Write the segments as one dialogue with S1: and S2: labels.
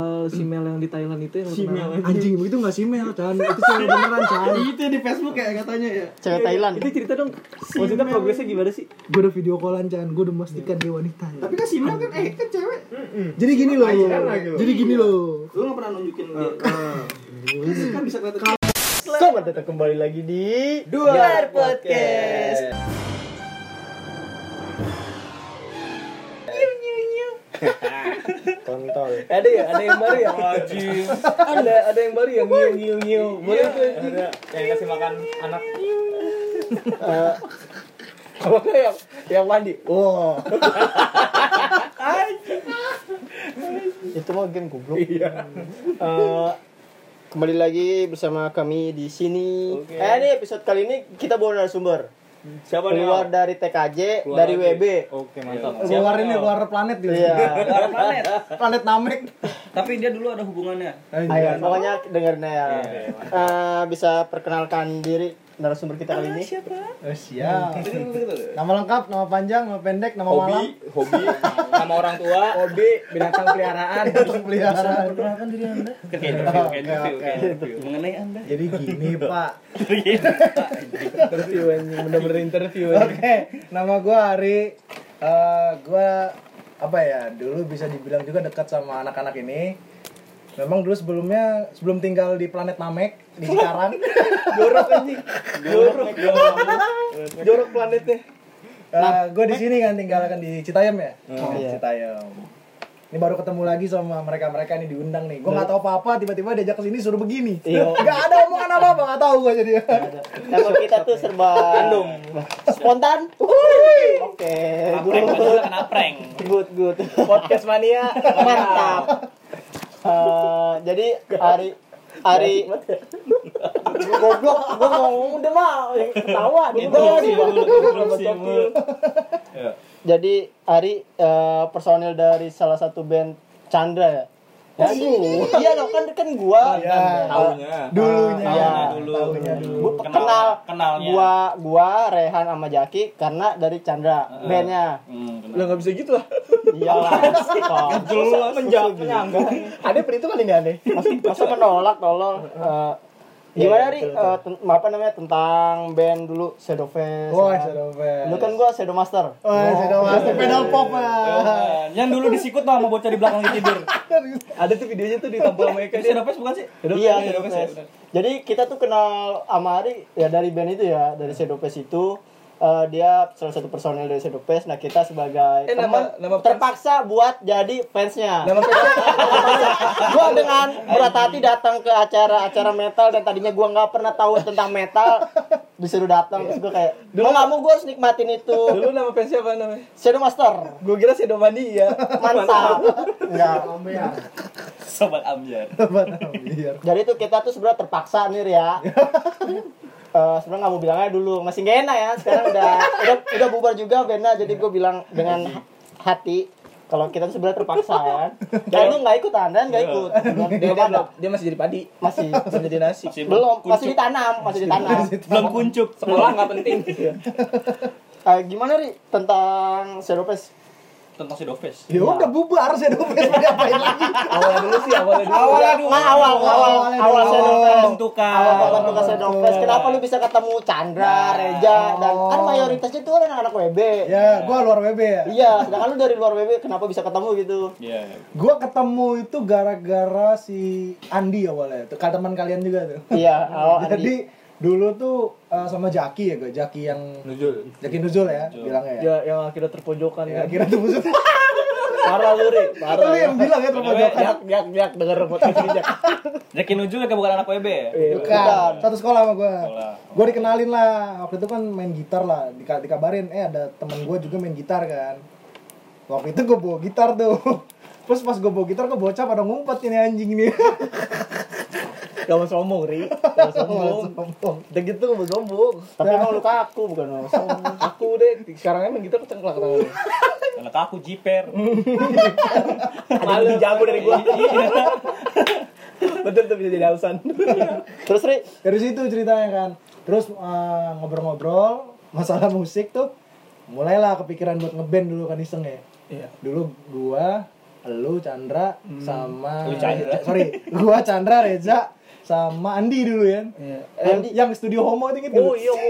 S1: Hmm.
S2: simel Eh, yang di Thailand itu yang lu
S3: Simel
S2: kenalan?
S3: aja.
S4: Anjing itu nggak simel Chan. Itu simel beneran Chan.
S3: itu di Facebook ya katanya ya
S5: Cewek Thailand.
S2: Itu cerita dong. Maksudnya
S3: Simel.
S2: progresnya gimana sih?
S4: Gue udah video callan Chan. Gue udah memastikan dia wanita. Ya.
S3: tapi kan si Mel kan eh kan cewek
S4: Jadi gini loh.
S3: Pacaran lagi lu.
S4: Jadi gini loh.
S3: lu nggak pernah nunjukin dia kan bisa kelihatan
S5: Selamat datang kembali lagi di
S3: Duar
S5: Duar Podcast. Kontol.
S2: Ada ya, ada yang baru ya. ada ada yang baru
S5: ya?
S2: yang nyiu nyiu nyiu. Boleh tuh.
S6: Iya. ada yang kasih makan anak
S5: Eh, Apa enggak yang yang mandi? Wow. Itu mah game goblok. Eh, kembali lagi bersama kami di sini.
S6: Oke.
S5: Eh, ini episode kali ini kita bawa narasumber.
S6: siapa nih
S5: Keluar
S6: Al?
S5: dari TKJ,
S6: Keluar
S5: dari
S6: lagi.
S5: WB.
S6: oke mantap
S4: Lu
S6: Siapa
S4: Keluarin
S6: nih,
S4: ya
S6: Al?
S4: keluar planet dia.
S5: Iya.
S1: planet.
S4: Planet Namek.
S1: Tapi dia dulu ada hubungannya.
S5: Ayo, pokoknya dengerin ya.
S6: Iya,
S5: Eh, bisa perkenalkan diri narasumber kita kali ini.
S4: Eh, siap. Nama lengkap, nama panjang, nama pendek, nama
S6: hobi
S4: malam.
S6: hobi sama orang tua
S5: Hobi binatang peliharaan.
S4: Tentang peliharaan.
S1: Perkenalkan diri Anda. Oke,
S4: Oh,
S1: oke,
S4: oke,
S1: oke,
S4: oke.
S1: oke. Mengenai Anda.
S4: Jadi gini Pak.
S5: interview anjing, bener-bener interview.
S4: Oke, nama gue Ari. Eh, gue apa ya? Dulu bisa dibilang juga dekat sama anak-anak ini. Memang dulu sebelumnya sebelum tinggal di planet Namek di Cikarang,
S5: Jorok anjing. Jorok. Jorok planetnya.
S4: gue di sini kan tinggalkan di Citayam ya. Di
S5: Iya.
S4: Citayam. Ini baru ketemu lagi sama mereka-mereka ini diundang nih. Gue nggak tahu apa-apa, tiba-tiba diajak ke sini suruh begini.
S5: Iya.
S4: Nggak ada omongan apa-apa, nggak tahu gue jadi.
S5: Emang kita tuh serba random. Spontan. Oke.
S1: Prank padahal kena prank.
S5: Good, good. Podcast mania. Mantap. Eh, jadi Ari Ari goblok gua mau ngomong udah mah yang ketawa di Jadi Ari eh, personil dari salah satu band Chandra ya. Ya, iya lo kan kan gua
S6: tahunya
S4: Dulunya.
S5: Iya.
S6: dulu
S4: Tahunya dulu.
S5: gua kenal
S1: kenalnya.
S5: gua gua Rehan sama Jaki karena dari Chandra bandnya
S6: Hmm, kenal.
S5: lo nggak bisa gitu lah iyalah jelas menjawab menyanggah
S4: Ada perhitungan ini aneh.
S5: masa, masa menolak tolong Eh, gimana ri Eh, ten- apa namanya tentang band dulu Shadow Fest
S4: Wah,
S5: ya kan?
S4: Shadow Fest. Oh,
S5: dulu kan gua Shadow Master
S4: Wah, Shadow Master pedal pop ah.
S1: Yang dulu disikut tuh sama bocah di belakang lagi tidur.
S2: Ada tuh videonya tuh ditampol sama Eka.
S1: Itu Shadow Face bukan sih?
S5: iya
S1: Shadow
S5: Shadow
S1: Fest,
S5: Fest.
S1: ya, benar.
S5: jadi kita tuh kenal sama Ari ya dari band itu ya dari
S1: Hmm.
S5: Shadow Fest itu eh, dia salah satu personil dari Shadow Fest nah kita sebagai
S2: Eh, nama-
S5: teman
S2: nama fans-
S5: terpaksa buat jadi fansnya
S2: Nama fansnya
S5: gua dengan berat hati datang ke acara-acara metal dan tadinya gua nggak pernah tahu tentang metal disuruh datang terus gua kayak mau nggak mau gua harus nikmatin itu
S2: dulu nama fansnya apa namanya?
S5: Shadow Master
S2: Gue kira Shadow Mandi ya.
S5: mantap Iya. Enggak.
S1: Sobat Amjar.
S4: Biar.
S5: jadi tuh kita tuh sebenarnya terpaksa nih ya Eh sebenarnya nggak mau bilangnya dulu masih gak enak ya sekarang udah udah, udah bubar juga Bena jadi gua bilang dengan hati kalau kita tuh sebenarnya terpaksa ya dan lu nggak ikut anda nggak ikut
S2: Dia, dia, belum- dia masih jadi padi.
S5: masih
S2: Masih jadi nasi.
S1: Masih
S5: belum masih
S1: kuncup.
S5: ditanam masih ditanam
S1: belum kuncup.
S2: Sekolah nggak penting.
S5: Eh, gimana ri tentang Shadow Fest?
S1: Tentang Shadow Face.
S4: Ya udah
S5: Iya.
S4: bubar Shadow Fest mau diapain lagi?
S2: Awalnya dulu sih, awalnya dulu.
S5: Awalnya dulu. Nah, awal, awal, awal,
S4: awalnya dulu.
S5: Shadow Fest. Awal
S1: Bentukan.
S5: pertama ke Shadow Fest. Kenapa lu bisa ketemu Chandra, Reja, dan kan mayoritasnya itu kan anak-anak WB.
S4: Ya, gua luar WB ya.
S5: Iya, sedangkan lu dari luar WB kenapa bisa ketemu gitu?
S6: iya
S4: Gua ketemu itu gara-gara si Andi awalnya. Tuh kata teman kalian juga tuh.
S5: Iya, awal
S4: Jadi
S5: Andi.
S4: dulu tuh eh, sama Jaki ya, gua. Jaki yang
S6: nujul
S4: Jaki Nuzul ya, bilangnya ya.
S5: Iya.
S2: Ya, yang akhirnya terpojokan
S4: Ya,
S2: kan.
S4: kira tuh musuh.
S5: Parah lu, Ri. Parah.
S4: Lu yang bilang ya terpojokan.
S5: Jak, jak, jak, denger podcast ini, Jak.
S1: Jackie Nuju kan bukan anak WB ya?
S5: Iya.
S4: Bukan. Satu sekolah sama gue. Gue dikenalin lah. Waktu itu kan main gitar lah. Dika- dikabarin, eh ada temen gue juga main gitar kan. Waktu itu gue bawa gitar tuh. Terus pas gue bawa gitar, gue bocah pada ngumpet ini anjing ini.
S2: Gak mau sombong, Ri. Gak mau sombong. Udah gitu gak mau sombong.
S5: Tapi emang lu kaku, bukan lu.
S2: Aku deh, sekarang emang gitu, kita kecengklak tangannya.
S1: Anak aku jiper.
S5: Hmm.
S2: Ada lebih jago dari gua. Betul tuh bisa jadi alasan.
S5: Terus, Ri,
S4: Dari situ ceritanya kan. Terus eh, ngobrol-ngobrol masalah musik tuh. Mulailah kepikiran buat ngeband dulu kan iseng ya.
S2: Iya.
S4: Dulu gua lu Chandra sama
S1: Lu Chandra.
S4: Reza. sorry gua Chandra Reza sama Andi dulu ya
S2: Iya.
S4: yang, yang studio homo itu inget gak lu?
S2: Oh iya, oh,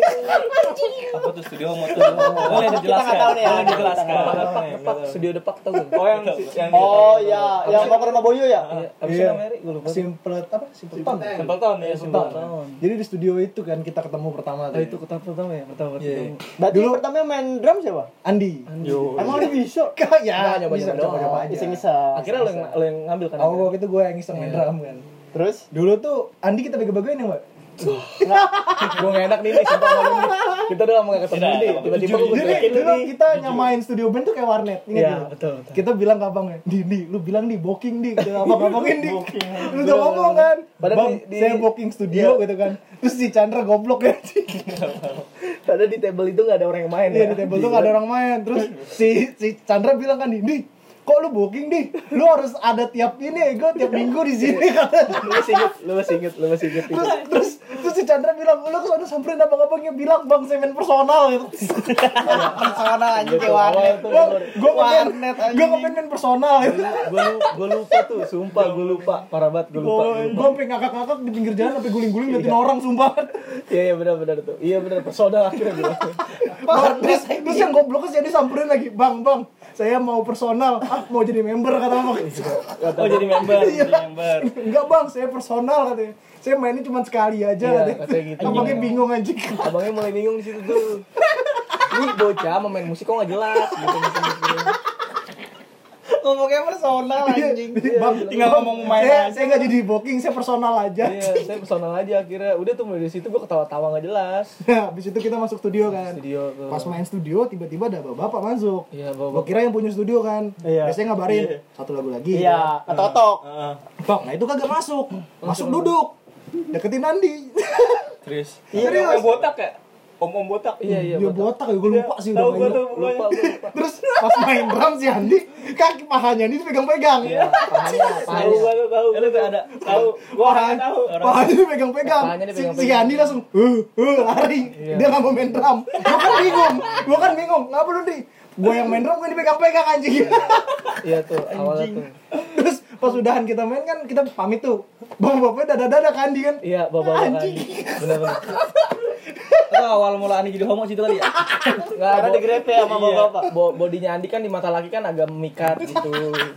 S1: Apa tuh studio homo tuh? Boleh dijelaskan.
S5: nggak tahu nih ya.
S1: Boleh dijelaskan.
S2: Depak, depak, depak, studio depak tau gak?
S6: Oh yang
S1: gitu.
S6: yang
S5: Oh ya, yang mau ke rumah Boyo ya?
S2: Apa sih
S4: Iya.
S2: namanya? Ri? Gua lupa.
S4: simple apa simple Tom.
S6: Simple Town ya Simple Town.
S2: Tahun.
S4: jadi di studio itu kan kita ketemu pertama
S2: Oh
S4: tuh
S2: itu ketemu pertama ya, pertama
S4: Iya.
S2: ketemu.
S5: Berarti pertama main drum siapa?
S4: Andi
S5: Emang lu bisa?
S2: Ah,
S4: ya
S2: Nyoba-nyoba
S4: bisa
S2: doang.
S4: coba-coba aja
S5: Iseng-iseng.
S2: Akhirnya lo yang lo yang ngambil kan?
S4: oh waktu itu gue yang iseng
S2: Iya.
S4: main drum kan
S5: Terus?
S4: dulu tuh Andi kita bego-begoin ya mbak
S2: gue gak enak nih, nih, sumpah sama lu nih. Kita udah lama gak ketemu
S1: Tidak,
S2: nih,
S1: lama.
S2: tiba-tiba gue
S4: Jadi
S2: cuekin lu
S4: dulu
S2: nih.
S4: kita nyamain studio band tuh kayak warnet, ingat
S2: Iya,
S4: dulu?
S2: betul, betul.
S4: Kita bilang ke abangnya, di, di, lu bilang di booking di, kita apa ngomongin di, lu udah ngomong kan,
S2: Padahal
S4: bang,
S2: di- iya. di-
S4: saya booking studio gitu kan, terus si Chandra goblok ya,
S2: Padahal di table itu gak ada orang yang main ya.
S4: iya di table tuh gak ada orang main, terus si si Chandra bilang kan, di, di, kok lu booking di, lu harus ada tiap ini ego tiap minggu di sini katanya.
S2: Lu masih inget, lu masih inget, lu masih inget
S4: terus terus terus si Chandra bilang lu kesana samperin abang-abangnya bilang bang saya main personal gitu
S5: Personal anjing kayak warnet tuh.
S4: gue gue
S5: Warnet anjing.
S4: gue main main personal gitu
S2: Gue gue lupa tuh, sumpah gue lupa Parah banget, gue lupa gua
S4: gue
S2: lupa.
S4: sampai ngakak-ngakak di pinggir jalan sampai guling-guling ngeliatin orang sumpah
S2: Iya, iya benar-benar tuh Iya benar personal akhirnya gue
S4: Wah, terus, terus yang gobloknya jadi samperin lagi bang bang saya mau personal ah, mau jadi member kata abang
S1: Oh jadi member,
S5: Iya.
S1: jadi member.
S4: Iya. enggak bang saya personal katanya saya mainnya cuma sekali aja
S2: Iya, katanya
S4: katanya
S2: gitu.
S4: abangnya bingung anjing
S2: Abangnya mulai bingung di situ tuh Ini bocah mau main musik kok gak jelas gitu
S5: Ngomongnya personal anjing.
S4: Iya.
S5: iya.
S4: bang
S6: Tinggal ngomong main
S4: saya,
S5: Eh,
S6: aja.
S4: saya nggak jadi booking saya personal aja
S2: Iya, saya personal aja akhirnya Udah tuh mulai dari situ gue ketawa-tawa gak jelas
S4: Nah, habis itu kita masuk studio kan.
S2: Studio tuh.
S4: Pas main studio tiba-tiba ada bapak-bapak masuk.
S2: Iya, bapak-bapak.
S4: Gua kira yang punya studio kan.
S2: Iya.
S4: Biasanya ngabarin satu lagu lagi.
S5: Iya, ketotok.
S4: Bang, nah itu kagak masuk. Masuk duduk. Deketin Andi.
S6: Terus.
S5: Iya,
S6: Yang yang botak ya? Om-om botak.
S2: Iya, iya
S4: Dia botak, ya gue lupa sih udah
S6: Tahu gua
S4: main.
S6: tuh
S2: Lupa,
S6: pokoknya.
S2: gua lupa
S4: Terus pas main drum si Andi kaki pahanya ini dipegang-pegang.
S2: Pahanya,
S6: Tahu
S2: pahanya
S6: gua tuh tahu.
S1: Lu tuh ada.
S6: Tahu. Gua nggak tahu.
S4: Pahanya dipegang-pegang.
S2: Pahanya
S4: Si,
S2: dipegang-pegang.
S4: si Andi langsung uh uh lari. Dia nggak mau main drum. Gue kan bingung. Gue kan bingung. Ngapa lu di? Gue yang main drum gue dipegang-pegang anjing.
S2: Iya tuh, awalnya tuh
S4: Terus pas udahan kita main kan kita pamit tuh. Bapak-bapaknya dada-dada kan dia kan.
S2: Iya, bapak-bapak
S4: Anjing.
S2: Bener-bener
S6: Itu awal mula Ani jadi homo situ kali ya.
S2: Nggak,
S5: Karena
S2: bo-
S5: digrepe sama
S2: iya.
S5: bapak-bapak.
S2: Bo- bodinya Andi kan di mata laki kan agak memikat gitu.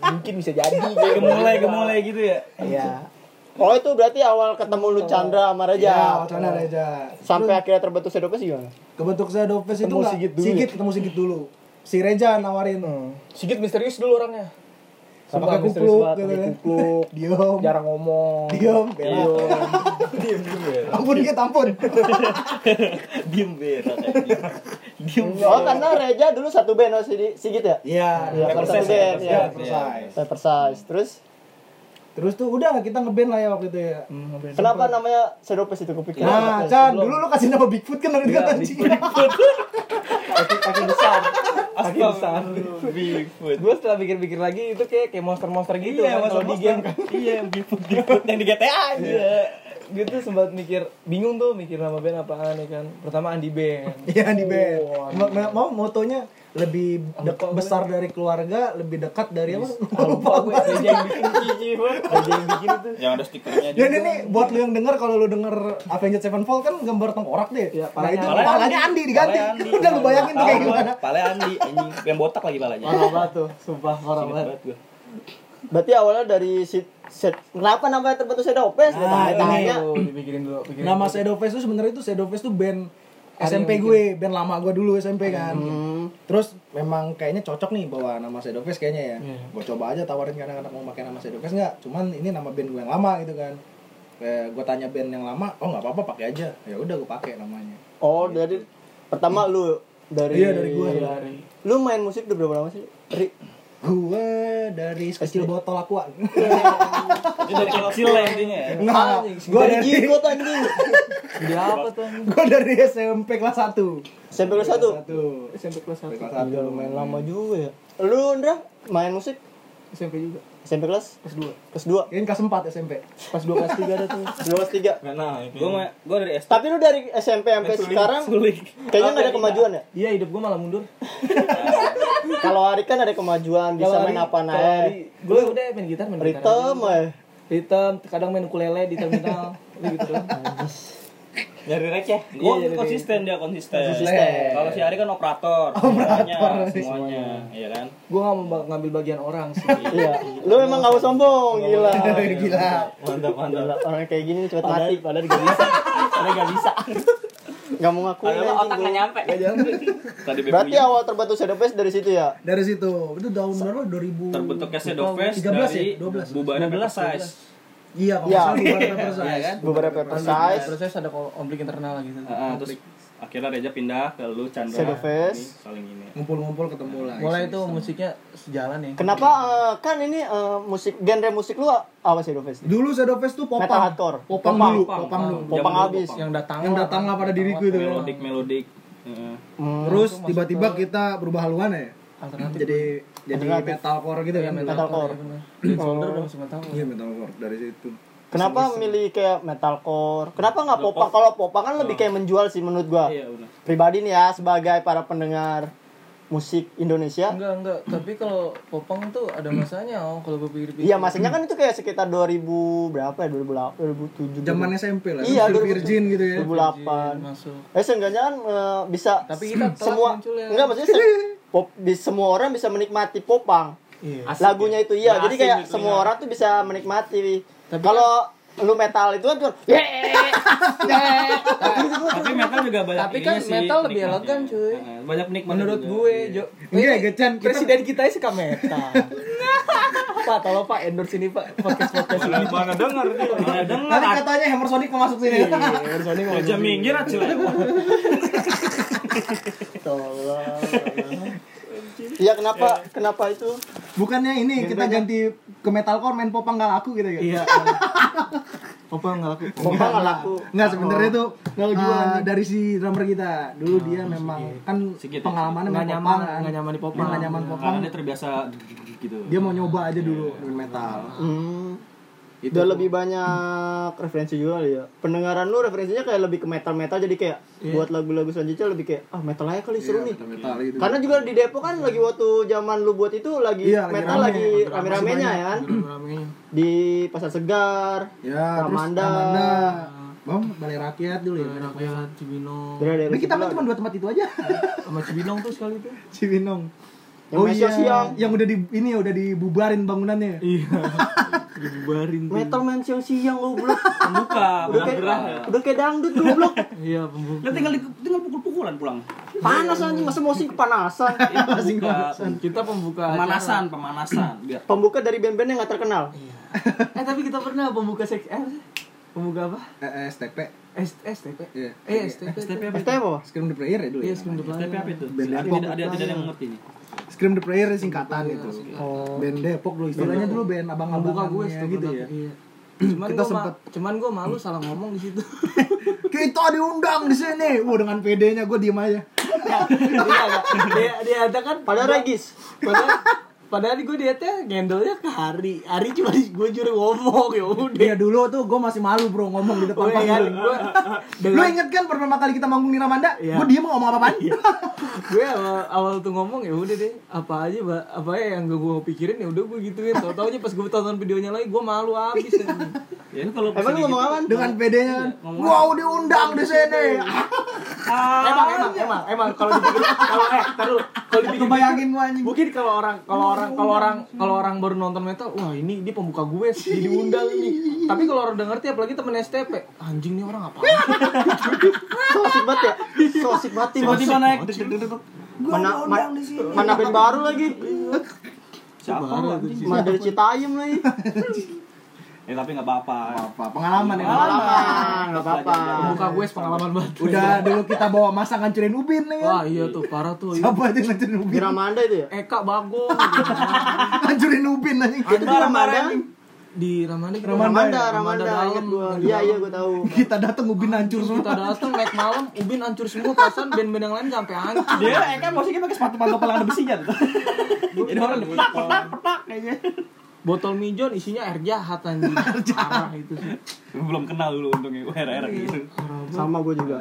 S2: Mungkin bisa jadi. gitu.
S6: Gemulai gemulai gitu ya.
S4: Iya.
S5: Oh itu berarti awal ketemu lu Chandra
S4: Ya,
S5: sama Reza.
S4: Cana Reja.
S5: Sampai akhirnya terbentuk sedopnya sih gimana?
S4: Kebentuk saya Dopes itu
S2: Ketemu
S4: enggak
S2: Sigit
S4: Sigit,
S2: dulu ya?
S4: ketemu Sigit dulu. Si Reja nawarin.
S2: Sigit misterius dulu orangnya.
S4: Sama
S2: Sumpah
S4: kayak
S2: misterius
S4: kupluk
S2: banget,
S4: gitu
S2: pakai
S4: ya.
S2: kupluk.
S4: Diem.
S2: Jarang ngomong.
S4: Diem, berak. Ampun gitu, ampun.
S6: Diem berak. Diem.
S5: Oh karena Reza dulu satu band oh Sigi- Sigit ya?
S4: Iya,
S5: Iya,
S4: satu
S5: persis,
S4: band,
S6: ya,
S5: persis,
S4: iya,
S6: persis.
S4: persis.
S5: Paper size. Terus
S4: Terus tuh udah kita ngeband lah ya waktu itu ya.
S2: Iya.
S5: kenapa namanya sedopes itu kepikiran?
S4: Nah, Chan, dulu lu kasih nama Bigfoot kan dari kata anjing.
S2: Kaki kaki besar. Kaki
S6: Astaga.
S2: besar.
S6: Bigfoot.
S2: Gue setelah pikir-pikir lagi itu kayak kayak monster-monster gitu
S6: Iya,
S2: kan, kalau di
S6: monster-monster
S2: game.
S6: Iya, Bigfoot Bigfoot yang di GTA aja.
S2: Iya. Gue tuh sempat mikir bingung tuh mikir nama band apaan ya kan. Pertama Andi Band.
S4: Iya di band.
S2: Oh,
S4: Ma- ma- Mau motonya lebih dek-
S2: Lupa gue.
S4: besar dari keluarga, lebih dekat dari apa?
S2: Ah, Lupa gue Reja yang bikin Cici, Bang. Reja yang bikin itu.
S6: Yang ada stikernya
S4: Dan Ya, ini buat lu yang denger kalau lu denger Avenged Sevenfold kan gambar tengkorak deh.
S2: Iya,
S4: nah
S2: palanya
S4: itu
S2: Andi.
S4: palanya Andi diganti.
S6: Palanya Andi.
S4: Udah lu bayangin tuh kayak
S6: Tahu gua,
S4: gimana.
S6: Pale Andi anjing yang botak lagi palanya.
S2: Parah banget tuh, sumpah parah
S6: Ingat
S2: banget.
S6: banget gua.
S5: Berarti awalnya dari si, si- kenapa namanya terbentuk sedopes? Nah,
S4: Nah,
S5: tanya, tanya.
S2: Tuh, dipikirin dulu, pikirin.
S4: Nama Shadow Face tuh sebenarnya itu Shadow Face tuh band SMP gue, band lama gue dulu SMP kan.
S5: Hmm.
S4: Terus memang kayaknya cocok nih bawa nama Shadow Face kayaknya ya. Gue coba aja tawarin ke anak-anak mau pakai nama Shadow Face nggak? Cuman ini nama band gue yang lama gitu kan. Kayak gue tanya band yang lama, oh nggak apa-apa pakai aja. Ya udah gue pakai namanya.
S5: Oh dari pertama lu dari
S4: Iya dari gue.
S5: Lu main musik udah berapa lama sih? Ri?
S4: Gue dari kecil botol akuan.
S6: Itu dari kecil lah intinya ya.
S4: Nah, gue
S5: Dari
S4: dari
S5: Jigot anjing.
S2: Dia apa tuh?
S4: gue dari SMP kelas 1
S5: Sampai lu satu.
S4: satu SMP kelas satu kelas satu lumayan lama
S5: juga ya. Lu Ndra main musik
S2: SMP juga,
S5: SMP kelas
S2: kelas 2.
S5: kelas 2,
S4: Kayaknya kelas 4 SMP
S2: Kelas 2 kelas 3 ada tuh.
S5: 2 kelas 3.
S6: Enggak naik. Gua ma- gua dari SD
S5: Tapi lu dari SMP sampai sekarang
S6: suling.
S5: kayaknya nggak ada kemajuan ya?
S2: Iya, hidup gue malah mundur.
S5: Kalau Ari kan ada kemajuan, bisa main apa naik.
S2: Gue udah main gitar, main gitar.
S5: Ritem, eh.
S2: Ritem, kadang main ukulele di terminal. Udah gitu doang.
S1: Nyari receh.
S2: Iya,
S1: Oh,
S2: jadi-
S1: konsisten dia konsisten.
S4: Konsisten.
S1: Kalau si Ari kan operator. Semuanya, semuanya. Iya kan?
S2: Gue gak mau ba- ngambil bagian orang sih.
S5: Iya. Lu emang gak mau sombong, gila.
S4: Gila.
S1: Mantap, mantap.
S5: Gila, Orang kayak gini cepet mati.
S6: Padahal gak bisa. Padahal gak bisa.
S5: Gak mau ngakuin.
S1: Padahal
S5: anjing,
S1: otak
S5: gua.
S1: nggak nyampe. Tadi ya.
S5: Berarti
S1: Berarti
S5: awal terbentuk Shadow Face dari situ ya?
S4: Dari situ. Itu tahun berapa? 2000.
S1: terbentuknya Shadow Face
S4: 13 ya?
S1: dari
S4: 12.
S1: bubarnya Paper Size.
S4: Iya, kalau
S5: Iya. kan?
S4: nggak salah bukan paper size.
S5: Beberapa
S2: Size.
S5: size.
S2: Terus ada konflik internal lagi.
S1: Heeh, terus akhirnya Reja pindah ke lu Chandra.
S5: Shadow Face.
S1: Ini, Saling ini.
S4: Ngumpul-ngumpul ketemu lah.
S2: Mulai itu musiknya sejalan ya.
S5: Kenapa eh, kan ini eh, musik genre musik lu apa Shadow Face?
S4: Dulu Shadow Face tuh popang.
S5: Metal hardcore.
S4: Popang
S5: Popang,
S4: dulu,
S1: popang.
S4: popang dulu.
S5: Popang
S1: Zaman dulu
S5: habis.
S1: popang.
S2: Yang datang
S4: Yang datanglah pada diriku itu. Hmm.
S1: Melodik, melodik. Heeh.
S5: Hmm.
S4: Terus tiba-tiba kita berubah haluan ya.
S2: alternatif.
S4: Jadi jadi
S5: Alternatif.
S4: metalcore gitu kan.
S5: metalcore.
S2: Solder gitu. dong cuma tahu.
S4: Iya, metalcore dari situ.
S5: Kenapa milih kayak metalcore? Kenapa nggak popang? Kalau popang kan lebih kayak menjual sih menurut gua.
S1: Iya, benar.
S5: Pribadi nih ya sebagai para pendengar musik Indonesia.
S2: Enggak enggak, tapi kalau popang tuh ada masanya oh kalau gue pikir-pikir.
S5: Iya, maksudnya kan itu kayak sekitar 2000 berapa ya? 2008, 2007.
S4: Zaman SMP lah.
S5: Iya,
S4: Terus
S5: dulu-
S4: Virgin gitu ya.
S5: 2008.
S2: masuk.
S5: Eh seenggaknya kan eh, bisa
S2: Tapi kita telat ya.
S5: semua
S2: munculnya.
S5: enggak maksudnya se- pop, di, semua orang bisa menikmati popang. Lagunya
S2: ya.
S5: itu iya,
S2: Nah,
S5: jadi kayak semua orang tuh bisa menikmati. Kalau lu metal itu kan cuma
S1: Tapi metal juga banyak
S2: Tapi kan
S1: ininya sih,
S2: metal lebih
S1: nikmatnya.
S2: elegan, cuy.
S1: Heeh, Banyak nikmat
S2: Menurut
S1: juga.
S2: gue,
S1: Iya.
S2: Jo.
S4: Enggak,
S2: Eh,
S4: Gecen, kita-
S2: Presiden kita sih kameta. Pak, tolong Pak endorse ini Pak podcast-podcast ini.
S1: Mana- Mana dengar dia, mana dengar.
S4: Nanti katanya Hammer Sonic mau masuk sini.
S1: Reja minggir acil.
S5: Iya kenapa? Kenapa itu?
S4: Bukannya ini kita ganti ke metalcore main popang gak laku gitu ya?
S2: Iya. Popang enggak laku. Oh.
S5: Popang nggak laku.
S4: Nggak sebenarnya tuh
S2: Kalau jual nih.
S4: ah, dari si drummer kita. Dulu
S2: Ah,
S4: dia memang kan
S1: Sigit ya,
S4: pengalamannya
S2: Nggak
S4: main
S2: nyaman,
S4: popang kan.
S2: nggak nyaman di popang.
S4: Dia nggak nyaman
S2: Iya.
S4: popang.
S1: Karena dia terbiasa gitu.
S4: Dia mau nyoba aja dulu main metal.
S5: Hmm. Udah lebih banyak referensi juga kali ya. Pendengaran lu referensinya kayak lebih ke metal-metal jadi kayak
S2: Iya.
S5: buat lagu-lagu selanjutnya lebih kayak ah metal aja kali seru nih.
S4: Metal gitu.
S5: Karena juga di Depok kan lagi waktu zaman lu buat itu lagi
S4: Iya, lagi
S5: metal
S4: rame. Hmm.
S5: lagi
S4: Masih
S5: rame-ramenya ya kan.
S2: Rame-ramenya.
S5: Di Pasar Segar,
S4: Ya, terus
S5: Ramanda.
S4: Ramanda. Bang, Balai Rakyat dulu ya.
S2: Rakyat Cibinong.
S5: daerah-daerah
S4: Ini kita main
S5: sebelah.
S4: cuma dua tempat itu aja.
S2: Sama Cibinong tuh sekali tuh.
S6: Iya,
S4: Cibinong.
S5: Yang main siang-siang.
S4: Oh iya, yang udah di ini ya udah dibubarin bangunannya.
S2: Iya. Dibubarin. tuh.
S5: metal main siang-siang goblok.
S1: Pembuka,
S5: Udah
S1: benar
S4: ya.
S1: gerah.
S5: kayak udah kayak dangdut goblok.
S2: Iya, pembuka.
S1: Lah tinggal di- tinggal pukul-pukulan pulang.
S5: Panas anjing masa musik panasan.
S1: Pembuka,
S2: Kita pembuka acara.
S1: pemanasan, pemanasan. Biar
S5: Pembuka dari band-band yang gak terkenal.
S2: Eh, tapi kita pernah pembuka seks eh, apa sih? Pembuka apa?
S4: Eh, eh, STP.
S2: S- STP.
S4: Iya.
S2: Eh, STP.
S1: STP apa? itu?
S5: STM apa?
S4: Scream the Prayer ya dulu
S2: Iya,
S4: ya.
S2: sebelum depan.
S1: STP apa itu?
S4: Band
S1: Ada
S4: Depok.
S1: tidak ada tidak ada yang mengerti nih.
S4: Scream the Prayer singkatan itu. Band Depok dulu istilahnya dulu band
S2: Pembuka
S4: abang-abang
S2: gue STP.
S4: gitu ya.
S2: Iya. Cuman
S4: Kita
S2: gue
S4: sempet-
S2: cuman gua malu salah ngomong di situ.
S4: Kita diundang di sini. Wah, dengan PD-nya gue diem aja.
S2: dia ada dia, dia ada kan
S5: Padahal
S2: gua-
S5: Regis.
S2: Padahal padahal gue dia teh ngendolnya ke Hari. Hari cuma gue juri ngomong ya udah.
S4: Iya dulu tuh gue masih malu bro ngomong di
S2: Oh
S4: depan
S2: iya kan
S4: panggung.
S2: gue
S4: Lu inget kan pertama kali kita manggung di Ramanda?
S2: Iya.
S4: Gue diem ngomong apa-apaan?
S2: gue awal, awal tuh ngomong ya udah deh apa aja Mbak. apa aja yang gue gue pikirin ya udah gue gituin tau taunya pas gue tonton videonya lagi gue malu abis
S1: Ya lu kalau
S5: Emang
S4: gitu.
S5: lu ngomong apa?
S4: Dengan PD-nya kan. Wow, diundang di sini.
S2: emang
S4: Ah.
S2: emang emang emang kalau dipikir kalau eh taruh kalau dipikir
S4: Kebayangin gue anjing.
S2: mungkin kalau orang kalau orang kalau orang kalau orang baru nonton metal wah ini dia pembuka gue sih jadi undang ini tapi kalau orang udah ngerti apalagi temen STP anjing nih orang apa
S4: Iya.
S5: Sosik banget ya. Sosik banget tim.
S1: tiba-tiba naik.
S5: Mana ma- mana band baru lagi.
S4: Iya.
S1: Siapa lu anjing?
S5: Mana dari Citayam lagi.
S1: Eh tapi enggak apa-apa.
S4: Apa pengalaman ya?
S5: Pengalaman, enggak apa-apa.
S2: pembuka gue pengalaman banget
S4: Udah dulu kita bawa masa ngancurin ubin nih kan.
S2: wah iya tuh parah tuh iya.
S4: Siapa aja yang ngancurin
S5: Di
S4: ubin?
S5: Ramanda itu ya?
S2: Eka bago
S4: Ngancurin ubin anjing.
S5: Itu di Ramanda.
S2: di Ramanda kita
S5: Ramanda,
S2: ya?
S5: Ramanda,
S2: dalam,
S5: ingat gua.
S2: Ramanda
S5: Iya, iya
S2: dalam.
S5: gua tahu.
S4: Kita datang ubin hancur
S2: kita
S4: semua.
S2: datang naik malam ubin hancur semua perasaan band-band yang lain sampai hancur
S1: Dia eh kan musiknya pakai sepatu pantau pelang ada besinya tuh. Jadi orang petak petak petak kayaknya.
S2: botol mijon isinya air jahat anjing parah itu sih
S1: belum kenal dulu untungnya gue era-era gitu
S5: Sama gue juga.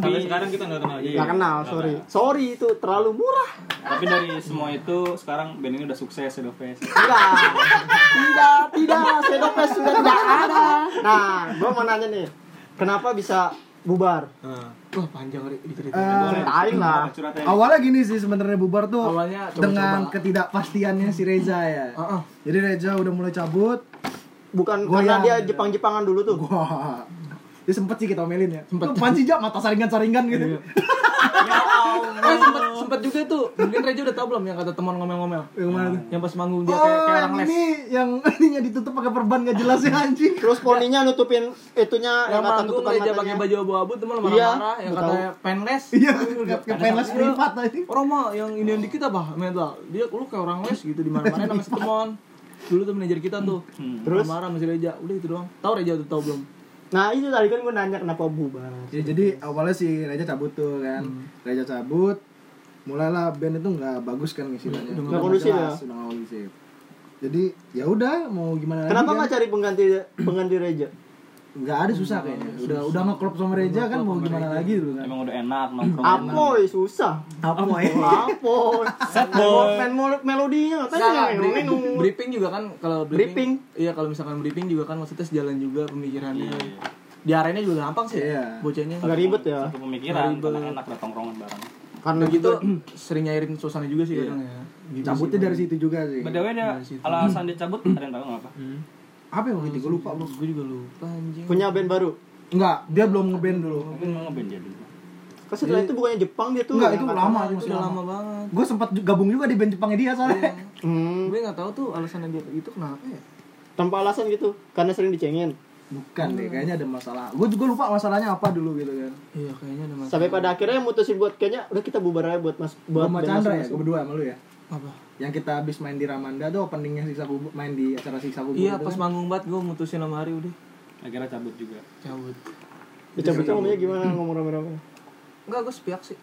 S1: tapi sekarang kita nggak kenal Iya.
S5: Gak Iya. kenal, sorry. Sorry itu terlalu murah.
S1: tapi dari semua itu sekarang band ini udah sukses udah face
S5: Enggak. tidak, tidak. Sedopes sudah tidak ada. Nah, gue mau nanya nih. Kenapa bisa bubar?
S2: wah panjang Ri, diceritain
S4: Eh,
S5: Ceritain lah.
S1: curhat ya
S4: awalnya gini sih sebenarnya bubar tuh
S2: Awalnya coba-coba.
S4: dengan ketidakpastiannya si Reza ya.
S2: Heeh.
S4: Jadi Reza udah mulai cabut.
S5: Bukan
S4: Goyang.
S5: karena dia Jepang-Jepangan dulu tuh.
S4: Wah. Dia sempet sih kita omelin ya. Sempet. Panci jam mata saringan-saringan gitu.
S2: Iya. Eh, sempet, sempet juga tuh mungkin Reja udah tau belum yang kata teman ngomel-ngomel
S4: Yang mana tuh?
S2: yang pas manggung Ah. dia
S4: Oh,
S2: kayak, kayak
S4: yang
S2: orang les
S4: ini yang ininya ditutup pakai perban gak jelas ya anjing.
S5: Terus poninya nutupin itunya
S2: yang
S5: yang kata
S2: manggung
S5: tutupan
S2: Reja pakai
S5: matanya.
S2: baju abu-abu teman
S5: Iya,
S2: marah-marah yang
S5: gua
S2: katanya penles
S4: Iya, kayak pengen les privat anjing.
S2: orang mah yang ini yang dikit apa metal dia lu kayak orang les gitu di mana-mana namanya si teman dulu tuh manajer kita tuh
S5: Terus?
S2: marah masih Reja udah itu doang tahu Reja tuh tahu belum
S5: Nah, itu tadi kan gue nanya kenapa bubar.
S4: Ya, jadi awalnya si Reza cabut tuh kan. Reza cabut, mulailah band itu nggak bagus kan istilahnya.
S2: Udah nggak
S4: Nggak
S5: kondusif
S4: jelas,
S5: ya?
S4: udah nggak kondusif. Jadi ya udah mau gimana
S5: Kenapa
S4: lagi
S5: nggak
S4: kan?
S5: cari pengganti pengganti Reja?
S4: Nggak ada susah kayaknya. Udah udah ngeklop sama Reza kan mau gimana lagi dulu kan.
S1: emang udah enak nongkrong
S5: Apoy susah.
S4: Apa ya?
S5: Apoy. Main mel-
S2: Nah,
S5: melodinya katanya
S2: bri- briefing juga kan kalau
S5: Briefing.
S2: briefing, iya kalau misalkan briefing juga kan maksudnya sejalan juga
S1: Iya,
S2: pemikirannya di arenanya juga gampang sih ya,
S4: Iya.
S2: bocahnya
S5: Nggak ribet ya.
S1: satu pemikiran karena enak udah tongkrongan bareng
S5: Karena
S2: Udah
S5: gitu
S2: gitu sering nyairin suasana juga sih kadang ya Gitu
S4: Cabutnya
S2: sih,
S4: dari situ juga sih.
S1: By the way, dia alasan dia cabut, ada yang tahu nggak apa?
S4: Apa yang waktu itu gue lupa
S2: Bang.
S4: bro.
S2: gue juga lupa anjing
S5: punya band baru.
S4: Enggak, dia belum ngeband dulu.
S1: Mungkin mau ngeband dia dulu.
S5: Kan setelah itu bukannya Jepang dia tuh.
S4: Enggak,
S5: yang
S4: itu
S5: angkat.
S4: lama aja
S2: itu
S4: masih
S2: udah
S4: lama.
S2: lama Iya. banget
S4: Gue sempat ju- gabung juga di band Jepangnya dia soalnya.
S5: Hmm,
S2: gue nggak tahu tuh alasannya dia itu kenapa ya
S5: tanpa alasan gitu. Karena sering dicengin.
S4: Bukan deh, kayaknya ada masalah. Gue juga lupa masalahnya apa dulu gitu kan.
S2: iya kayaknya ada masalah
S5: Sampai pada akhirnya mutusin buat kayaknya udah kita bubar aja buat Mas buat
S4: Sama
S5: band
S4: Chandra ya,
S5: masing-masing.
S4: gue berdua sama lu ya.
S2: apa
S4: Yang kita habis main di Ramanda tuh openingnya siksa kubur, main di acara siksa kubur.
S2: iya
S4: itu
S2: pas
S4: kan.
S2: manggung banget gue mutusin sama Ari udah
S1: Akhirnya cabut juga.
S2: cabut
S5: Dicabutnya ngomongnya gimana ngomong rame-rame.
S2: enggak gue sepihak sih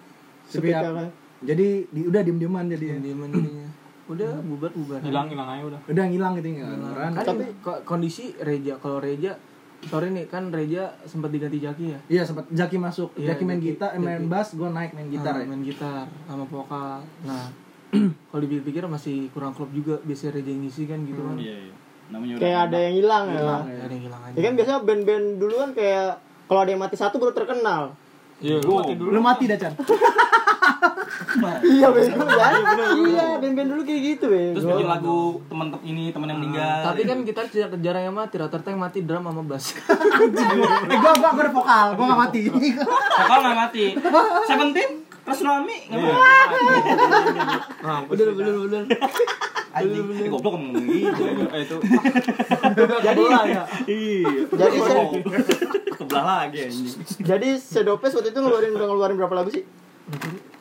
S4: Sepihak.
S2: kan?
S5: Sepihak.
S4: Jadi di, udah diem-dieman jadi.
S2: dieman jadinya udah bubar bubar
S1: Hilang hilang aja udah.
S4: Udah ngilang gitu nggak orang.
S2: kan ko- kondisi Reja kalau Reja sorry nih kan Reja sempat diganti jaki ya
S4: Iya sempat Jaki masuk,
S2: Iya,
S4: Jaki main
S2: Jaki,
S4: gitar, eh, main bass, gue naik main gitar
S2: Nah,
S4: ya.
S2: main gitar sama vokal nah kalau dipikir-pikir masih kurang klop juga biasanya Reja yang ngisi kan gitu kan
S1: Iya iya. Namanya udah.
S5: Kayak ada yang hilang ya.
S2: ada yang hilang aja
S5: Ya kan biasanya band-band dulu kan kayak kalau ada yang mati satu baru terkenal.
S1: Iya, gua mati dulu.
S4: Lu mati dah Chan.
S5: Iya bego ya. Iya, band-band dulu kayak gitu,
S1: Terus
S5: bego.
S1: bikin lagu teman tem- ini teman yang meninggal.
S2: tapi kan gitar tidak jarang yang mati rata-rata yang mati drum sama bass
S4: eh gue gue bervokal, gue gak mati.
S1: Vokal nggak mati. Seventeen, terus Rami nggak mati. Nah,
S2: udah bener bener
S1: Anjing, eh, goblok ngomong gitu. Eh itu.
S2: jadi
S1: Iya.
S5: Jadi saya-
S1: Oh, kebelah lagi anjing.
S5: Jadi Sedopes waktu itu ngeluarin udah ngeluarin berapa lagu sih?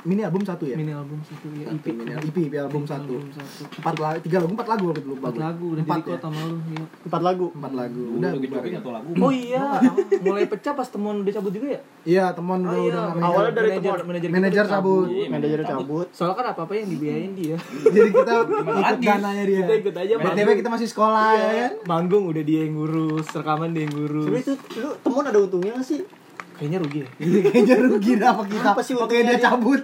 S4: Mini album satu ya.
S2: mini album satu ya
S4: Satu,
S2: EP
S4: mini EP, EP album satu.
S2: album satu
S4: Empat lagu, tiga lagu, empat lagu waktu itu lupa.
S2: empat
S4: gua.
S2: lagu udah
S4: empat
S2: di
S4: ya.
S2: kota malu iya.
S5: Empat lagu.
S4: Empat lagu.
S1: Udah
S4: Udah bubar.
S1: joget atau lagu.
S2: oh iya mulai pecah pas temuan dia cabut juga ya
S4: Iya teman udah udah nggak main.
S5: Awalnya dari
S2: manajer
S5: temuan.
S2: manajer kita
S4: Manajer
S2: udah
S4: cabut.
S1: Iya,
S5: Manajer cabut.
S2: soalnya kan apa apa yang dibiayain dia
S4: Jadi kita ikut
S1: lagi?
S4: dananya dia.
S2: kita ikut aja
S4: BTW kita masih sekolah ya kan?
S2: manggung udah dia yang ngurus rekaman dia yang
S5: Tapi
S2: ngurus
S5: itu lu temuan ada untungnya nggak sih?
S2: kayaknya rugi ya
S4: Iya, Kayaknya rugi dah apa gitu. kita.
S5: Apa sih
S4: Oke dia cabut.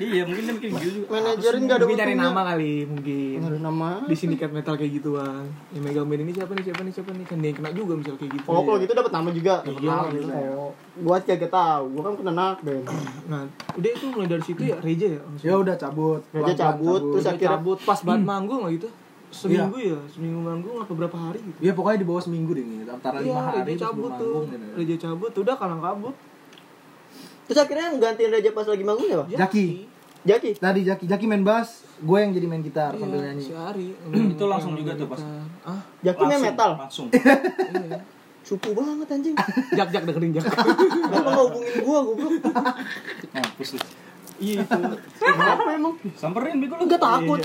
S1: Iya, mungkin dia bikin gitu juga.
S5: Manajerin nggak ada
S2: mungkin cari
S5: untungnya.
S2: nama kali mungkin
S5: Nggak ada Iya. nama.
S2: di sindikat metal kayak gituan yang megang band ini siapa nih siapa nih siapa nih kan dia yang kena juga misal kayak gitu
S5: Oh, kalau gitu dapat nama juga.
S2: Iya, iya.
S5: Oh, Gua kagak tahu, gua kan kena nak band.
S2: nah udah itu mulai dari situ ya Reja ya langsung.
S4: Ya udah cabut.
S5: Reja
S4: Pelan-pelan
S5: cabut, terus
S2: Dia
S5: akhirnya Hmm. Iya.
S2: cabut pas banget manggung lah gitu seminggu ya seminggu manggung apa berapa hari gitu
S4: Iya pokoknya di bawah seminggu deh, antara lima
S2: Iya,
S4: hari
S2: Reja
S4: terus
S2: cabut
S4: belum
S2: tuh.
S4: manggung, gitu.
S2: Reja cabut, udah kalang kabut.
S5: terus akhirnya nggantiin Reja pas lagi manggung ya, Pak?
S4: Jaki.
S5: Jaki.
S4: Tadi Jaki, Jaki main bass, gue yang jadi main gitar
S2: Iya,
S4: sambil nyanyi.
S2: si Ari.
S1: Itu langsung juga tuh, pas.
S2: Ah,
S5: Jaki main
S1: Langsung,
S5: metal.
S1: Langsung.
S2: iya.
S5: Cupu banget anjing.
S2: Jak jak dengerin jak.
S5: Kenapa nggak hubungin gua goblok?
S4: Nah,
S1: Mampus lu.
S2: Iya itu.
S5: Kenapa emang?
S1: Samperin bego lu.
S5: Enggak takut.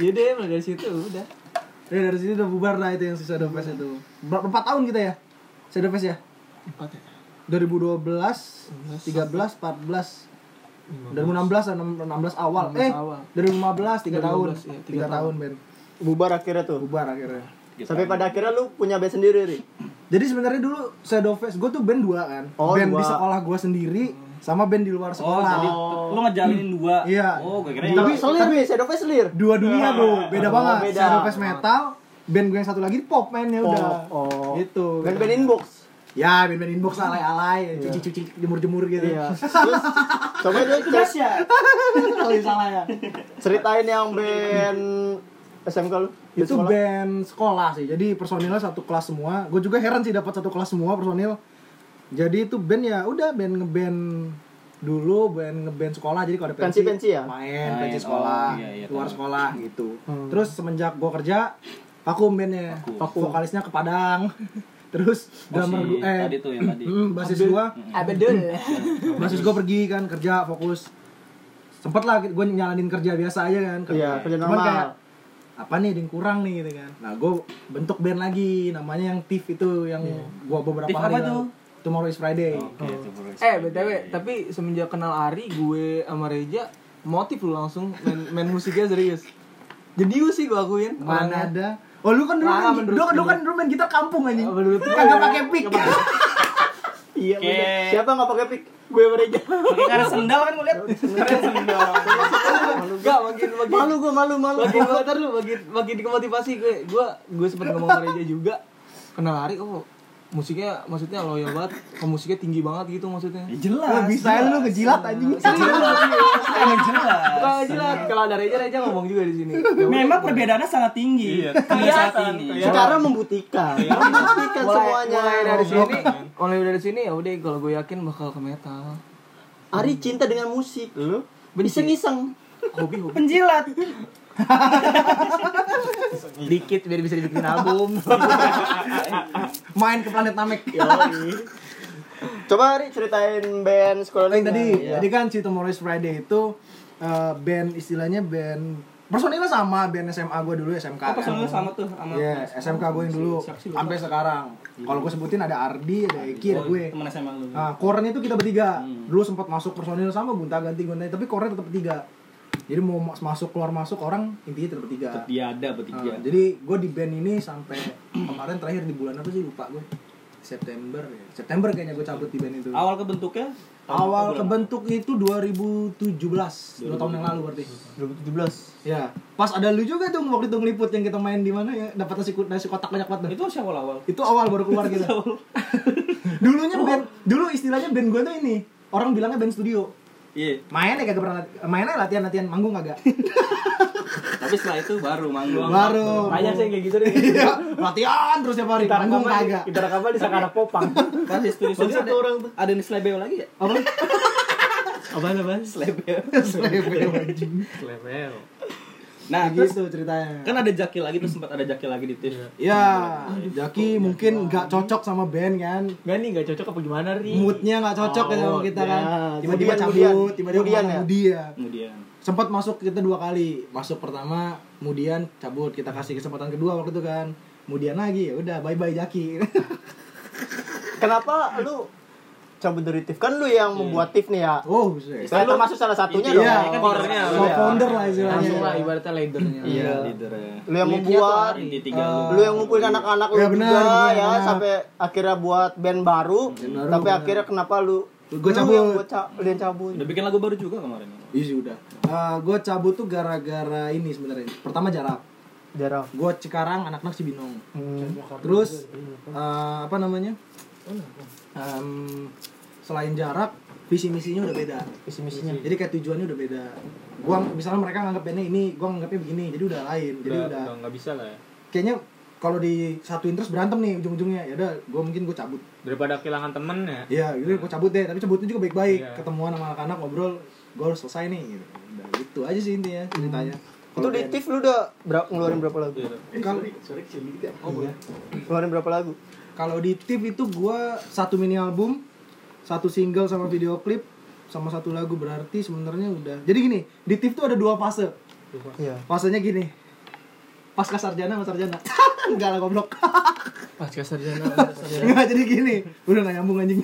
S2: Iya deh, mulai dari situ udah.
S4: Ya dari situ udah bubar lah itu yang si Shadow Fest itu. Berapa empat tahun kita ya? Shadow Fest ya?
S2: Empat ya.
S4: 2012, 13, 14. 2016 lah, 16 awal.
S2: belas
S4: eh,
S2: awal.
S4: 2015 3 tahun.
S2: 2015, iya, tiga
S4: 3 tahun, Ben.
S5: bubar akhirnya tuh
S4: bubar akhirnya
S1: Gitu. Iya.
S5: sampai pada akhirnya lu punya band sendiri ri
S4: jadi sebenarnya dulu Shadow Face gue tuh band dua kan
S5: Oh,
S4: band di
S5: dua.
S4: sekolah gue sendiri sama band di luar
S1: Oh,
S4: sekolah
S1: jadi lu ngejalinin dua.
S4: Iya.
S1: Oh, gue kira yang-
S5: tapi selir ri shadow face selir
S4: dua dunia bro beda
S5: Oh,
S4: banget
S5: beda.
S4: Shadow Face metal band gue yang satu lagi pop mainnya
S5: Pop,
S4: udah
S5: oh.
S4: gitu
S5: band band inbox
S4: ya band band inbox alay alay cuci cuci jemur jemur gitu
S5: iya terus coba deh
S6: Tugas
S5: cer-
S6: ya. Kalau salah ya.
S5: ceritain yang band SMK lu Band
S4: itu
S5: sekolah.
S4: band sekolah sih jadi personilnya satu kelas semua gue juga heran sih dapat satu kelas semua personil jadi itu band ya udah band ngeband dulu band ngeband sekolah jadi kalau ada pensi
S5: Pensi-pensi ya?
S4: main,
S1: Main,
S4: pensi
S1: oh,
S4: sekolah
S1: iya, iya,
S4: luar
S1: tahu.
S4: sekolah gitu terus semenjak gue kerja vakum bandnya
S1: Vakum.
S4: vokalisnya ke Padang terus
S1: Oh, si
S4: drummer gue eh
S1: tadi tuh Hmm. yang tadi.
S4: mm, basis gua
S6: Abedul.
S4: basis gua pergi kan kerja fokus sempet lah gue nyalanin kerja biasa aja kan
S5: Iya, kerja
S4: Cuman
S5: normal.
S4: kayak, apa nih ada yang kurang nih gitu kan nah gue bentuk band lagi namanya yang TIFF itu yang
S5: Iya.
S4: gua beberapa
S1: TIFF
S4: hari
S1: apa
S4: lalu.
S1: tuh?
S4: Tomorrow is Friday
S5: Oh,
S1: Oke, itu baru.
S2: Eh btw, tapi semenjak kenal Ari, gue sama Reja motif lu langsung main, main musiknya serius. Jenius sih gue akuin.
S4: mana
S2: orangnya.
S4: ada oh lu kan dulu
S2: Lama
S4: main,
S2: menurut
S4: lu, lu
S2: gua.
S4: kan dulu main gitar kampung anjing
S2: Oh, menurut gua.
S4: kagak pakai pick
S5: iya
S1: Oke.
S5: bener. siapa nggak pakai pick gue mereka
S1: Pakai karena sendal kan gue lihat.
S2: Enggak, makin makin
S5: malu gue malu malu
S2: makin gua- ntar lu makin makin dikemotivasi gue. Gue gue sempet ngomong sama Reja juga. Kenal Ari oh musiknya maksudnya loyal banget, ke musiknya tinggi banget gitu maksudnya.
S1: Jelas.
S4: Wah, bisa ya lu ngejilat anjing
S1: Emang jelas.
S2: Bukan jelas, kalau ada Reja Reja ngomong juga di sini.
S1: Memang perbedaannya sangat tinggi.
S3: Iya.
S1: Hingga saat ini.
S5: sekarang membuktikan membuktikan
S2: Mulai,
S5: semuanya
S2: mulai dari sini, mulai kan. dari sini ya udah kalau gue yakin bakal ke metal.
S5: Ari cinta dengan musik lu
S2: Benci.
S5: iseng-iseng
S2: Hobi hobi
S1: Penjilat.
S2: dikit biar bisa dibikin album.
S6: Iya,
S4: main ke planet Namek
S5: Coba Ari ceritain band sekolah
S4: Paling
S5: lu.
S4: Oh, tadi,
S5: Iya.
S4: tadi kan si Tomorrow is Friday itu eh, band istilahnya band personilnya sama band SMA gue dulu SMK.
S1: Apa soalnya Oh, sama tuh sama
S4: Iya, SMK gue yang dulu
S1: Siapa sih lu?
S4: sampai sekarang. Kalau gue sebutin ada Ardi, ada Eki, ada
S1: Oh,
S4: Iya, gue.
S1: Temen SMA lu.
S4: Nah, core-nya itu kita bertiga.
S1: Hmm.
S4: Dulu sempat masuk personil sama gonta ganti gonta tapi core-nya tetap bertiga. Jadi mau mas- masuk keluar masuk orang intinya tetap bertiga.
S1: Dia ada
S4: Nah,
S1: bertiga.
S4: jadi gue di band ini sampai kemarin terakhir di bulan apa sih lupa gue. September ya. September kayaknya gue cabut di band itu.
S1: Awal kebentuknya tahun
S4: Awal
S1: berapa?
S4: kebentuk itu 2017, dua tahun yang lalu berarti.
S5: 2017.
S4: Ya, pas ada lu juga tuh waktu itu ngeliput yang kita main di mana ya, dapat nasi, ku- nasi kotak banyak banget. dah.
S1: Itu siapa awal?
S4: Itu awal baru keluar gitu. Dulunya band, dulu istilahnya band gue tuh ini, orang bilangnya band studio.
S1: Iya.
S4: Mainnya kagak pernah lati- mainnya latihan-latihan manggung kagak.
S1: Tapi setelah itu baru manggung.
S4: Baru.
S6: Banyak sih yang kayak gitu deh.
S4: Iya, latihan terus tiap hari manggung kagak.
S6: Kita rekaman di Sakara Popang.
S1: Kan di studio studio ada orang tuh. Ada di Slebeo lagi ya?
S4: Apa?
S1: Apaan apaan? Slebeo.
S4: Selebel, anjing.
S3: Level.
S1: Nah, terus
S4: gitu ceritanya.
S1: kan ada Jaki lagi tuh sempat ada Jaki lagi di
S6: Iya.
S1: TV.
S4: Ya, Jaki mungkin nggak cocok sama band kan,
S6: Enggak nih enggak cocok apa gimana, Ri?
S4: moodnya nggak cocok ya sama kita kan
S5: ya.
S4: tiba-tiba
S5: Kemudian,
S4: cabut
S5: kemudian.
S4: tiba-tiba
S5: Kemudian
S4: kemana?
S5: ya?
S4: mudia
S1: Kemudian
S4: sempat masuk kita dua kali masuk pertama kemudian cabut kita kasih kesempatan kedua waktu itu kan kemudian lagi ya udah bye bye jaki
S5: Kenapa lu cabut dari TIF? Kan lu yang
S6: Iya.
S5: membuat TIF nih ya.
S4: oh buset.
S5: Saya termasuk salah satunya dong.
S4: Iya,
S5: Kan
S1: core-nya.
S5: tiga
S4: so
S5: orang.
S4: founder lah
S6: iya.
S2: Langsung lah
S4: istilahnya
S2: ibaratnya leadernya.
S1: Iya, leadernya.
S5: Lu yang
S2: Leadnya
S5: membuat,
S2: tuh Ari.
S1: Di tiga lu.
S5: lu yang ngumpulin anak-anak lu
S4: Iya,
S5: juga
S4: benar, benar.
S5: ya sampai akhirnya buat band baru.
S4: baru,
S5: tapi
S4: benar.
S5: akhirnya kenapa lu
S4: Gua
S5: lu
S4: cabut.
S5: yang buat ca- lu yang cabut.
S1: Udah bikin lagu baru juga kemarin.
S4: Iya sih, udah gue cabut tuh gara-gara ini sebenarnya pertama jarak
S5: Jarang.
S4: gue Cikarang anak-anak Cibinong
S5: Hmm.
S4: terus
S3: iya,
S4: eh, apa namanya Em, selain jarak visi misinya udah beda
S5: Visi misinya.
S4: jadi kayak tujuannya udah beda gua misalnya mereka nganggap bandnya ini gua nganggapnya begini jadi udah lain jadi
S3: Udah
S4: udah,
S3: udah nggak bisa lah ya.
S4: kayaknya kalau di satuin terus berantem nih ujung-ujungnya ya udah gua mungkin gua cabut
S3: Daripada kehilangan temen ya.
S4: ya gitu gua cabut deh tapi cabutnya juga baik-baik
S3: Iya.
S4: ketemuan sama anak-anak ngobrol gua harus selesai nih gitu udah gitu aja sih intinya ceritanya
S5: Itu di TIF lu udah ber- ngeluarin berapa lagu?
S4: Iya. kalau
S5: Ngeluarin berapa lagu?
S4: kalau di tip itu gua satu mini album satu single sama video klip sama satu lagu berarti sebenarnya udah jadi gini di tip tuh ada dua fase
S5: Iya.
S4: Maksudnya gini. Pasca sarjana sama sarjana. Enggak lah goblok.
S2: Pasca sarjana, pasca sarjana.
S4: Enggak jadi gini. Udah nggak nyambung anjing.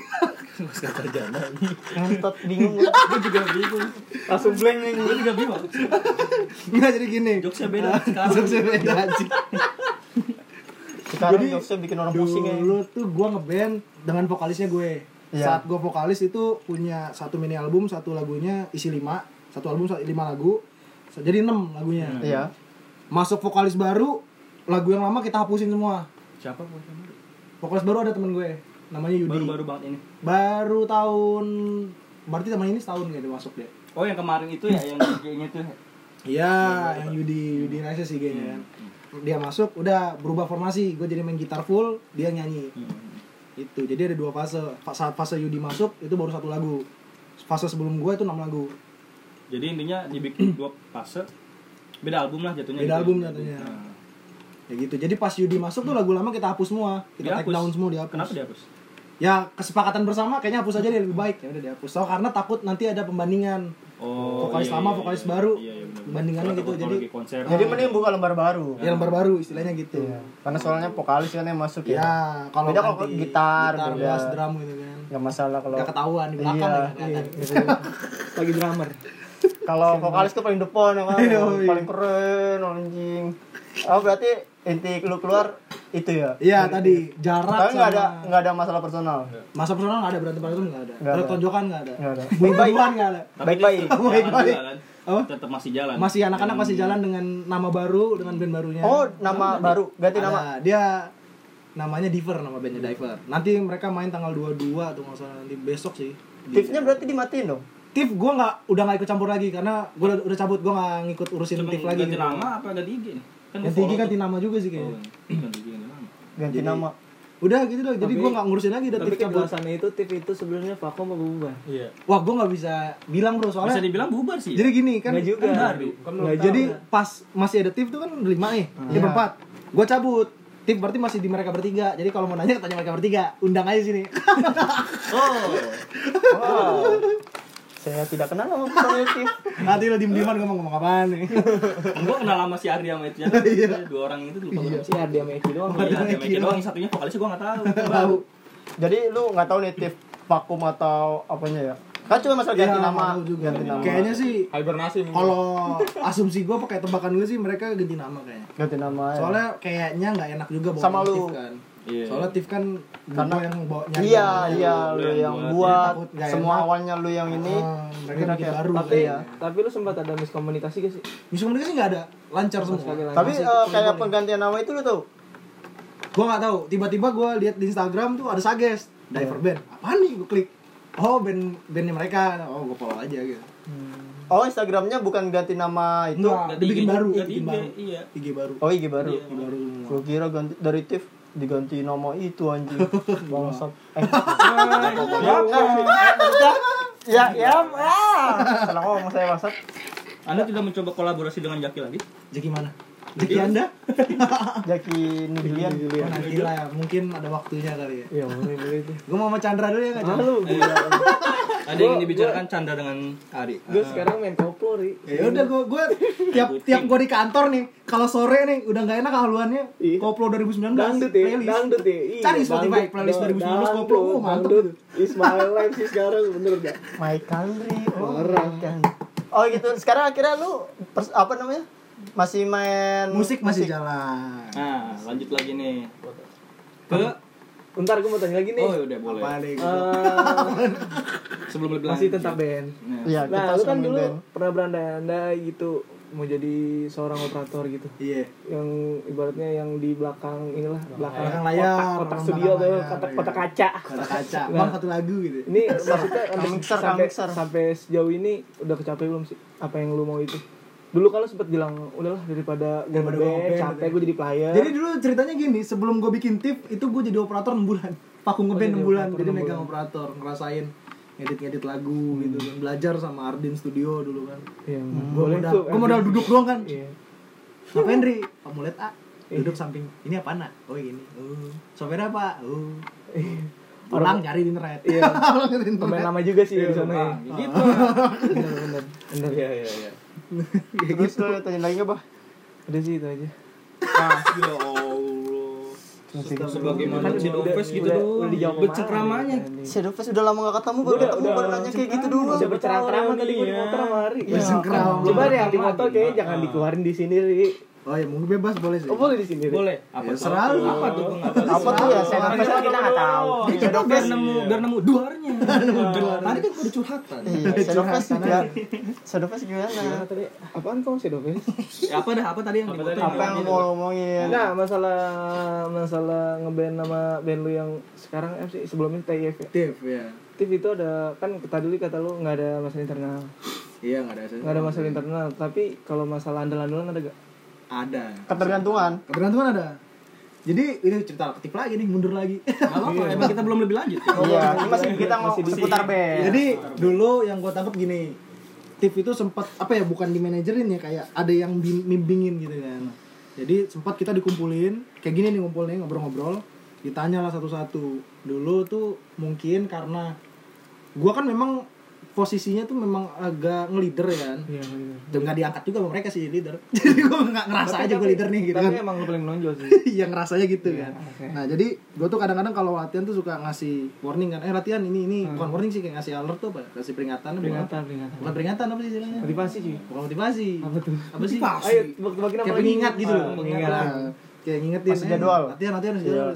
S5: Ngentot bingung gua.
S6: Gue juga bingung.
S5: Langsung blank nih.
S6: Gue juga bingung.
S4: Enggak jadi gini.
S6: Jokesnya beda sekarang.
S4: Jokesnya beda anjing.
S5: Sekarang
S4: Jadi,
S5: jokesnya bikin orang pusing ya.
S4: Dulu tuh gue ngeband dengan vokalisnya gue.
S5: Iya.
S4: Saat gue vokalis itu punya satu mini album, satu lagunya isi lima, satu album sa- lima lagu, jadi enam lagunya.
S5: Iya.
S4: Masuk vokalis baru, lagu yang lama kita hapusin semua.
S6: Siapa gua sama lu?
S4: Vokalis baru ada temen gue, namanya Yudi.
S6: Baru-baru banget ini.
S4: Baru tahun, berarti teman ini setahun kayaknya masuk Iya, deh.
S1: Oh yang kemarin itu ya yang kayaknya tuh.
S4: Iya, yang Yudi Yudi Nasya sih kayaknya kan. Dia masuk, udah berubah formasi. Gue jadi main gitar full, dia nyanyi.
S6: Iya.
S4: Itu, jadi ada dua fase. Fa- Saat fase Yudi masuk, itu baru satu lagu. Fase sebelum gue itu enam lagu.
S1: Jadi intinya dibikin dua fase. Beda album lah jatuhnya.
S4: Beda
S1: gitu.
S4: album jatuhnya.
S1: Nah,
S4: Ya gitu. Jadi pas Yudi masuk tuh lagu lama kita hapus semua. Kita take
S1: Hmm. Dihapus.
S4: down semua dihapus.
S1: Kenapa dihapus?
S4: Ya kesepakatan bersama kayaknya hapus aja dia lebih baik. Ya udah dihapus. So, karena takut nanti ada pembandingan.
S1: Oh,
S4: Vokalis lama, vokalis baru.
S1: Iya, benar-benar.
S4: Bandingannya
S1: Kalau
S4: gitu,
S1: kalau
S4: jadi-
S1: lagi konser.
S5: Jadi mending buka lembar baru.
S4: Ya lembar baru istilahnya gitu.
S5: Karena soalnya vokalis kan yang masuk
S4: Ya,
S5: ya.
S4: kalau
S5: Iya. Beda kalau
S4: nanti
S5: gitar,
S4: gitar
S5: beda.
S4: bass, drum gitu kan.
S5: Gak masalah kalau
S4: Gak ketahuan di belakang
S5: Iya,
S4: lagi kelihatan.
S5: iya, gitu juga.
S4: Lagi drummer.
S5: Kalau vokalis tuh paling depan emang
S4: Iya, iya.
S5: paling keren anjing. Oh berarti inti lu keluar itu ya.
S4: Iya tadi jarak
S5: Tapi nggak ada
S4: sama Iya.
S5: nggak ada masalah personal.
S4: masa personal nggak ada berantem berantem nggak ada.
S5: Nggak ada.
S4: Ada tonjokan nggak ada.
S5: Nggak ada.
S4: Bukan nggak ada.
S1: Tapi
S5: Baik-baik.
S1: dia tetap jalan
S4: Baik-baik.
S1: juga kan?
S4: Apa?
S1: Tetap masih jalan.
S4: Masih anak-anak masih jalan dengan nama baru dengan band barunya.
S5: Oh nama baru ganti
S4: Ada.
S5: nama.
S4: Dia namanya Diver nama bandnya Diver. Nanti mereka main tanggal 22 atau nggak salah nanti besok sih. Di-
S5: Tipsnya berarti dimatiin dong.
S4: Tif gue nggak udah nggak ikut campur lagi karena gue udah, udah cabut gue nggak ngikut urusin
S1: Cuma
S4: Tif lagi.
S1: Ganti
S4: gitu.
S1: nama apa ganti IG nih? Kan
S4: Ganti IG
S1: follow
S4: ganti Iya.
S1: tuh.
S4: nama juga sih
S1: Oh,
S4: kayaknya.
S1: ganti IG ganti nama.
S5: Ganti nama.
S4: Udah gitu loh. Jadi
S6: Tapi-
S4: gue nggak ngurusin lagi udah
S6: Tapi
S4: Tif
S1: kan
S2: kan
S4: cabut.
S6: kejelasannya itu tip itu sebenarnya vakum apa bubar?
S2: Iya.
S4: Wah gue nggak bisa bilang bro
S1: Bisa
S4: soalnya.
S1: dibilang bubar sih. ya?
S4: Jadi gini kan.
S6: Enggak juga.
S1: kan baru.
S6: Kan belum
S4: Nah,
S6: tahu.
S4: jadi pas masih ada Tiff tuh kan lima nih, dia berempat. Gue cabut. Tiff berarti masih di mereka bertiga. Jadi kalau mau nanya tanya mereka bertiga, undang aja sini.
S5: Wow. Saya tidak kenal sama personil Tiff.
S4: Nanti lo diem-dieman ngomong ngomong apaan nih. Iya.
S1: Gua kenal sama si Ardi sama itu ya. Dua orang itu lupa gua
S6: si Ardi sama Eki doang.
S1: Iya, dia mikir doang, yang satunya vokalisnya gua gak tahu. Gua Baru.
S4: Tahu.
S5: Jadi lu nggak tahu nih Tiff vakum atau apanya ya? Kan cuma masalah ganti
S4: Ya,
S5: nama.
S4: tahu juga.
S5: Ganti nama.
S4: Kayaknya sih
S2: Hibernasi mungkin.
S4: kalau asumsi gue pakai tebakan gue sih mereka ganti nama kayaknya.
S5: Ganti nama. ya.
S4: Soalnya kayaknya nggak enak juga bawa
S5: Sama
S4: nama
S5: lu.
S4: Tiff kan.
S1: Iya.
S4: Soalnya Tiff kan
S5: Karena-
S4: gue yang bawa nyari
S5: Iya,
S4: nama.
S5: iya,
S1: Lu
S5: lu
S1: yang
S5: yang
S1: buat.
S5: buat.
S4: Takut nggak
S5: Semua
S4: enak.
S5: awalnya lu yang ini.
S4: Ah, mereka
S5: Kira-kira.
S4: bikin baru Iya.
S5: Tapi
S4: kayaknya.
S6: Tapi lu sempat ada miskomunikasi gak sih?
S4: Misi komunikasi nggak ada, lancar
S6: sekali
S4: semua.
S6: lancar.
S5: Tapi
S4: Masih
S5: eh, kayak
S4: keluar.
S5: penggantian nama itu lu tuh.
S4: gue nggak tahu tiba-tiba gue lihat di Instagram tuh ada sages diver band apaan nih gue klik oh band bandnya mereka oh gue follow aja gitu
S5: Oh, Instagramnya bukan ganti nama itu.
S4: Enggak,
S1: Ganti
S4: dia bikin
S1: IG,
S4: baru
S1: ganti
S4: bikin
S1: IG,
S4: baru
S1: iya.
S4: IG baru
S5: Oh, IG baru.
S6: Iya,
S4: IG baru semua
S5: Gua kira ganti dari Tiff diganti nama itu anjing.
S6: Iya.
S5: Bangsat. Eh, ya, ya, ah. Salah ngomong saya bangsat.
S1: Anda tidak mencoba kolaborasi dengan Jaki lagi?
S4: jadi mana jadi anda
S5: Jaki Nubilian.
S4: Oh, nanti lah ya mungkin ada waktunya kali ya
S6: Iya, boleh boleh itu.
S4: gue mau sama Chandra dulu ya nggak Chandra
S6: Malu gua.
S1: Ada yang ingin dibicarakan Chandra dengan Ari.
S6: Gua
S2: Eh.
S6: sekarang main koplo, Ri.
S4: ya udah gue gue tiap tiap gue di kantor nih kalau sore nih udah nggak enak haluannya
S6: Iya.
S4: koplo 2019
S6: Dangdut ya,
S4: playlist.
S6: dangdut ya. Iya,
S4: Cari Spotify,
S6: dangdut.
S4: playlist 2019
S6: Dangdut,
S4: koplo. Oh, mantep.
S6: dangdut. Is my life sih sekarang bener gak?
S5: My country. Oh, my country. Oh, gitu. Sekarang akhirnya lu pers- apa namanya? Masih main
S4: musik masih jalan
S1: Nah, lanjut lagi nih. Ke
S6: Bentar gua mau tanya lagi nih.
S1: Oh, udah boleh.
S4: apa nih
S2: Ah.
S6: Eh,
S1: Sebelum lebih
S6: masih
S1: lanjut.
S6: tentang band.
S1: Nah,
S5: Iya, kita
S6: Nah, lu kan
S5: sering
S6: dulu
S5: band.
S6: pernah berandai-andai gitu mau jadi seorang operator gitu.
S4: iya
S6: yang ibaratnya yang di belakang inilah belakang,
S4: belakang layar,
S6: kotak, kotak
S4: belakang
S6: studio tuh
S4: layar,
S6: kotak
S4: iya.
S6: kotak kaca
S4: kata kaca
S6: Nah.
S4: bang satu lagu gitu
S6: ini maksudnya sampai,
S5: mixer, sama
S6: sampai,
S5: mixer.
S6: sampai sejauh ini udah kecapai belum sih apa yang lu mau itu dulu kalau sempat bilang udahlah daripada gue
S4: Daripada gua ngeband,
S6: ngeband capek
S4: gitu.
S6: gue jadi player
S4: Jadi dulu ceritanya gini, sebelum gue bikin tip itu gue jadi operator 6 bulan. Vakum ngeband
S6: Oh, jadi
S4: 6 bulan,
S6: operator
S4: jadi
S6: enam
S4: megang
S6: bulan. Hmm.
S4: operator, ngerasain ngedit-ngedit lagu gitu kan. Belajar sama Ardin Studio dulu kan.
S6: Iya,
S4: Gue
S6: boleh
S4: modal,
S6: tuh
S4: gua modal duduk doang kan.
S6: Iya.
S4: Ngapain Ri? Pamulet A. Duduk samping. Ini apa nak? Oh ini.
S6: Hmm.
S4: Oh. Sopir apa? Oh. Orang nyari di internet.
S6: Iya.
S4: Orang nyari di
S6: pemain
S4: internet.
S6: lama juga sih
S4: Iya,
S6: di sana ya
S4: ah,
S1: Nah, gitu.
S6: bener bener bener
S1: Iya, iya, iya.
S4: gitu,
S5: Terus lu tanya lagi nggak, Bah?
S6: udah sih itu aja
S1: Ya Allah. Sebagaimana di Doves gitu
S6: udah-
S1: doang.
S6: udah dijawab Iya. sama
S1: Bercengkramannya.
S6: Ari, anjing.
S5: Si Dufes udah lama gak ketemu baru ketemu baru nanya kayak gitu doang.
S6: Udah bercerama tadi gue di
S1: Iya.
S4: Nah,
S6: motor sama Ari.
S5: Iya.
S4: Cengkram.
S6: Coba deh yang di motor kayaknya
S1: Iya.
S4: Ah.
S6: jangan dikeluarin di sini, Ri.
S4: Oh ya mungkin bebas boleh sih.
S6: Oh, boleh di sini, Ri?
S1: Boleh. Apa
S4: Ya,
S1: tuh?
S4: serah lu.
S1: Apa tuh?
S5: Apa tuh ya? Saya
S1: Apa
S5: Dufes
S1: tuh? Iya,
S5: kita nggak tahu. Si
S3: Oh,
S1: Biar
S5: Dufes
S1: nemu, biar nemu duarnya. Tadi kan kudu curhatan.
S5: Iya, si Dufes juga. Iya, Si Dufes gimana?
S6: Tadi apaan kamu sih, Doves?
S1: Ya, Apa dah? Apa tadi yang di motor?
S5: Apa yang mau ngomongin?
S6: Enggak, Nah, masalah masalah ngeband nama band lu yang sekarang eh, sih sebelumnya TIF ya.
S2: Aktif ya.
S6: TIF itu ada kan tadi lu kata lu nggak ada masalah internal.
S2: Iya nggak ada saya.
S6: Nggak ada masalah internal, tapi kalau masalah andalan-andalan ada gak?
S2: Ada.
S5: Ketergantungan.
S4: Kebergantungan ada. Jadi ini cerita aktif lagi nih mundur lagi.
S1: Gak apa-apa, emang kita belum lebih lanjut. ya?
S5: Iya, ini masih kita mau seputar
S6: Iya.
S5: band.
S4: Jadi dulu yang gue tangkap gini, Tiff itu sempat apa ya bukan di manajerin ya kayak ada yang bim- bimbingin gitu kan. Jadi sempat kita dikumpulin kayak gini nih ngumpulin ngobrol-ngobrol, ditanya lah satu-satu. Dulu tuh mungkin karena gua kan memang posisinya tuh memang agak ngelider ya kan.
S6: Iya,
S4: Dan nggak diangkat juga sama mereka sih leader. Jadi gua nggak ngerasa aja gue leader nih gitu kan.
S6: Tapi emang lu paling menonjol sih.
S4: yang rasanya gitu
S6: Iya,
S4: kan. Nah, jadi gue tuh kadang-kadang kalau latihan tuh suka ngasih warning kan. Eh, latihan ini ini bukan warning sih kayak ngasih alert tuh apa? ya? Kasih peringatan bukan?
S6: Hmm. Peringatan, peringatan.
S4: Bukan peringatan apa sih istilahnya?
S6: Motivasi sih.
S4: Bukan motivasi.
S6: Apa tuh?
S4: Apa sih?
S6: Ayo, tebak-tebakin apa
S4: Kayak
S6: lagi?
S4: pengingat gitu loh.
S6: Ah,
S4: Pengingat.
S6: pengingat.
S4: Nah, Kayak ngingetin
S5: Masih
S4: eh,
S5: jadwal.
S4: Latihan, latihan masih jadwal.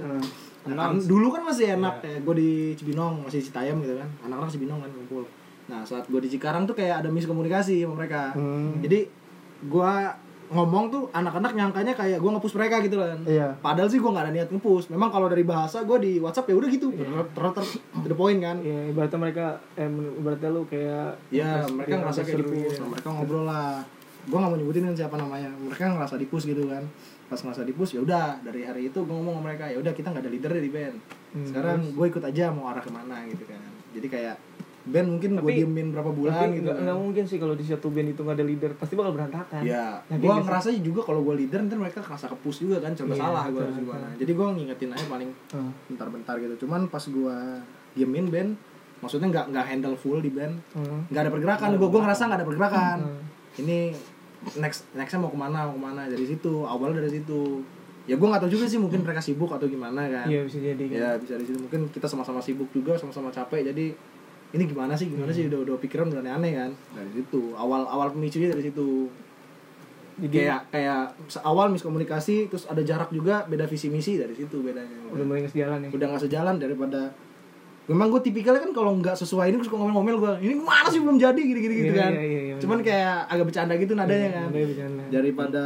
S4: Nah, kan dulu kan masih enak kayak gue di Cibinong, masih di Citayam gitu kan. Anak-anak Cibinong kan kumpul. Nah, saat gue di Cikarang tuh kayak ada miskomunikasi sama mereka. Jadi gue ngomong tuh anak-anak nyangkanya kayak gue nge-push mereka gitu kan.
S5: Iya.
S4: Padahal sih gue nggak ada niat nge-push. Memang kalau dari bahasa gue di WhatsApp ya udah gitu. Ter- ter ter to the point kan.
S6: Iya, ibaratnya mereka eh men- ibaratnya lu kayak
S4: Ya, mereka ngerasa kayak
S6: seru.
S4: di-push. Nah, mereka ngobrol lah. Gue nggak mau nyebutin kan siapa namanya. Mereka ngerasa di-push gitu kan. Pas ngerasa di-push ya udah dari hari itu gue ngomong sama mereka ya udah kita nggak ada leader di band.
S6: Hmm,
S4: Sekarang gue ikut aja mau arah kemana gitu kan. Jadi kayak band mungkin gue
S6: Tapi-
S4: diemin berapa bulan
S6: Tapi
S4: gitu.
S6: nggak
S4: kan.
S6: nggak mungkin sih kalau di satu band itu nggak ada leader, pasti bakal
S2: kan.
S6: berantakan.
S4: Ya,
S6: Tapi
S4: gue
S6: nggak sih?
S4: ngerasa juga kalau gue leader ntar mereka ngerasa kepus juga kan, coba salah gue harus gimana. Jadi gue ngingetin aja paling
S6: Hmm.
S4: bentar-bentar gitu. Cuman pas gue diemin band, maksudnya nggak nggak handle full di band,
S6: Hmm.
S4: nggak ada pergerakan. Gue gue ngerasa nggak ada pergerakan. Ini next nextnya mau kemana mau kemana dari situ awalnya dari situ. Ya gue nggak tahu juga sih mungkin mereka sibuk atau gimana kan.
S6: Iya bisa jadi. kan.
S4: Ya bisa di situ mungkin kita sama-sama sibuk juga, sama-sama capek. Jadi ini gimana sih gimana
S6: Hmm.
S4: sih udah udah pikiran udah aneh-aneh kan dari situ awal awal pemicunya dari situ
S6: Jadi
S4: kayak kayak awal miskomunikasi terus ada jarak juga beda visi misi dari situ bedanya
S6: udah mulai nggak sejalan ya. nih.
S4: udah nggak sejalan daripada memang gue tipikalnya kan kalau nggak sesuai ini gue suka ngomel-ngomel gue ini mana sih belum jadi gini gini gitu
S6: Iya,
S4: kan
S6: iya, iya, iya,
S4: cuman kayak agak bercanda gitu nadanya kan
S6: Udah bercanda.
S4: daripada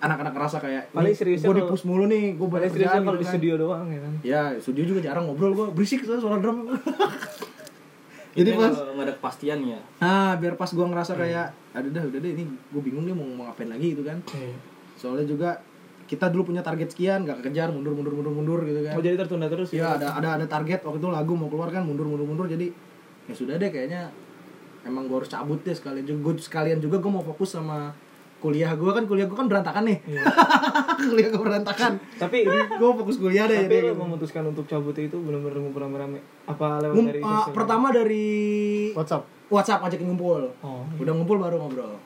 S4: anak-anak ngerasa kayak
S6: Paling seriusnya
S4: gue
S6: kalau-
S4: dipus mulu nih gue
S6: Paling
S4: banyak
S6: seriusnya
S4: kerjaan
S6: kalau
S4: gitu
S6: di
S4: kan.
S6: studio doang ya kan.
S4: ya studio juga jarang ngobrol gue berisik soalnya suara drum jadi
S1: Ini
S4: pas
S1: nggak- nggak ada kepastian ya.
S4: ah biar pas gue ngerasa kayak aduh dah udah deh ini gue bingung dia mau mau ngapain lagi gitu kan soalnya juga kita dulu punya target sekian nggak kekejar mundur mundur mundur mundur gitu kan
S6: Mau jadi tertunda terus ya.
S4: ya ada ada ada target waktu itu lagu mau keluar kan mundur mundur mundur jadi ya sudah deh kayaknya emang gue harus cabut deh sekalian juga Gua- sekalian juga gue mau fokus sama kuliah gue kan kuliah gue kan berantakan nih kuliah gue berantakan
S6: Iya. Tapi
S4: gue fokus kuliah deh
S6: tapi
S4: jadi
S6: lu memutuskan untuk cabut itu benar-benar ngumpul rame-rame. Apa lewat
S4: Ngum-
S6: dari
S4: eh,
S6: sosial?
S4: pertama dari
S5: WhatsApp.
S4: WhatsApp ajakin ngumpul
S6: Oh.
S4: udah ngumpul baru ngobrol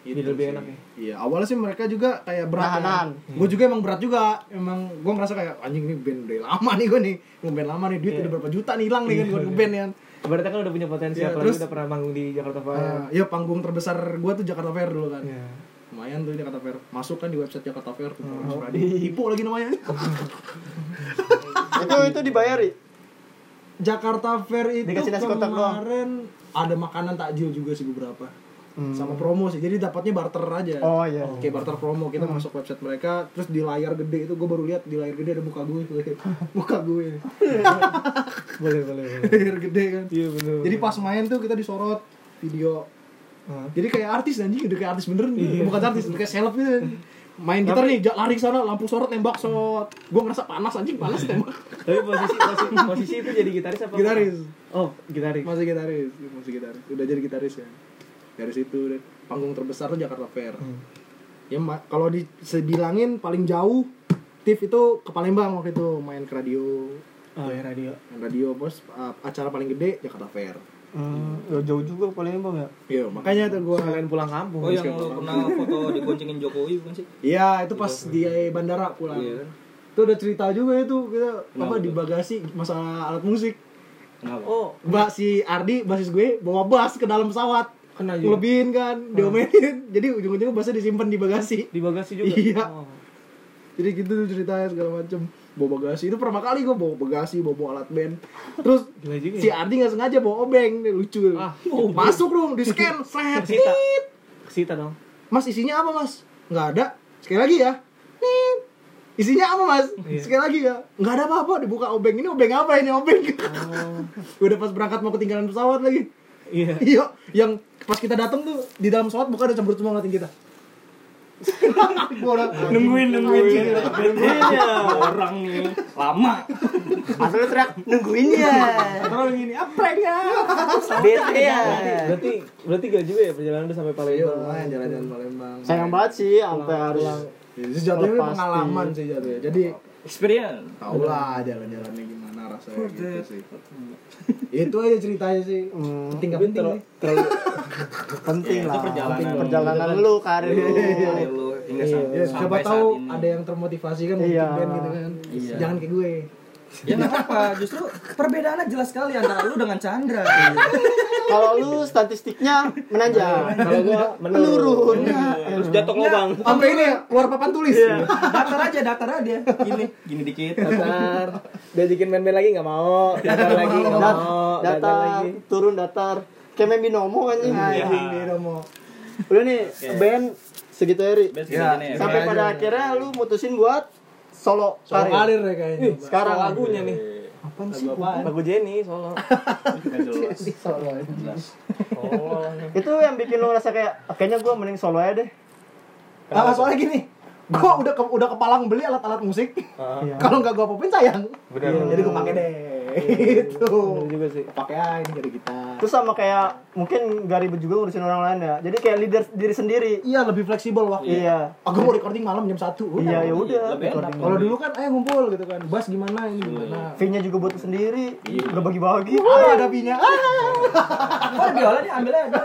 S6: Jadi lebih enak ya. Hmm.
S4: Iya, awalnya sih mereka juga kayak berat.
S5: Nahan-nahan.
S4: Gue juga emang berat juga. Emang gue ngerasa kayak anjing nih band udah lama nih gue nih. Gue band lama nih, duit
S6: Iya.
S4: udah berapa juta nih hilang nih kan gue band kan.
S6: Berarti kan udah punya potensi
S4: Iya,
S6: apalagi
S4: terus-
S6: udah pernah manggung di Jakarta Fair.
S4: Eh, ya panggung terbesar gue tuh Jakarta Fair dulu kan.
S6: Iya. Hmm.
S4: Lumayan tuh Jakarta Fair. Masuk kan di website Jakarta Fair. Oh. Ipo lagi namanya.
S5: Itu itu dibayari.
S4: Jakarta Fair itu
S5: Dikasih nasi kotak doang.
S4: kemarin ada makanan takjil juga sih beberapa. Sama promo sih. Jadi dapatnya barter aja.
S5: Hmm. Oh iya. Hmm.
S4: Kayak barter promo kita masuk website mereka terus di layar gede itu gue baru lihat di layar gede ada muka gue muka gue
S6: Boleh, boleh, boleh.
S4: layar gede kan
S6: Iya benar.
S4: jadi pas main tuh kita disorot video
S6: Hmm.
S4: jadi kayak artis anjing udah kayak artis beneran
S5: Iya.
S4: bukan artis udah kayak seleb gitu main gitar nih ja- lari ke sana lampu sorot nembak shot gue ngerasa panas anjing panas tembak
S6: Tapi posisi posisi, posisi itu jadi gitaris apa?
S4: Gitaris.
S6: Oh, gitaris.
S4: masih gitaris masih gitaris udah jadi gitaris ya dari situ deh. panggung terbesar tuh Jakarta Fair
S6: Hmm.
S4: ya ma- kalau disebilangin paling jauh Tiff itu ke Palembang waktu itu main ke radio
S6: Oh, ya radio.
S4: Yang radio bos uh, acara paling gede Jakarta Fair
S5: Hmm, ya jauh juga Palembang ya.
S4: iya makanya tuh gue
S6: Kalian pulang kampung.
S1: Oh
S4: ya,
S1: yang lu pernah foto dikoncengin Jokowi bukan sih?
S4: iya itu pas di bandara pulang
S1: Iya.
S4: Itu ada cerita juga itu kita apa
S1: Kenapa
S4: di
S1: tuh?
S4: bagasi masalah alat musik.
S1: Kenapa?
S4: Oh, Mbak si Ardi basis gue bawa bass ke dalam pesawat.
S3: Kena
S2: Iya.
S3: juga.
S4: Lebihin kan, diomelin. Jadi ujung-ujungnya bassnya disimpan di bagasi.
S2: Di bagasi juga.
S4: Iya.
S2: Oh.
S4: Jadi gitu tuh ceritanya segala macem bawa bagasi itu pertama kali gue bawa bagasi bawa, bawa alat band terus
S2: Gila juga
S4: si
S2: ya.
S4: Ardi nggak sengaja bawa obeng nih lucu
S2: Ah.
S4: Oh, masuk dong di scan set
S2: Kesita.
S4: tit.
S2: Kesita dong.
S4: mas isinya apa mas nggak ada sekali lagi ya Tit. isinya apa mas sekali lagi ya nggak ada apa-apa dibuka obeng ini obeng apa ini obeng udah pas berangkat mau ketinggalan pesawat lagi
S2: Iya.
S4: iya yang pas kita datang tuh di dalam pesawat bukan ada cemburu semua ngeliatin kita
S7: Gua udah
S1: Nungguin nungguin Iya. Orang nih lama.
S5: Asal lu teriak nungguin ya.
S4: orang ini
S5: "Ah,
S4: apa ya
S5: Bete ya.
S2: Berarti berarti gak juga ya perjalanan udah sampai
S3: Iya,
S2: Palembang.
S3: lumayan jalan-jalan Palembang.
S5: Sayang banget sih sampai harus
S4: itu jatuhnya
S5: Lepas
S4: Iya, pengalaman sih jatuhnya jadi
S1: Experience.
S4: tau lah jalan-jalannya gimana rasanya gitu sih itu aja ceritanya sih penting gak penting nih
S5: terlalu hmm, Iya, penting Iya. lah.
S1: perjalanan.
S5: Perjalanan lu karir lu.
S1: Lu
S3: Iya,
S1: hingga sa-
S4: Ya, siapa
S1: sampai
S4: tahu
S1: saat ini. Iya.
S4: ada yang termotivasi kan
S5: Iya.
S4: bikin band gitu kan jangan kayak gue
S3: Ya nggak apa-apa, justru perbedaannya jelas sekali antara lu dengan Chandra.
S5: Kalau lu statistiknya menanjak. Iya. Kalau gua menurun. Iya.
S2: Terus jatuh lubang.
S4: sampai ini ya, keluar papan tulis
S3: datar aja, datar aja. Gini.
S1: gini
S2: Iya,
S1: dikit.
S2: Datar. Diajakin main-main lagi gak mau. Datar lagi gak
S5: Dat-
S2: mau. Datar
S5: datar,
S2: lagi.
S5: turun datar. Kayak main binomo anjing.
S4: Anjing, dia udah mau
S5: Udah nih band segitu hari.
S1: Best
S3: Ya,
S1: gini ya.
S5: Sampai pada akhirnya lu mutusin buat solo karir.
S4: ngalir ya kayaknya
S5: Sekarang
S2: lagunya nih.
S5: Apaan sih?
S2: Lagu Jenny solo.
S1: Nggak jelas. Jelas.
S2: Oh.
S5: Itu yang bikin lu ngerasa kayak "Ah, kayaknya gua mending solo aja deh.
S4: Ah, soalnya gini gue udah ke, udah kepalang beli alat-alat musik
S5: Iya.
S4: kalau nggak gue popin sayang Iya, jadi gue pakai deh itu
S2: Bener juga sih.
S4: pakai aja ini jadi gitar
S5: Terus sama kayak mungkin gak ribet juga ngurusin orang lain ya. Jadi kayak leader diri sendiri.
S4: iya lebih fleksibel waktu
S5: Iya.
S4: aku mau recording malam jam satu
S5: Iya, ya udah.
S1: Lebih enak.
S4: Kalau dulu kan ayo ngumpul gitu kan. Bas gimana ini gimana.
S5: V-nya juga buat lu sendiri. Gak bagi-bagi.
S4: Ah, ada pinya. Ah.
S3: Oh, biola nih ambil aja.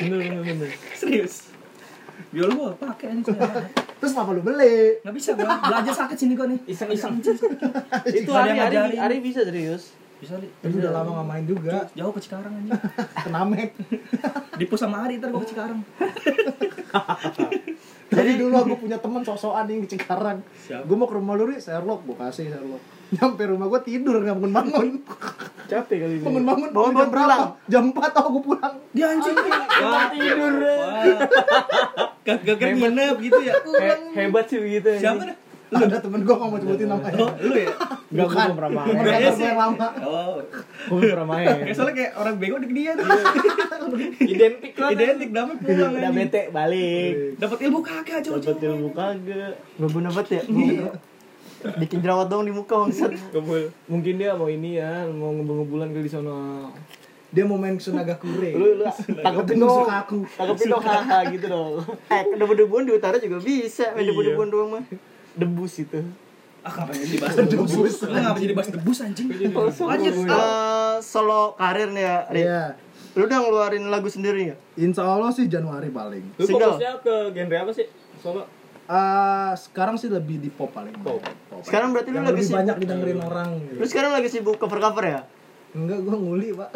S2: Bener bener bener.
S3: Serius. Biola gua pakai aja.
S4: Terus kenapa lu beli?
S3: Enggak bisa gua. Belajar sakit sini gua nih. Iseng-iseng.
S2: Itu
S3: Ada
S2: Ari,
S3: yang
S2: Ari,
S3: ngajarin.
S2: Ari bisa serius.
S3: Bisa li.
S4: Tapi udah lama gak main juga.
S3: Jauh ke Cikarang aja.
S4: Kenamek.
S3: Dipus sama Ari ntar gua ke Cikarang.
S4: Jadi dulu aku punya teman sosokan yang di Cikarang. Gue mau ke rumah lu, Ri. Sherlock. Gue kasih Sherlock. Nyampe rumah gue tidur, gak bangun-bangun.
S2: Capek kali ini.
S4: Bangun-bangun.
S5: Bangun-bangun
S4: jam berapa?
S5: pulang.
S4: Jam 4 tau gue pulang.
S3: Dia anjing.
S2: Wah, tidur.
S1: Gak nginep gitu ya.
S2: He- hebat sih begitu. anjing.
S1: Siapa dah?
S4: Ada temen gue gak mau sebutin namanya.
S1: Lu ya?
S2: Gak gue belum pernah main.
S4: Temen kantor gue yang lama.
S1: Oh.
S2: Gue belum pernah main.
S1: Kayak soalnya kayak orang bego di dia.
S2: Identik lah. kan?
S1: Identik dapat pulang
S2: Udah
S1: anjing.
S2: bete balik.
S1: Dapat ilmu
S2: Dapat
S1: kagak jauh-jauh.
S2: ilmu kagak.
S5: Gak bener banget ya. Bikin jerawat dong di muka bangsat.
S2: Kebul. Mungkin dia mau ini ya, mau ngebul-ngebulan kali di sono.
S4: Dia mau main Sunaga Kure.
S5: Lu lu
S4: Takut
S5: tangkepin dong.
S4: nusuk aku.
S5: Tangkepin dong haha gitu dong. Iya. Eh, debu-debuan di utara juga bisa. Main debu-debuan doang mah.
S2: Debus itu.
S1: Ah, kenapa jadi bahas debus? Lu Kenapa jadi bahas debus anjing?
S6: Iya.
S1: Lanjut. ah.
S5: Eh, solo karir nih ya, Ri.
S4: Iya.
S5: Lu udah ngeluarin lagu sendiri ya?
S4: Insya Allah sih Januari paling.
S2: Lu
S5: Single.
S2: fokusnya ke genre apa sih? Solo.
S4: Eh, sekarang sih lebih di pop paling. Pop.
S5: Sekarang berarti lu
S4: Yang
S5: lagi
S4: lebih
S5: sibuk.
S4: banyak didengerin orang. gitu.
S5: Lu sekarang lagi sibuk cover-cover ya?
S4: Enggak, gua nguli pak.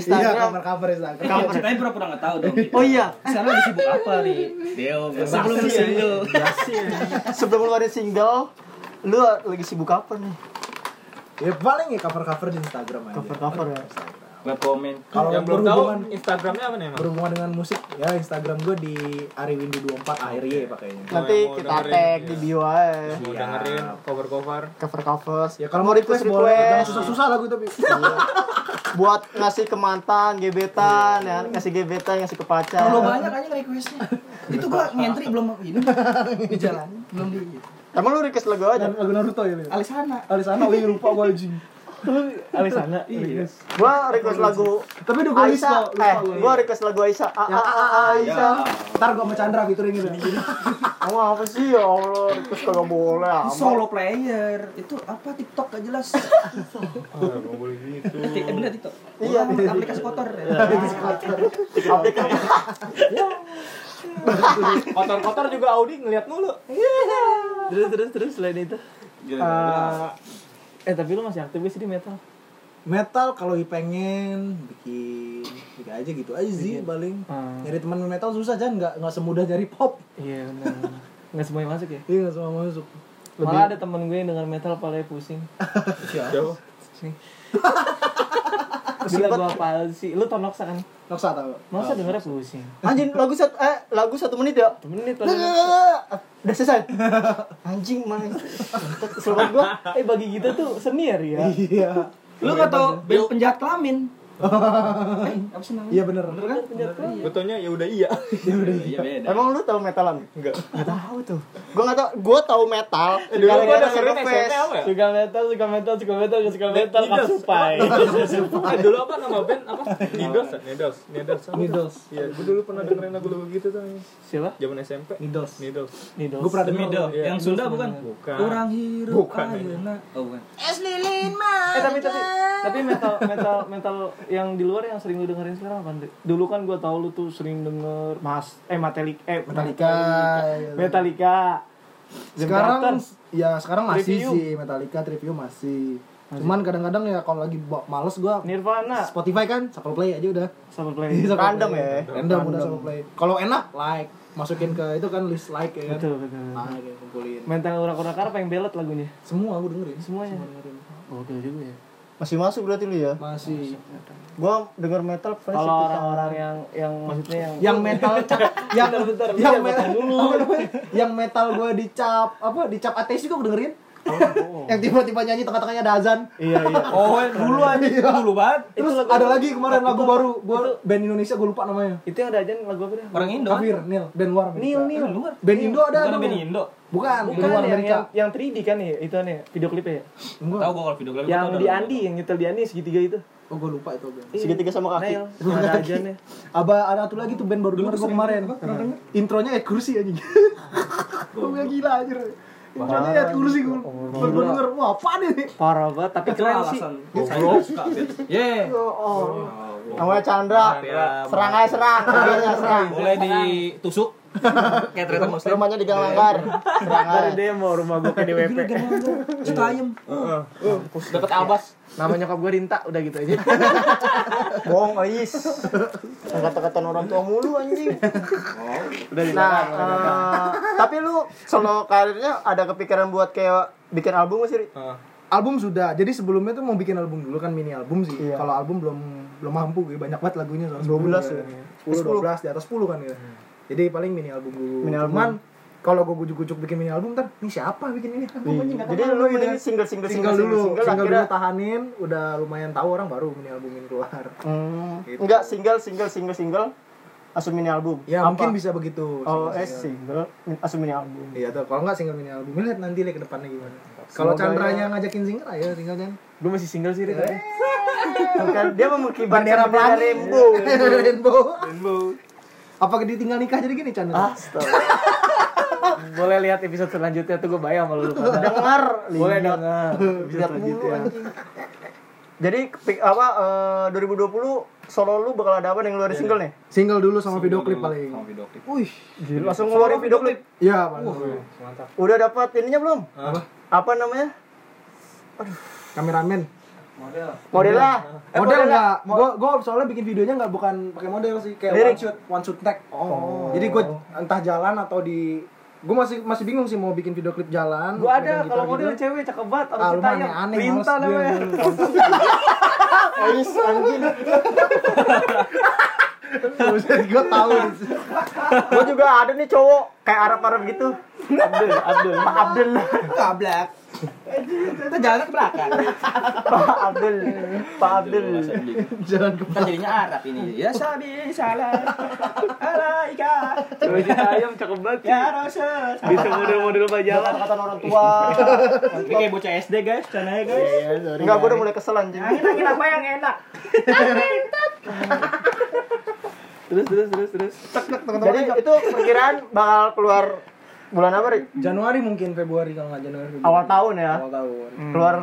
S4: Iya,
S5: Instagram.
S4: cover-cover Instagram.
S1: Kamu ceritanya pura-pura nggak tahu dong.
S5: Oh iya,
S1: Sekarang lagi sibuk apa nih? Deo, sebelum lu single.
S5: sebelum ngeluarin single, lu lagi sibuk apa nih?
S4: Ya paling ya cover-cover di Instagram aja.
S5: Cover-cover ya.
S1: Nggak komen.
S4: Kalau
S2: Yang belum tahu
S4: berhubungan
S2: Instagramnya apa nih emang?
S4: berhubungan dengan musik, ya Instagram gua di Ariwindi 24 ARY pakainya.
S2: Oh,
S5: Nanti
S2: yang mau
S5: kita
S2: dengerin,
S5: tag
S2: iya.
S5: di bio aja. ya,
S2: Mau dengerin cover-cover.
S5: Cover-cover.
S4: Ya kalau mau request boleh, jangan susah-susah lagu tapi.
S5: buat ngasih ke mantan, gebetan
S2: Iya.
S5: ya, ngasih gebetan, ngasih ke pacar.
S3: Kalau banyak aja requestnya. Itu gua ngentri belum ini. Di jalan. Belum di.
S5: Emang lu request lagu aja?
S4: Lagu Naruto ya. Lil?
S3: Alisana.
S4: Alisana, oh iya lupa gua anjing.
S2: Alisana. Iya.
S5: Gua request lagu
S4: Tapi udah gua list
S5: Aisyah.
S4: kok,
S5: Eh,
S4: lupa gua. iya. Ya.
S5: gua request lagu Aisyah. A a a a Aisyah.
S4: Ntar gua sama Chandra featuring gitu.
S5: Kamu apa sih ya Allah? Request kagak boleh. amat.
S3: Solo player. Itu apa TikTok gak jelas.
S5: Ah,
S2: gitu.
S3: Ti- eh, Bener TikTok.
S5: Iya.
S3: Orang aplikasi kotor.
S5: Aplikasi.
S8: Kotor-kotor juga Audi ngeliat mulu.
S2: terus terus terus selain itu
S1: Gila-gila.
S2: eh tapi lu masih aktif gak sih di metal
S4: metal kalau pengen bikin bikin aja gitu aja sih paling
S2: Ah.
S4: nyari teman main metal susah kan nggak nggak semudah nyari pop
S2: iya benar nggak semuanya masuk ya
S4: iya nggak semua masuk
S2: malah ada temen gue yang dengar metal palanya pusing Gila gua apal sih, lu tau Noxa kan?
S4: Noksa tau
S2: Noxa dengernya pusing
S5: Anjing lagu satu eh lagu satu menit ya.
S2: Temennya padahal
S5: Udah selesai. Anjing mah. Selamat gua.
S2: Eh bagi kita tuh seni ya Ria
S4: iya
S3: Lu gak tau
S5: iya.
S3: band penjahat kelamin? Eh,
S4: iya bener bener kan
S3: Gue taunya ya udah iya.
S1: Iya beda.
S5: Emang lu tahu metalan? Enggak. Enggak tahu tuh. Gua enggak tahu. Gua tahu metal
S2: Eh,
S5: gara-gara Sengkofest.
S2: Suka metal, suka metal, suka metal, gak suka metal, kasupai
S3: Eh, dulu apa nama band apa? Nidos, ya? Nidos, Nidos. apa?
S4: Needles
S3: Iya, gue dulu pernah dengerin lagu-lagu gitu tuh.
S2: Siapa?
S3: Zaman SMP.
S4: Needles
S3: Nidos.
S2: Nidos
S4: gue pernah denger
S1: Middle, yang Sunda bukan?
S3: Bukan.
S1: Orang hirup
S3: Bukan,
S5: iya.
S1: ayeuna. Oh, bukan.
S2: Eh tapi tapi tapi metal metal metal yang di luar yang sering lu dengerin sekarang apa? Dulu kan gua tau lu tuh sering denger Mas eh Metallica eh
S4: Metallica iya.
S2: Metallica. Zim
S4: sekarang
S2: Carter.
S4: ya sekarang masih
S2: Trivium.
S4: sih Metallica review masih cuman kadang-kadang ya kalau lagi bo- males gue
S2: Nirvana
S4: Spotify kan shuffle play aja udah
S2: sama play.
S4: Shuffle
S5: Random
S4: play.
S5: ya.
S4: random udah shuffle play kalau enak like masukin ke itu kan list like ya kan
S2: Betul betul.
S4: like ya, kumpulin
S2: Mental urak-urak apa yang belet lagunya?
S4: semua gue dengerin
S2: Semuanya.
S4: Semua dengerin.
S2: Oke juga ya.
S5: Masih masuk berarti lu ya.
S4: masih
S5: Gua denger metal Ya, paling
S2: Kalau
S5: satu tahun.
S2: orang-orang yang yang maksudnya yang
S4: yang metal yang
S2: bentar, lu
S4: yang
S2: jangan
S4: metal
S2: potong dulu.
S4: apa namanya? yang metal gue dicap apa dicap ateis juga gue dengerin yang tiba-tiba nyanyi tengah-tengahnya ada azan
S2: Oh.
S4: Iya.
S2: iya iya.
S1: Oh, dulu aja dulu banget.
S4: terus
S2: lagu-
S4: ada lagi kemarin lagu baru gue band Indonesia gue lupa namanya
S2: Itu yang ada aja lagu apa deh?
S1: Orang Indo.
S4: Kafir Nil band luar Amerika.
S2: Nil Nil.
S4: band Indo ada
S1: Bukan
S4: namanya.
S1: band Indo. ya,
S4: bukan
S2: Bukan
S4: luar
S2: yang,
S4: Amerika
S2: yang, yang 3D kan ya, itu aneh, video klipnya ya.
S4: Enggak.
S1: Tahu gua kalau video klip
S2: yang di Andi, yang nyetel di Andi segitiga itu.
S4: oh gue lupa itu band
S5: Segitiga sama kaki.
S2: Nail, yang ada ajannya.
S4: Aba ada satu lagi tuh band baru denger gue kemarin. Intronya ayat kursi anjing. Gue bilang gila anjir. Intronya ayat kursi gue. Baru gue denger, wah apa nih?
S2: Parah banget, tapi keren sih.
S1: Goblok. Ye.
S5: Oh. Namanya Chandra. Serang aja serang. Serang aja serang.
S1: Boleh ditusuk. Kayak ternyata muslim.
S5: Rumahnya di Gang Langgar. Serang
S2: Dari
S5: aja.
S2: demo rumah gue ke DWP.
S1: Citayam. Dapat abas.
S2: Nama nyokap gue Rinta, udah gitu aja.
S5: Bohong, Ais. Kata-kataan orang tua mulu anjing.
S2: Udah
S5: Nah,
S2: dilarang.
S5: eh, tapi lu solo karirnya ada kepikiran buat kayak bikin album gak sih? Ri?
S4: Album sudah. Jadi sebelumnya tuh mau bikin album dulu kan mini album sih.
S5: Iya.
S4: Kalau album belum belum mampu gitu. Banyak banget lagunya soalnya
S5: 12
S4: sebelumnya.
S5: ya.
S4: 10
S5: Hmm.
S4: 12 di atas 10 kan ya. Jadi paling mini album dulu.
S5: Mini album.
S4: Cuman kalau gue gujuk-gujuk bikin mini album ntar ini siapa bikin ini album anjing nggak
S5: Iya. Jadi
S4: kenal
S5: lu
S4: gua, gitu
S5: mending
S4: kan.
S5: single single
S4: single dulu,
S5: single,
S4: single
S5: akhirnya
S4: dulu tahanin, udah lumayan tahu orang baru mini albumin keluar.
S5: Hmm, enggak single single single single langsung mini album.
S4: Ya
S5: Apa?
S4: mungkin bisa begitu.
S5: Oh,
S4: single-single.
S5: eh single min- langsung mini album.
S4: Iya tuh, kalau nggak single mini album, lihat nanti lihat ke depannya gimana. Kalau Chandranya ngajakin single, ayo single Chan.
S2: Gue masih single sih, Rinta.
S5: Bukan, Kan dia memiliki bendera bendera rainbow.
S4: Rainbow. Ah. Apa ditinggal nikah jadi gini Chandra?
S5: Astaga.
S2: Boleh lihat episode selanjutnya tuh gue bayang malu lu pada.
S5: Dengar,
S2: Boleh
S5: lihat.
S2: dong.
S5: Lihat mulu anjing. Jadi kepi- apa eh, 2020 solo lu bakal ada apa yang luar single nih?
S4: Single dulu sama video klip paling.
S1: Sama video klip.
S4: Wih,
S5: Langsung ngeluarin video klip.
S4: iya paling.
S5: Udah dapat ininya belum? Apa? Apa namanya?
S4: Kameramen.
S5: Modelnya?
S2: Eh,
S4: Model nggak? Gue gue soalnya bikin videonya nggak bukan pakai model sih, kayak one
S5: Lirik.
S4: shoot, one shoot tag. Oh. Jadi gue entah jalan atau di gue masih masih bingung sih mau bikin video klip jalan.
S2: Gue ada,
S4: megang gitar
S2: kalau
S4: gitu.
S2: model cewek cakep banget, orang
S4: Ah, lu
S2: kita
S4: mah
S2: yang
S4: aneh-aneh,
S2: Rinta
S4: males gue.
S2: namanya.
S5: Ais anjing.
S4: Buset, gue tahu.
S5: Gua juga ada nih cowok kayak Arab-Arab gitu. Abdul, Abdul, Pak Abdul.
S3: Kablak. Kita jalan ke belakang.
S5: Pak Abdul. Pak Abdul.
S4: Jalan ke
S3: Kan jadinya Arab ini. Ya sabi salah. Alaika.
S2: Cewek kita ayam cakep banget.
S3: Ya Rasul.
S2: Bisa model-model rumah jalan.
S5: Kata-kata orang tua.
S1: Iya, Ini kayak bocah SD guys, caranya
S2: Iya,
S1: guys. Nah,
S5: Enggak, gua udah mulai kesel anjing.
S1: Angin-angin apa yang ya, enak?
S2: Terus, terus, terus, terus.
S5: Jadi itu perkiraan bakal keluar bulan apa, Ri?
S4: Januari mungkin Februari kalau nggak Januari Februari.
S5: Awal tahun ya.
S4: Awal tahun.
S5: Keluar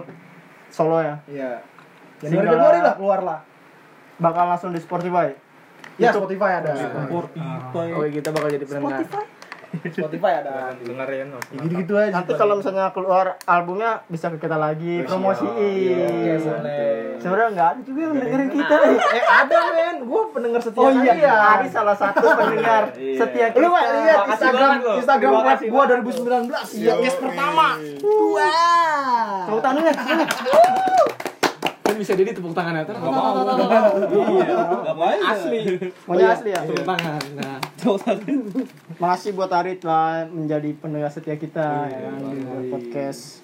S5: solo ya.
S4: Iya. Januari
S5: Single.
S4: Februari lah keluar lah.
S5: Bakal langsung di Spotify.
S2: Ya, Spotify ada.
S9: Oke, kita bakal jadi pendengar.
S2: Spotify ada.
S1: dengerin loh.
S2: Gitu-gitu aja.
S5: Nanti kalau misalnya keluar albumnya bisa ke kita lagi
S2: Oke,
S5: promosiin.
S2: Iya, boleh.
S5: Sebenarnya nggak ada juga yang dengerin kita.
S2: Eh ada men, gue pendengar setia
S5: Oh
S2: kalian.
S5: iya, Ari salah satu pendengar
S1: Iya.
S5: setia kita.
S2: Lu mah lihat Instagram
S1: banget lu.
S2: Instagram
S1: Terima
S2: web
S1: kasih
S2: gua 2019. Iya, guys pertama. Wah.
S5: Tepuk tangan
S9: Oh,
S5: ya.
S9: iya. Kan bisa jadi tepuk tangan ya. Terus mau
S1: Iya, nggak main. Asli.
S5: Maunya asli ya.
S9: tepuk tangan. Nah,
S5: Makasih buat Ari telah menjadi pendengar setia kita
S9: Iya,
S5: ya, kan, di podcast.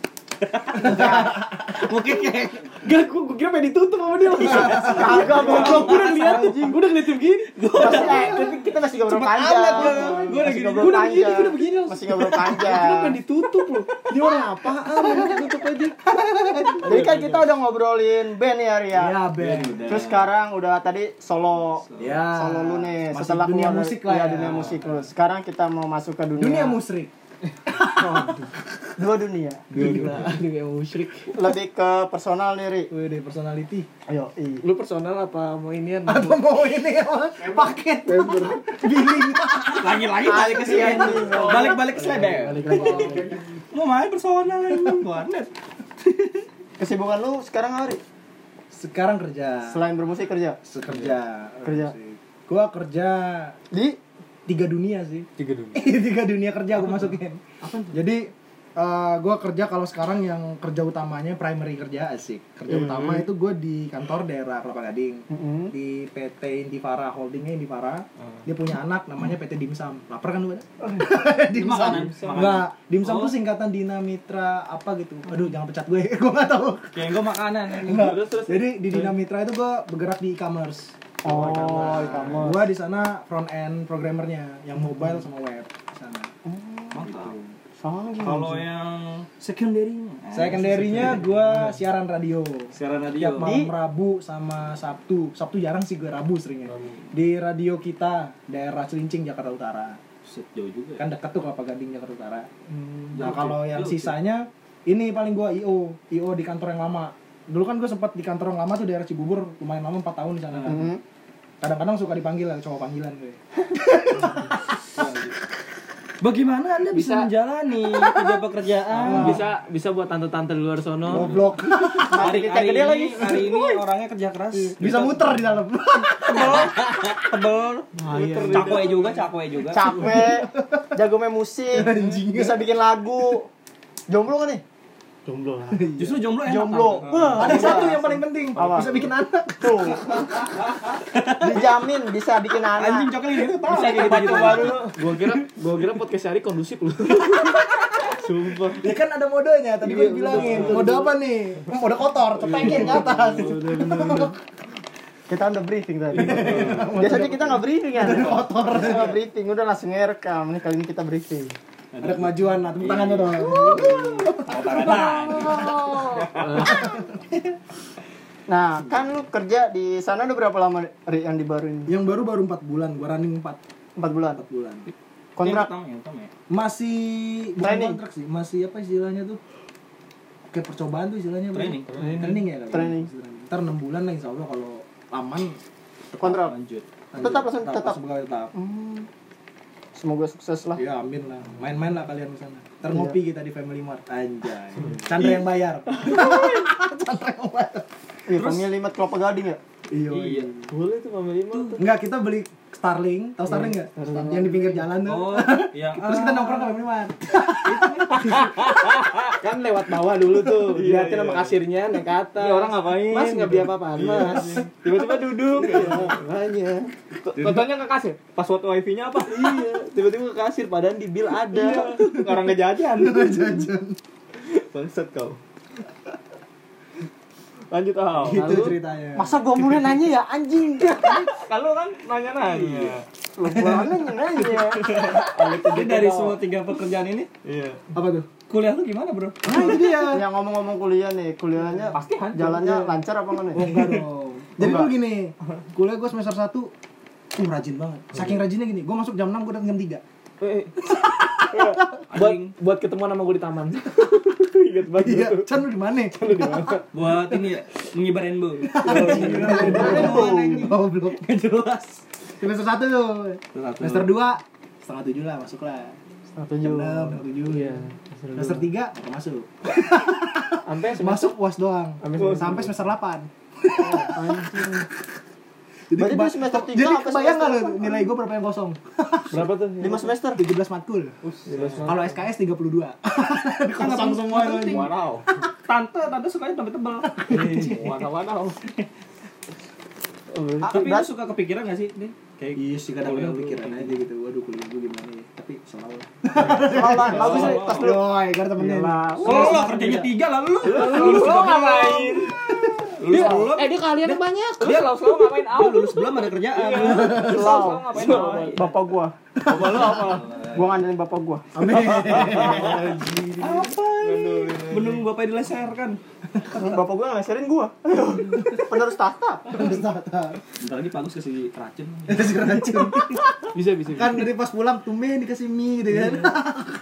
S9: mungkin kayak Gak, gue, gue kira pengen ditutup sama dia
S5: Kagak
S9: Kalau gue udah ngeliat, gue udah ngeliatin gini
S5: Masih, eh, kita- kita masih ngobrol
S9: Gue
S5: panjang.
S9: udah
S5: Masih
S9: gini,
S5: ngobrol
S9: gue udah begini,
S5: panjang.
S9: gue udah begini langsung
S5: Masih ngobrol
S9: Gue pengen
S5: panjang.
S9: ditutup loh Dia orang
S5: Ah,
S9: apaan, udah ditutup aja
S5: Jadi kan kita udah ngobrolin band ya Ria.
S4: Iya, Ben.
S5: Terus sekarang udah tadi solo
S4: Ya.
S5: solo lu nih
S4: Masih
S5: setelah
S4: dunia
S5: keluar dari-
S4: musik lah
S5: iya,
S4: ya.
S5: dunia Iya. musik lu. Sekarang kita mau masuk ke dunia
S4: Dunia musrik.
S5: dua dunia.
S9: Gila, aduh kayak musyrik
S5: Lebih ke personal nih Ri.
S4: ya Wede personality.
S5: Ayo, i.
S9: Lu personal apa mau inian?
S4: Apa mau ini apa? Paket. Billing.
S1: Lagi-lagi balik ke sini. Balik-balik ke Sleber. Mau main personal ya, warnet.
S5: Kesibukan lu sekarang apa Ri?
S4: Sekarang kerja.
S5: Selain bermusik kerja
S4: Kerja.
S5: Kerja.
S4: Gua kerja
S5: di
S4: tiga dunia sih. Tiga dunia. tiga dunia kerja aku masukin. Jadi eh, gua kerja kalau sekarang yang kerja utamanya primary kerja asik. Kerja utama itu gua di kantor daerah Kelapa Gading.
S5: Mm-mm.
S4: di PT Indivara Holdingnya Indivara dia punya anak namanya PT Dimsum lapar kan lu ada Dimsum Oh.
S1: Makanan, makanan.
S4: enggak Dimsum tuh singkatan Dinamitra apa gitu aduh jangan pecat gue gue nggak tahu
S1: Kayak gue makanan.
S4: Enggak.
S1: Terus terus.
S4: jadi di Dinamitra itu gue bergerak di e-commerce
S5: Oh, e-commerce.
S4: gue di sana front end programmernya yang mobile sama web di sana
S1: Mantap.
S5: Sanggih.
S1: Kalau yang secondary-nya.
S5: Oh,
S4: secondary-nya gue
S5: Iya.
S4: siaran radio
S1: Siaran radio.
S4: tiap malam Rabu sama Sabtu Sabtu jarang sih gue Rabu seringnya di radio kita daerah Celincing Jakarta Utara
S1: Set, Jauh juga. ya.
S4: kan dekat tuh Kelapa Gading Jakarta Utara. nah
S1: Jauh,
S4: kalau
S1: cuy.
S4: yang
S1: Jauh, cuy.
S4: sisanya ini paling gua IO, IO di kantor yang lama. Dulu kan gue sempat di kantor yang lama tuh daerah Cibubur lumayan lama 4 tahun di sana. kan.
S5: Mm.
S4: Kadang-kadang suka dipanggil lah cowok panggilan gue.
S1: Bagaimana Anda bisa, menjalani kerja pekerjaan?
S10: bisa bisa buat tante-tante di luar sono
S4: Goblok.
S1: Hari,
S5: Kita
S1: hari
S5: gede
S1: ini,
S5: lagi.
S1: hari ini orangnya kerja keras.
S4: Bisa muter di dalam.
S1: Tebel. Cakwe juga, cakwe juga.
S5: capek jago main musik bisa bikin lagu jomblo kan nih Iya.
S1: Justru jomblo enak.
S5: jomblo
S4: Ada satu yang paling penting,
S5: Apa?
S4: bisa bikin anak.
S5: tuh dijamin bisa bikin anak
S1: Anjing coklat ini tuh tahu. Bisa jadi baju baru.
S10: gua kira gua kira podcast hari kondusif lu sumpah
S4: Ya kan ada modenya, tadi gue bilangin. Mode apa nih? Mode kotor, cetekin ke atas.
S5: kita udah briefing tadi Iya. biasanya kita nggak briefing ya kotor nggak briefing udah langsung ngerekam nih kali ini kita briefing
S4: Ada kemajuan, nah, tepuk tangannya dong.
S5: nah kan lu kerja di sana udah berapa lama Ri, yang dibaruin
S4: Yang baru baru 4 bulan, gua running 4
S5: empat bulan
S4: 4 bulan.
S5: kontrak
S1: Utama ya, utama ya.
S4: masih bukan
S5: Training.
S4: kontrak sih masih apa istilahnya tuh kayak percobaan tuh istilahnya apa ya?
S1: Training.
S4: training, training ya kali
S5: Training.
S4: Istilahnya. ntar enam bulan lah insya Allah kalau aman
S5: kontrak
S1: Lanjut.
S4: lanjut.
S5: Tetap langsung tetap. Ah.
S4: langsung pegawai tetap
S5: Hmm. semoga sukses
S10: Iya.
S5: lah
S4: ya amin lah main-main lah kalian ke sana ntar
S5: Iya.
S4: ngopi kita di Family Mart anjay Chandra yang bayar Chandra yang bayar
S5: Iya, family Mat kelapa gading ya
S4: iya
S1: Iya.
S10: boleh tuh pamit lima tuh
S4: Enggak, kita beli Starling, tahu Starling
S5: Iya.
S4: enggak? Yang di pinggir jalan tuh.
S1: Oh, yang
S4: Terus kita nongkrong ke Family Mart.
S10: kan lewat bawah dulu tuh
S5: Iya,
S10: dilihatin sama kasirnya naik ke atas
S1: Ini orang ngapain?
S10: mas nggak beli apa-apaan mas
S5: Iya.
S10: tiba-tiba duduk makanya
S1: Contohnya ke kasir. Password wifi-nya apa?
S10: iya tiba-tiba ke kasir padahal di bill
S5: Iya.
S10: ada
S1: Orang ngejajan.
S4: Jajan.
S1: Bangsat kau. Lanjut ah.
S4: Gitu ceritanya.
S5: Oh, masa gua mulai nanya ya anjing
S10: Iya.
S1: Kalau kan nanya-nanya.
S5: lu gua nanya nanya
S10: Iya.
S1: Jadi dari semua tiga pekerjaan ini, iya.
S4: Apa tuh?
S1: Kuliah lu gimana, Bro?
S4: Nah, itu dia.
S5: Iya. yang ngomong-ngomong kuliah nih kuliahnya pasti jalannya lancar apa enggak nih
S4: Enggak dong. Jadi tuh gini, kuliah gue semester 1 uh rajin banget. Saking rajinnya gini, gue masuk jam 6 gue datang jam 3.
S2: Eh,
S10: buat buat ketemuan sama gue di taman ingat banget
S4: Iya, Chan lu di mana?
S1: Buat ini ya, menyebarin bu.
S4: Goblok.
S1: Gak jelas.
S4: semester satu tuh semester dua setengah tujuh lah masuk lah
S2: Tujuh.
S4: jam enam setengah tujuh
S2: Iya.
S4: semester tiga nggak masuk
S2: Sampai semester
S4: masuk puas doang sampai semester delapan jadi,
S5: Berarti
S4: keba-
S5: dulu semester tiga
S4: jadi
S5: apa
S4: kebayang nggak
S5: semester
S4: lu nilai gue berapa yang kosong
S2: berapa tuh?
S5: lima semester
S4: 17 matkul kalau SKS 32 kosong semua itu
S2: Wow.
S1: Tante, tante sukanya tebel tebel.
S2: Wanau wanau.
S4: Ah,
S1: Tapi lu suka kepikiran gak sih? Nih,
S4: iya sih kadang-kadang pikiran aja gitu waduh kuliah gue gimana ya tapi selalu
S10: Oh,
S5: Selamat, bagus nih. Pas dulu.
S4: Yoi, karena temenin
S1: Oh, lo kerjanya tiga lah lu.
S11: Lo ngapain?
S2: Iya.
S1: Lulus belum.
S5: Eh, dia kalian banyak.
S11: Dia lo selalu ngapain
S1: Lu Iya.
S11: awal
S1: lulus belum ada kerjaan.
S5: Selalu.
S11: ngapain awal?
S2: Bapak gua. Bapak lu apa? Gua ngandelin bapak gua.
S1: Belum gua pengen
S2: kan?
S1: dileserkan.
S5: Bapak gue ngeleserin gua. Penerus tahta.
S1: Bentar lagi bagus kasih racun.
S4: Dikasih racun.
S2: Bisa bisa. bisa.
S4: kan dari pas pulang tumben dikasih mie gitu kan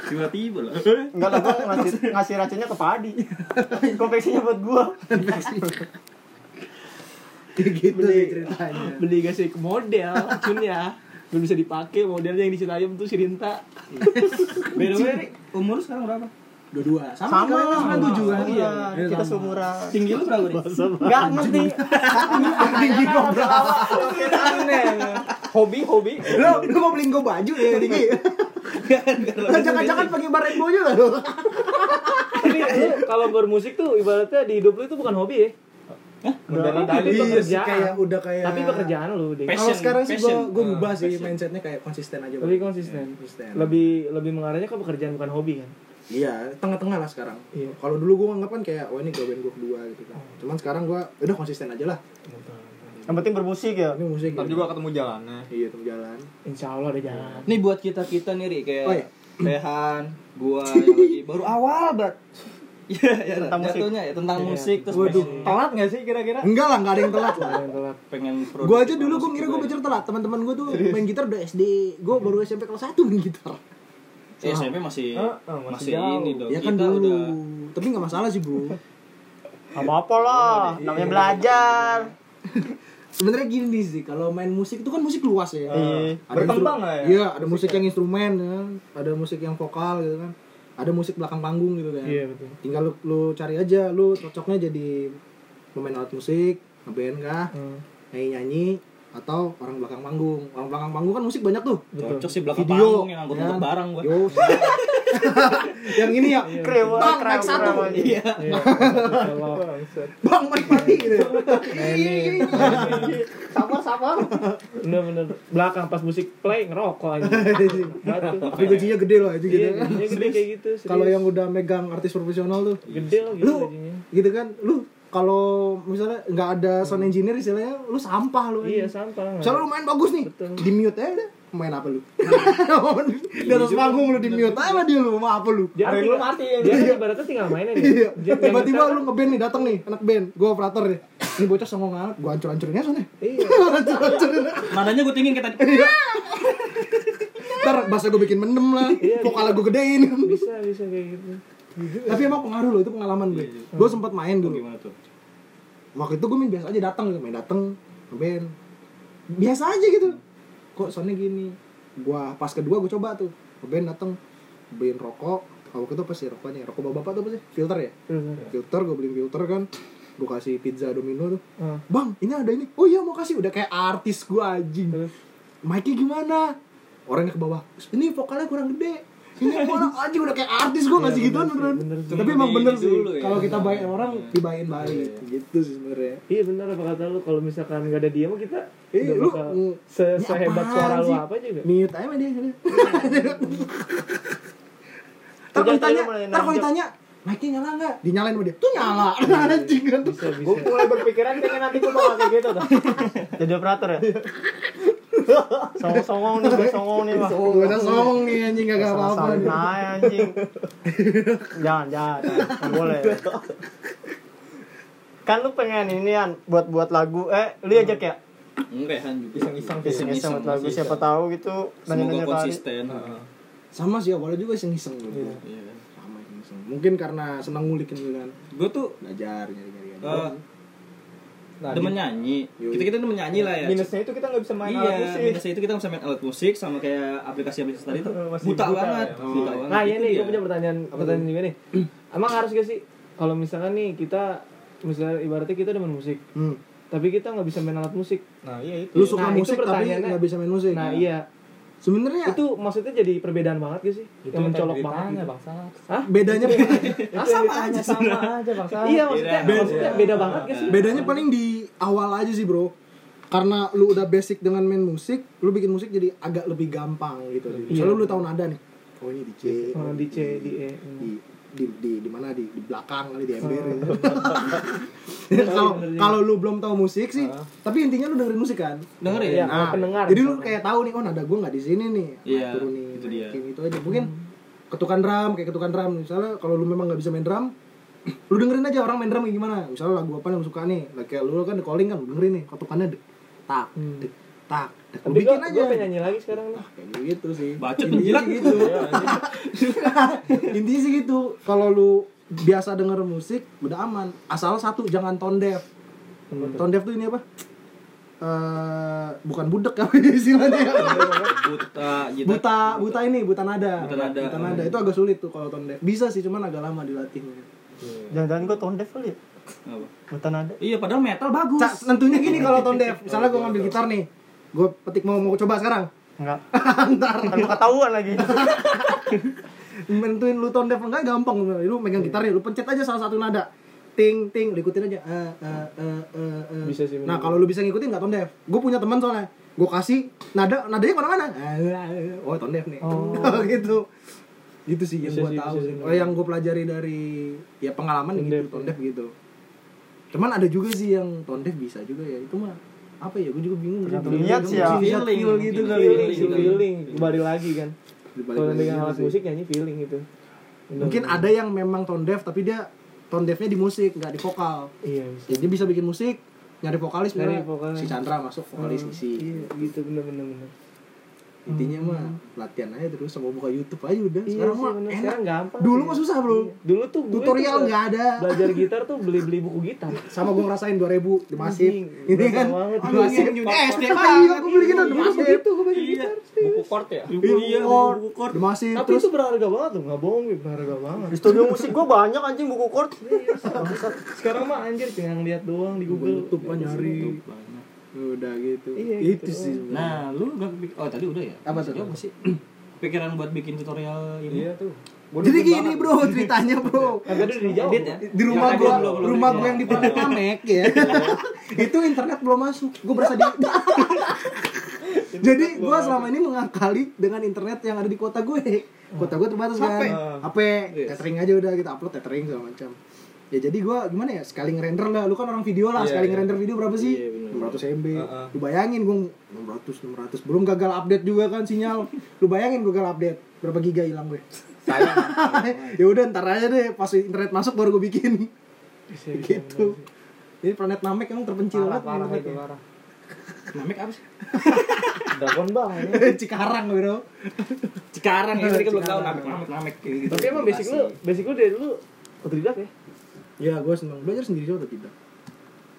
S1: Tiba-tiba lah.
S5: Enggak lah, gua ngasih, ngasih racunnya ke padi. Konveksinya buat gua.
S4: Kayak gitu
S2: Beli.
S3: Iya,
S4: sih ceritanya
S2: Beli gak sih ke model racunnya. Belum bisa dipakai modelnya yang di Citayam tuh si Rinta.
S1: By the way, Ri, umur lu sekarang berapa?
S4: dua-dua
S5: Sama lah.
S4: kan tujuh kan
S5: Iya,
S4: Iya,
S5: kita
S4: sama.
S5: seumuran.
S1: Tinggi lu berapa, Ri?
S5: Enggak ngerti.
S4: tinggi kok berapa
S2: Hobi hobi.
S4: lo lo mau beliin gue baju ya tinggi jangan-jangan pakai bar rainbow juga lo
S2: Tapi lu kalau bermusik tuh ibaratnya di hidup lu itu bukan hobi ya. Beneran tapi
S4: iya sih
S2: pekerjaan.
S4: kayak udah kayak
S2: Tapi pekerjaan lu deh.
S1: Passion,
S4: kalau sekarang sih gue
S1: passion.
S4: gue ubah
S1: Ah,
S4: sih
S1: passion.
S4: mindsetnya kayak konsisten aja
S2: Lebih
S4: Bang.
S2: konsisten.
S4: Iya, konsisten
S2: Lebih lebih mengarahnya ke pekerjaan bukan hobi kan.
S4: Iya, tengah-tengah lah sekarang.
S2: Iya.
S4: Kalau dulu gue nganggap kan kayak, wah ini gue band gue kedua gitu kan. Cuman sekarang gue, udah konsisten aja lah.
S5: Yang penting bermusik ya.
S4: Ini musik.
S12: Ntar
S4: gitu.
S12: juga kan? ketemu jalannya.
S4: Iya, temen jalan.
S2: Insya Allah ada jalan.
S1: Nih buat kita kita nih Ri kayak
S4: Oh, iya.
S1: Rehan, gua yang lagi baru awal berat. Iya, ya,
S5: Tentang musik.
S1: jatuhnya ya tentang
S2: Iya,
S1: musik terus
S2: waduh.
S1: pengen-
S12: Telat gak sih kira-kira?
S4: Enggak lah, nggak ada yang telat lah.
S2: Yang telat.
S1: pengen produk.
S4: Gue aja dulu gue ngira gue belajar telat. Teman-teman gue tuh main gitar udah SD. Gue baru SMP kelas 1 main gitar.
S1: Eh, SMP
S12: Iya.
S1: masih
S2: Ah, ah, masih
S1: masih
S2: jauh.
S1: ini dong.
S4: Ya kan
S1: kita
S4: dulu.
S1: udah
S4: Tapi nggak masalah sih bro.
S5: Apa apa lah, namanya belajar.
S4: Sebenarnya gini sih, kalau main musik itu kan musik luas ya.
S5: Iya.
S4: Ada
S12: Berkembang
S4: instru-
S12: lah ya.
S4: Iya, ada musik yang instrumen, ya kan. ada musik yang vokal gitu kan. Ada musik belakang panggung gitu kan.
S2: Iya betul.
S4: tinggal lu, lu cari aja lu cocoknya jadi pemain alat musik ngeband kah
S2: Hmm,
S4: nyanyi nyanyi atau orang belakang panggung orang belakang panggung kan musik banyak tuh
S2: betul.
S1: cocok sih belakang
S4: Video.
S1: panggung yang angkut-angkut
S4: Ya.
S1: barang gua.
S4: yo yang ini ya
S12: Iya.
S5: Krewa,
S4: bang
S5: krewa,
S4: naik satu
S5: krewa.
S4: iya
S2: Iya. Allah.
S4: bang naik mati gitu
S5: Sabar, sabar.
S2: Bener bener. Belakang pas musik play ngerokok aja. Batu.
S4: tapi gajinya gede loh aja gitu
S2: Iya, gajinya gede kayak gitu. serius.
S4: kalau yang udah megang artis profesional tuh
S2: gede loh gitu
S4: Lu-
S2: gajinya.
S4: gitu kan lu kalau misalnya nggak ada sound engineer istilahnya lu sampah lu
S2: Hmm. Iya sampah.
S4: Misalnya lu main bagus nih,
S2: Betul. Iya.
S4: di mute aja deh. Main apa lu? di atas panggung lu di mute aja dia lu mau apa lu?
S2: Dia kan tinggal, dia kan ibaratnya tinggal main aja.
S4: Iya.
S2: Dia- yang
S4: Tiba-tiba
S2: kita-
S4: lu ngeband nih datang nih anak band, gua operator nih. Ini bocah songong banget, gua hancur-hancurin aja soalnya.
S2: Iya.
S4: Hancur-hancurin.
S1: Nadanya gua tingin kita
S4: Ntar bahasa gua bikin mendem lah,
S2: Iya,
S4: vokal gua gedein.
S2: Bisa bisa kayak gitu.
S4: Tapi emang pengaruh loh itu pengalaman gue. Gua sempat main dulu.
S1: Iya, Oh, Gimana tuh?
S4: Waktu itu gua main biasa aja datang gitu, main datang ngeband. Biasa aja gitu. Kok soalnya gini. Gua pas kedua gua coba tuh, ngeband datang beliin rokok. Waktu itu pasti rokoknya, rokok bapak-bapak tuh apa sih? Filter ya? filter gue beliin filter kan gue kasih pizza domino tuh
S2: Hmm.
S4: bang ini ada ini oh iya mau kasih udah kayak artis gue anjing
S2: Terus?
S4: mic gimana orangnya ke bawah ini vokalnya kurang gede ini orang anjing udah kayak artis gue ngasih gituan beneran
S2: Iya, bener sih.
S4: tapi emang
S1: Cuma
S4: bener
S1: di-
S4: sih
S1: dulu ya.
S4: kalau kita baik orang dibayin balik Iya. gitu sih sebenarnya
S2: Iya benar apa kata lu kalau misalkan gak ada dia mah kita
S4: Eh,
S2: nggak
S4: lu,
S2: bakal
S4: mm,
S2: se-
S4: ini
S2: sehebat
S4: apaan
S2: suara lu
S4: sih?
S2: apa juga.
S4: mute aja gitu. mah dia Ntar kalau
S5: Udah,
S4: ditanya,
S5: tadi lu mulai
S4: ntar kalau
S5: nanjak.
S4: ditanya, mic-nya nyala nggak? Dinyalain sama dia, tuh nyala anjing kan
S2: Bisa bisa.
S5: Gue mulai berpikiran kayaknya nanti gue bakal kayak gitu tuh. Jadi operator ya? Songong-songong nih, gue songong nih mah.
S4: Gue udah songong nih anjing gak apa-apa
S5: Salah-salah
S4: nih.
S5: naik anjing. Jangan, jangan. Nggak boleh. Kan lu pengen inian buat buat lagu eh
S2: Iya.
S5: lu ajak ya?
S1: Enggak, Han juga. Iseng-iseng.
S5: Iseng-iseng buat lagu siapa tahu gitu
S1: Semoga
S5: nanya-nanya kali.
S1: konsisten. Heeh.
S4: sama sih awalnya juga iseng-iseng gitu.
S1: Iya.
S4: sama iseng mungkin karena senang ngulikin gitu kan
S1: Gua tuh
S2: Eh,
S4: belajar nyari-nyari aja
S1: Eh,
S13: Nah,
S1: demen nyanyi kita kita demen nyanyi lah ya
S14: minusnya itu kita nggak bisa main alat
S1: iya,
S14: musik
S1: minusnya itu kita nggak bisa main alat musik sama kayak aplikasi-aplikasi tadi tuh
S14: Masih
S1: buta,
S14: buta
S1: banget,
S14: ya.
S1: buta banget.
S5: Nah, iya nih,
S1: Itu gitu dia.
S5: gue punya pertanyaan, pertanyaan juga nih. Emang harus gak sih kalau misalkan nih kita misalnya ibaratnya kita demen musik,
S4: Hmm.
S5: tapi kita nggak bisa main alat musik.
S14: nah iya itu
S4: Lu suka
S5: Nah, itu
S4: musik tapi
S5: pertanyaannya.
S4: nggak bisa main musik.
S5: Nah, iya.
S4: Sebenarnya
S5: Itu maksudnya jadi perbedaan banget gak sih?
S14: Itu
S5: yang mencolok
S14: tadi
S5: banget.
S14: ditanya,
S5: gitu.
S14: Bang Salat.
S5: Hah?
S4: bedanya
S14: Itu yang ditanya sama aja bang Salat.
S5: Iya, maksudnya
S1: Beda.
S5: maksudnya beda banget gak sih?
S4: bedanya paling di awal aja sih, Bro. Karena lu udah basic dengan main musik, lu bikin musik jadi agak lebih gampang gitu. Soalnya lu udah tahu nada nih. Oh ini di C,
S5: Iya. Oh, di C, di E.
S4: di di di, di mana di di belakang kali di ember.
S5: Oh.
S4: gitu. Iya, Kalau
S5: Iya,
S4: kalau lu belum tahu musik sih, tapi intinya lu dengerin musik kan.
S1: dengerin
S5: Iya,
S4: Nah,
S5: Ah. pendengar.
S4: jadi lu kayak tahu nih, oh nada gue nggak di sini nih, Nah,
S1: Iya,
S4: turun nih,
S1: itu dia.
S4: kayak gitu aja. Mungkin ketukan drum, kayak ketukan drum. Misalnya kalau lu memang nggak bisa main drum, lu dengerin aja orang main drum kayak gimana. Misalnya lagu apa yang lu suka nih, Lah, kayak lu kan di calling kan, lu dengerin nih, ketukannya dek, tak, dek, tak, dek. Lu
S5: Tapi gue
S4: bikin aja.
S5: pengen nyanyi lagi sekarang nih.
S4: Kayak gitu sih.
S1: Bacot lu,
S4: Intinya
S1: jilat.
S4: sih gitu. Intinya sih gitu. Kalau lu biasa denger musik, udah aman. Asal satu, jangan tone deaf. Tone deaf tuh ini apa? Eh, bukan budek apa istilahnya
S1: buta gitu
S4: buta buta ini buta nada
S1: Buta nada.
S4: itu agak sulit tuh kalau tone deaf bisa sih cuman agak lama dilatihnya
S2: Jangan-jangan gue tone deaf kali ya.
S1: Apa?
S2: Buta nada.
S1: iya padahal metal bagus
S4: Ca, tentunya gini kalau tone deaf misalnya gue ngambil gitar nih gue petik mau mau coba sekarang
S2: Enggak.
S4: ntar
S2: Ntar lu ketahuan lagi.
S5: Iya
S4: nentuin lu tone deaf enggak gampang lu megang gitar nih lu pencet aja salah satu nada ting ting lu ikutin aja eh eh eh eh, eh.
S5: Bisa sih,
S4: nah
S5: bener.
S4: kalau lu bisa ngikutin nggak tone deaf gue punya teman soalnya gue kasih nada nadanya kemana-mana Eh, eh, eh. oh tone deaf nih gitu gitu sih yang
S5: Bisa
S4: gue
S5: sih,
S4: tahu
S5: bisa
S4: sih
S5: sih.
S4: Oh, yang gue pelajari dari ya pengalaman
S5: Tone
S4: gitu
S5: deaf,
S4: tone
S5: ya.
S4: deaf gitu cuman ada juga sih yang tone deaf bisa juga ya itu mah apa ya gue juga bingung
S2: Tergantung niat sih ya.
S4: Bisa feel gitu
S1: Feeling.
S3: ya.
S4: kali Iya,
S5: Feeling,
S1: Feeling.
S5: feeling, kembali lagi kan.
S4: Dibalik
S5: Kalau
S4: lagi
S5: dengan alat
S4: sih.
S5: musik nyanyi feeling gitu.
S4: mungkin ada yang memang tone deaf tapi dia tone deafnya di musik nggak di vokal
S5: Iya, bisa.
S4: jadi dia bisa bikin musik nyari vokalis
S5: Nyari
S4: misalnya.
S5: vokalis.
S4: si Chandra masuk vokalis isi
S5: Iya, gitu bener-bener. bener.
S4: intinya
S5: Hmm.
S4: mah latihan aja terus sama buka YouTube aja udah
S5: Iya
S4: sekarang
S5: sih,
S4: mah
S5: bener.
S4: enak
S5: Sekarang gampang
S4: dulu
S5: sih.
S4: mah susah bro
S5: Dulu tuh gue
S4: tutorial
S5: tuh
S4: nggak Iya. ada
S5: Belajar gitar tuh beli-beli buku gitar.
S4: sama gue ngerasain 2000 di masif
S5: Anjing,
S4: ini
S5: berasa
S4: kan
S5: banget.
S4: di masif
S1: Anjing,
S4: Eh, SD
S1: banget.
S4: iya aku beli gitu di masif
S5: Begitu gue belajar
S1: iya
S5: gitar.
S14: buku kort ya
S1: Ibu- iya buku kor
S4: di masif
S5: Tapi
S4: terus
S5: itu berharga banget tuh, nggak bohong gue, berharga banget. Iya.
S2: Di studio musik gue banyak anjing buku chord.
S5: Sekarang mah anjir tinggal lihat doang di
S4: buka
S5: Google.
S4: YouTube kan nyari udah gitu
S5: Iya,
S4: itu
S5: gitu
S4: sih sebenarnya.
S1: nah lu gak kepik- oh tadi udah ya
S4: Apa tuh?
S1: Jawab nggak sih pikiran buat bikin tutorial ini
S14: tuh
S4: jadi gini bro ceritanya bro
S5: Kagak ada dijawab.
S1: Edit ya?
S4: di rumah
S1: Yang tadi
S4: gua
S1: belum- belum
S4: rumah
S1: ada.
S4: gua yang di Pertamax ya itu internet belum masuk gua berasa di jadi gua selama ini mengakali dengan internet yang ada di kota gue kota gue terbatas kan HP tethering aja udah kita upload tethering segala macam ya jadi gua gimana ya sekali ngerender lah lu kan orang video lah sekali ngerender video berapa sih 600 MB lu bayangin gua 600 600 belum gagal update juga kan sinyal lu bayangin gua gagal update berapa giga hilang gue ya udah ntar aja deh pas internet masuk baru gue bikin
S1: Iya,
S5: Iya,
S4: gitu ini planet Namek emang terpencil banget internetnya.
S1: namek apa sih
S5: Dragon Ball. ya.
S4: Cikarang bro
S1: cikarang ya mereka belum tahu namek namek namek kayak gitu
S5: Tapi emang basic lu, basic lu dari dulu otodidak ya?
S4: ya gue seneng belajar sendiri juga atau tidak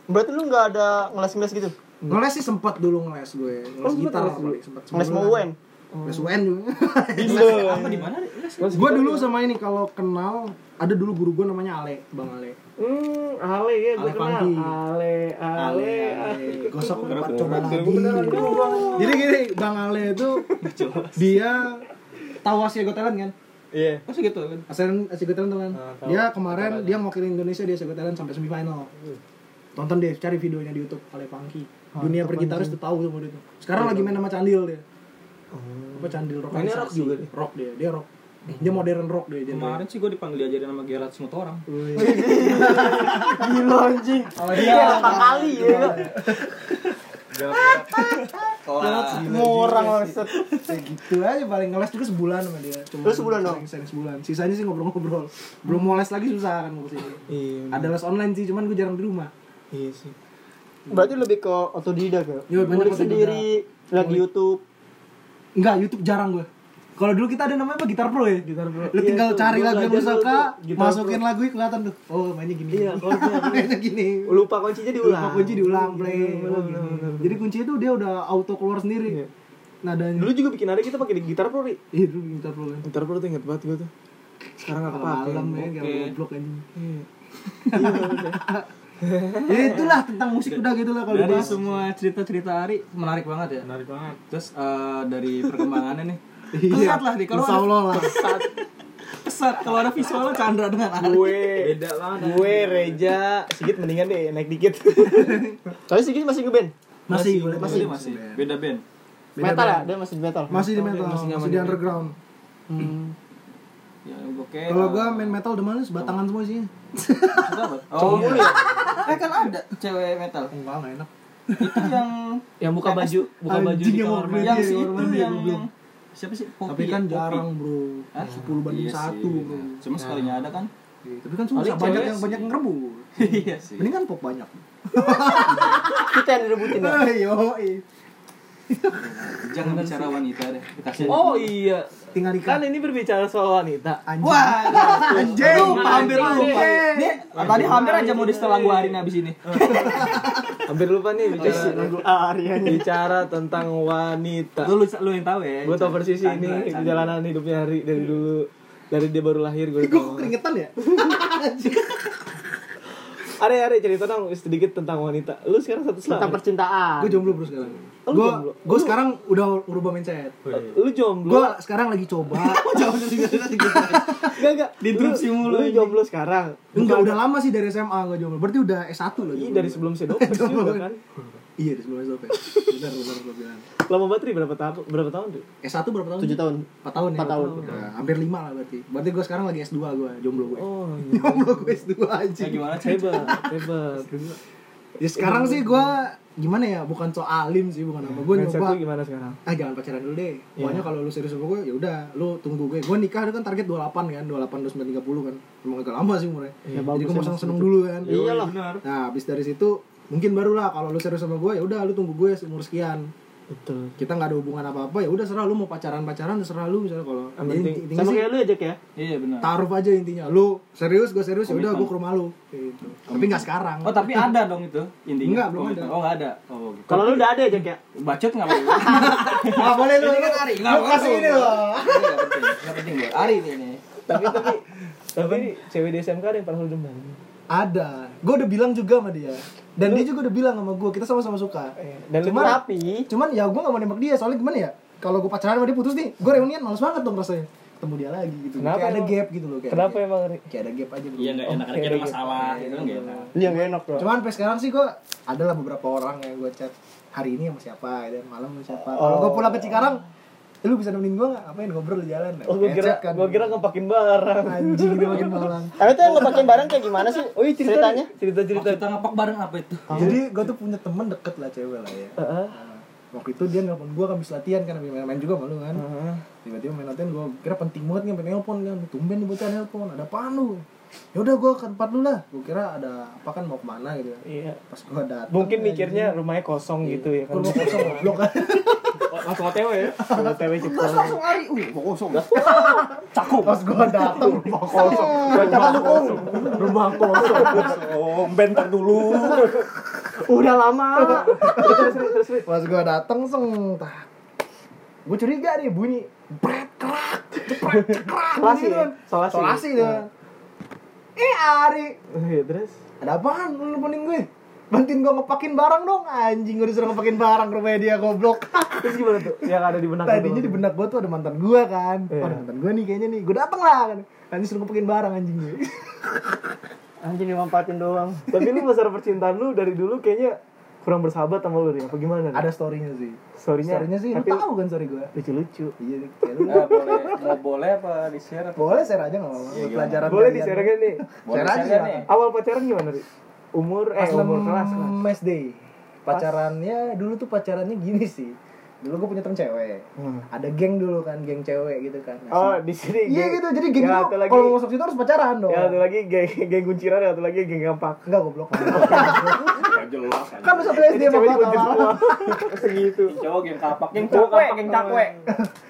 S2: Berarti lu nggak ada ngeles-ngeles gitu.
S4: Hmm. ngeles sih sempat dulu ngeles gue
S5: Oh,
S4: ngeles
S5: sempet
S4: gitar
S5: ngeles
S4: lah
S5: dulu.
S4: paling sempat
S2: Ngeles mau
S4: sebulan.
S2: UN.
S4: ngeles UN juga
S1: apa di mana
S4: gue dulu sama ini kalau kenal ada dulu guru gue namanya Ale bang Ale
S5: Hmm, Ale ya, gue
S4: Ale
S5: kenal.
S4: Panggi.
S5: Ale, Ale, Ale.
S4: gosok empat coba lagi jadi gini bang Ale itu dia tahu Asia Got Talent kan
S14: iya
S1: masih gitu kan
S4: Asian Asia Got Talent teman.
S14: Ah, tahu.
S4: dia kemarin dia mewakili Indonesia di Asia Got Talent sampai semifinal.
S5: Hmm.
S4: Tonton deh, cari videonya di YouTube Ale Pangki.
S5: Ah,
S4: Dunia bergitaris tuh tahu semua itu. Sekarang lagi main sama Candil dia. Apa Candil rock?
S5: Iya. Oh. Mainnya rock juga dia? Hmm.
S4: Rock dia, dia rock. Dia modern rock dia jadi.
S1: kemarin sih gue dipanggil diajarin sama Gerard semua orang
S2: Gila anjing. Iya, empat kali ya.
S4: Iya.
S5: Ah,
S1: kelas
S2: Semua orang maksud.
S4: Kayak gitu aja paling ngeles juga sebulan sama dia. Cuma
S15: Oh,
S2: Terus sebulan dong?
S4: Sering sebulan. Sisanya sih ngobrol-ngobrol. Belum mau les lagi susah kan gue kesini.
S15: Hmm.
S4: Ada les online sih, cuman gue jarang di rumah.
S14: iya sih
S2: Berarti lebih ke otodidak ya.
S4: Iya, banyak
S2: Ngulik
S4: otodidak.
S2: sendiri, lihat di YouTube.
S4: Enggak, YouTube jarang gue. Kalau dulu kita ada namanya apa gitar pro ya?
S15: Gitar Pro.
S4: Lu
S15: Iya,
S4: tinggal
S15: tuh,
S4: cari
S15: gua
S4: lagu yang lu
S15: belajar dulu
S4: suka,
S15: tuh, Gitar
S4: masukin lagu kelihatan tuh. Oh, mainnya gini.
S15: Iya, chordnya.
S4: mainnya gini.
S15: lupa kuncinya diulang
S4: Lupa kunci diulang play.
S15: Iya, Bener,
S4: Oh,
S15: bener,
S4: gini.
S15: bener, bener.
S4: Jadi kuncinya tuh dia udah auto keluar sendiri. Nadanya.
S15: dulu juga bikin ada kita pakai gitar pro ri
S4: Iya, dulu gitar pro kan.
S15: gitar pro tuh inget banget gue tuh sekarang gak kepake
S4: Malam ya, kayak
S1: Oke.
S4: goblok anjing.
S15: Iya.
S4: Ya itulah tentang musik udah gitu lah kalau
S1: Dari
S4: dibahas.
S1: semua cerita-cerita Ari menarik banget ya.
S2: menarik banget
S1: Terus eh, dari perkembangannya nih.
S4: Iya.
S1: Kesat lah nih kalau ada
S4: Insyaallah lah.
S1: kesat kalau ada visualnya Chandra dengan Ari.
S5: gue
S2: beda banget
S5: gue Reja Sigit mendingan deh naik dikit tapi Sigit masih ngeband
S4: Masih boleh masih.
S1: Masih masih. Beda band.
S5: metal ya dia masih metal
S4: Masih di metal, masih di underground.
S1: Ya oke.
S4: Kalau
S1: eh,
S4: gua main metal udah males, batangan semua isinya.
S1: maksudnya apa? Oh, iya. Eh kan ada cewek metal.
S4: Enggak, enggak enak.
S1: Itu yang
S2: yang buka baju buka baju
S4: Anjing
S2: di
S4: yang
S2: kamar
S4: mau
S2: mandi
S1: yang
S4: Iya,
S1: si
S4: orang
S1: itu
S4: mandi,
S1: yang
S4: goblok.
S1: siapa sih? Poppy
S4: Tapi
S1: ya?
S4: kan
S1: Poppy.
S4: jarang, Bro.
S1: Hah?
S4: 10 banding
S1: Iya sih,
S4: 1, Bro.
S1: benar. Cuma sekalinya ada kan?
S4: Iya, Tapi kan susah banyak yang banyak yang ngerebut.
S1: Iya sih.
S4: Mending kan pop banyak. Nah,
S5: kita yang
S2: Iya.
S5: direbutin ya
S4: Ayo,
S1: Jangan bicara wanita deh. Kita kasih.
S2: oh iya
S4: tinggal
S2: kan
S4: nikah.
S2: ini berbicara soal wanita
S4: Anjing.
S1: Wah,
S4: Anjing.
S1: Lu hampir
S2: Anjing.
S1: lupa. Dia
S3: Ah,
S1: tadi hampir aja mau disetelah gua hari ini abis ini.
S2: hampir lupa nih bicara bicara tentang wanita
S1: Lu lu, lu yang tahu ya.
S2: gue tau persis ini perjalanan hidupnya hari dari dulu dari dia baru lahir gue
S4: Gue keringetan ya?
S2: ada ada cerita dong sedikit tentang wanita lu sekarang satu
S5: tentang
S2: setengah
S5: percintaan
S4: Gue jomblo bro sekarang.
S2: Oh, Lu
S4: Gue
S2: jomblo? Oh, iya.
S4: gue
S2: Lu-
S4: sekarang udah berubah mindset.
S2: lu jomblo
S4: Gue sekarang lagi coba.
S2: Oh, enggak enggak
S1: Diinterupsi
S2: Lu-
S1: mulu
S2: lu
S1: ini.
S2: jomblo sekarang
S4: Enggak udah lama sih dari SMA gue jomblo. Berarti udah S1 loh.
S2: Ih,
S4: jomblo.
S2: dari sebelum sedopes
S6: gitu
S2: juga kan
S4: Iya, dari sebelum S1. Benar, benar lo bilang.
S2: lama banget Ri, berapa tahun berapa tahun tuh
S4: S1 berapa tahun?
S5: 7 tahun
S4: 4 tahun ya?
S5: Empat tahun.
S4: Nah, hampir 5 lah berarti. Berarti gue sekarang lagi S2 gue, jomblo gue.
S2: oh iya.
S4: Jomblo gue S2 aja.
S1: Ya gimana sih?
S2: hebat hebat
S4: Ya sekarang sih gue gimana ya, bukan soal alim sih, bukan apa. Gue
S2: mindset
S4: nyoba
S2: lu gimana Iya. sekarang
S4: ah jangan pacaran dulu deh pokoknya kalau lu serius sama gue ya udah lu tunggu gue gue nikah kan target 28 kan 28 29 30 kan emang agak lama sih umurnya
S2: Iya,
S4: jadi gue mau seneng dulu kan
S5: iyalah
S4: nah habis dari situ mungkin barulah kalau lu serius sama gue ya udah lu tunggu gue umur sekian
S2: betul
S4: kita nggak ada hubungan apa apa ya udah serah lu mau pacaran pacaran serah lu misalnya kalau
S2: yang
S4: Ya,
S2: penting
S4: inti- intinya
S2: sama
S4: sih
S2: kayak lu ajak ya
S1: Iya benar.
S4: taruh aja intinya lu serius gue serius ya udah gue ke rumah lu Kayak gitu. tapi nggak sekarang
S1: Oh tapi ada dong itu intinya.
S4: Enggak, belum
S1: Komitmen.
S4: ada.
S1: Oh enggak ada. Oh gitu.
S2: kalau lu udah ada ajak ya
S1: Bacot enggak apa-apa.
S4: nggak boleh lu
S3: kan
S4: lu lu kasih ini loh
S1: Enggak penting. Enggak penting buat Ari ini. nih.
S2: tapi tapi tapi ini cewek di SMK ada yang pernah lu demen
S4: ada gue udah bilang juga sama dia dan dia juga udah bilang sama gue kita sama-sama suka
S2: Iya. dan lu
S4: Cuman-
S2: rapi
S4: cuman ya gue gak mau nembak dia soalnya gimana ya kalau gue pacaran sama dia putus nih gue reunian males banget dong rasanya ketemu dia lagi gitu
S2: Kenapa
S4: kayak ada
S2: emang?
S4: gap gitu loh kayak
S2: kenapa
S4: ada
S2: emang Ri?
S4: gap. kayak ada gap aja bro
S1: Iya enggak enak ada masalah gitu enggak enak.
S5: Lu yang gak Iya, enak bro
S4: cuman sampai sekarang sih gue adalah beberapa orang yang gue chat hari ini sama siapa dan malam sama siapa kalau gue pulang ke Cikarang "Eh, lu bisa nemenin gue gak? ngapain ngobrol di jalan
S2: Oh, gue
S4: Eh,
S2: kira,
S4: chat kan.
S2: gue kira ngepakin barang.
S4: anjing dia makin malang
S5: Emang tuh Eh, yang ngepakein barang kayak gimana sih?
S2: Oh iya cerita
S5: ceritanya.
S2: cerita cerita.
S1: Kita ngepak bareng apa itu?
S4: jadi gue tuh punya temen deket lah cewek lah ya Nah, waktu itu dia nelpon gue habis latihan kan habis main-main juga malu kan tiba-tiba main latihan gue kira penting banget nih pengen nelpon kan tumben nih bocah nelpon ada apaan lu ya udah gue ke tempat lu lah gue kira ada apa kan mau kemana gitu kan
S5: Oh,
S2: Iya.
S4: pas gue datang
S2: Mungkin mikirnya rumahnya kosong gitu ya kan.
S4: gue mau kosong goblok kan
S2: Langsung OTW ya. OTW cepat.
S4: pas gue datang rumah kosong
S5: Kata dukung
S4: rumah kosong
S5: Udah lama
S4: pas gue datang seng tak gue curiga nih bunyi bret kerak bret kerak
S2: Solasi
S4: gitu
S2: ya?
S4: kan.
S2: Solasi.
S4: solasi tuh eh Ari
S2: Iya terus.
S4: ada apaan lu nelponin gue bantuin gue ngepakin barang dong anjing gue disuruh ngepakin barang ke rumahnya dia goblok
S2: Terus gimana tuh? Yang ada di benak
S4: tadinya di
S2: lu.
S4: benak gue tuh ada mantan gue kan
S2: Iya.
S4: oh, ada mantan gue nih kayaknya nih gue dateng lah kan nanti suruh ngepakin barang anjing gue
S5: Anjing dimampatin doang
S2: Tapi lu masalah percintaan lu dari dulu kayaknya kurang bersahabat sama lu nih. Apa gimana? Ri?
S4: ada storynya sih
S2: Storynya.
S4: storynya sih lu
S2: Tapi
S4: tahu kan story gue
S2: lucu-lucu.
S4: iya kayak lu
S1: Nah, boleh mau boleh apa di share?
S4: boleh share aja nggak apa-apa pelajaran
S2: Boleh
S4: kalian.
S2: di-share-kan nih.
S4: share
S1: Boleh
S4: aja
S1: share
S4: silakan.
S1: nih.
S2: Awal pacaran gimana ri? Umur eh
S4: pas
S2: umur kelas kelas.
S4: mes day pacarannya dulu tuh pacarannya gini sih dulu gue punya temen cewek ada geng dulu kan geng cewek gitu kan Nah,
S5: Hmm. Oh, di sini.
S4: Iya
S5: geng-
S4: gitu, jadi geng
S5: Yang
S4: gua
S5: satu lagi-
S4: kalau masuk situ harus pacaran dong.
S5: Yang satu lagi geng, geng kunciran, yang satu lagi geng kampak.
S4: Enggak goblok.
S3: jelas
S4: kan lu satu SD sama
S5: Cewek
S4: gua
S5: dikunci semua. Segitu.
S6: cowok geng kapak
S3: Geng cakwe, geng cakwe.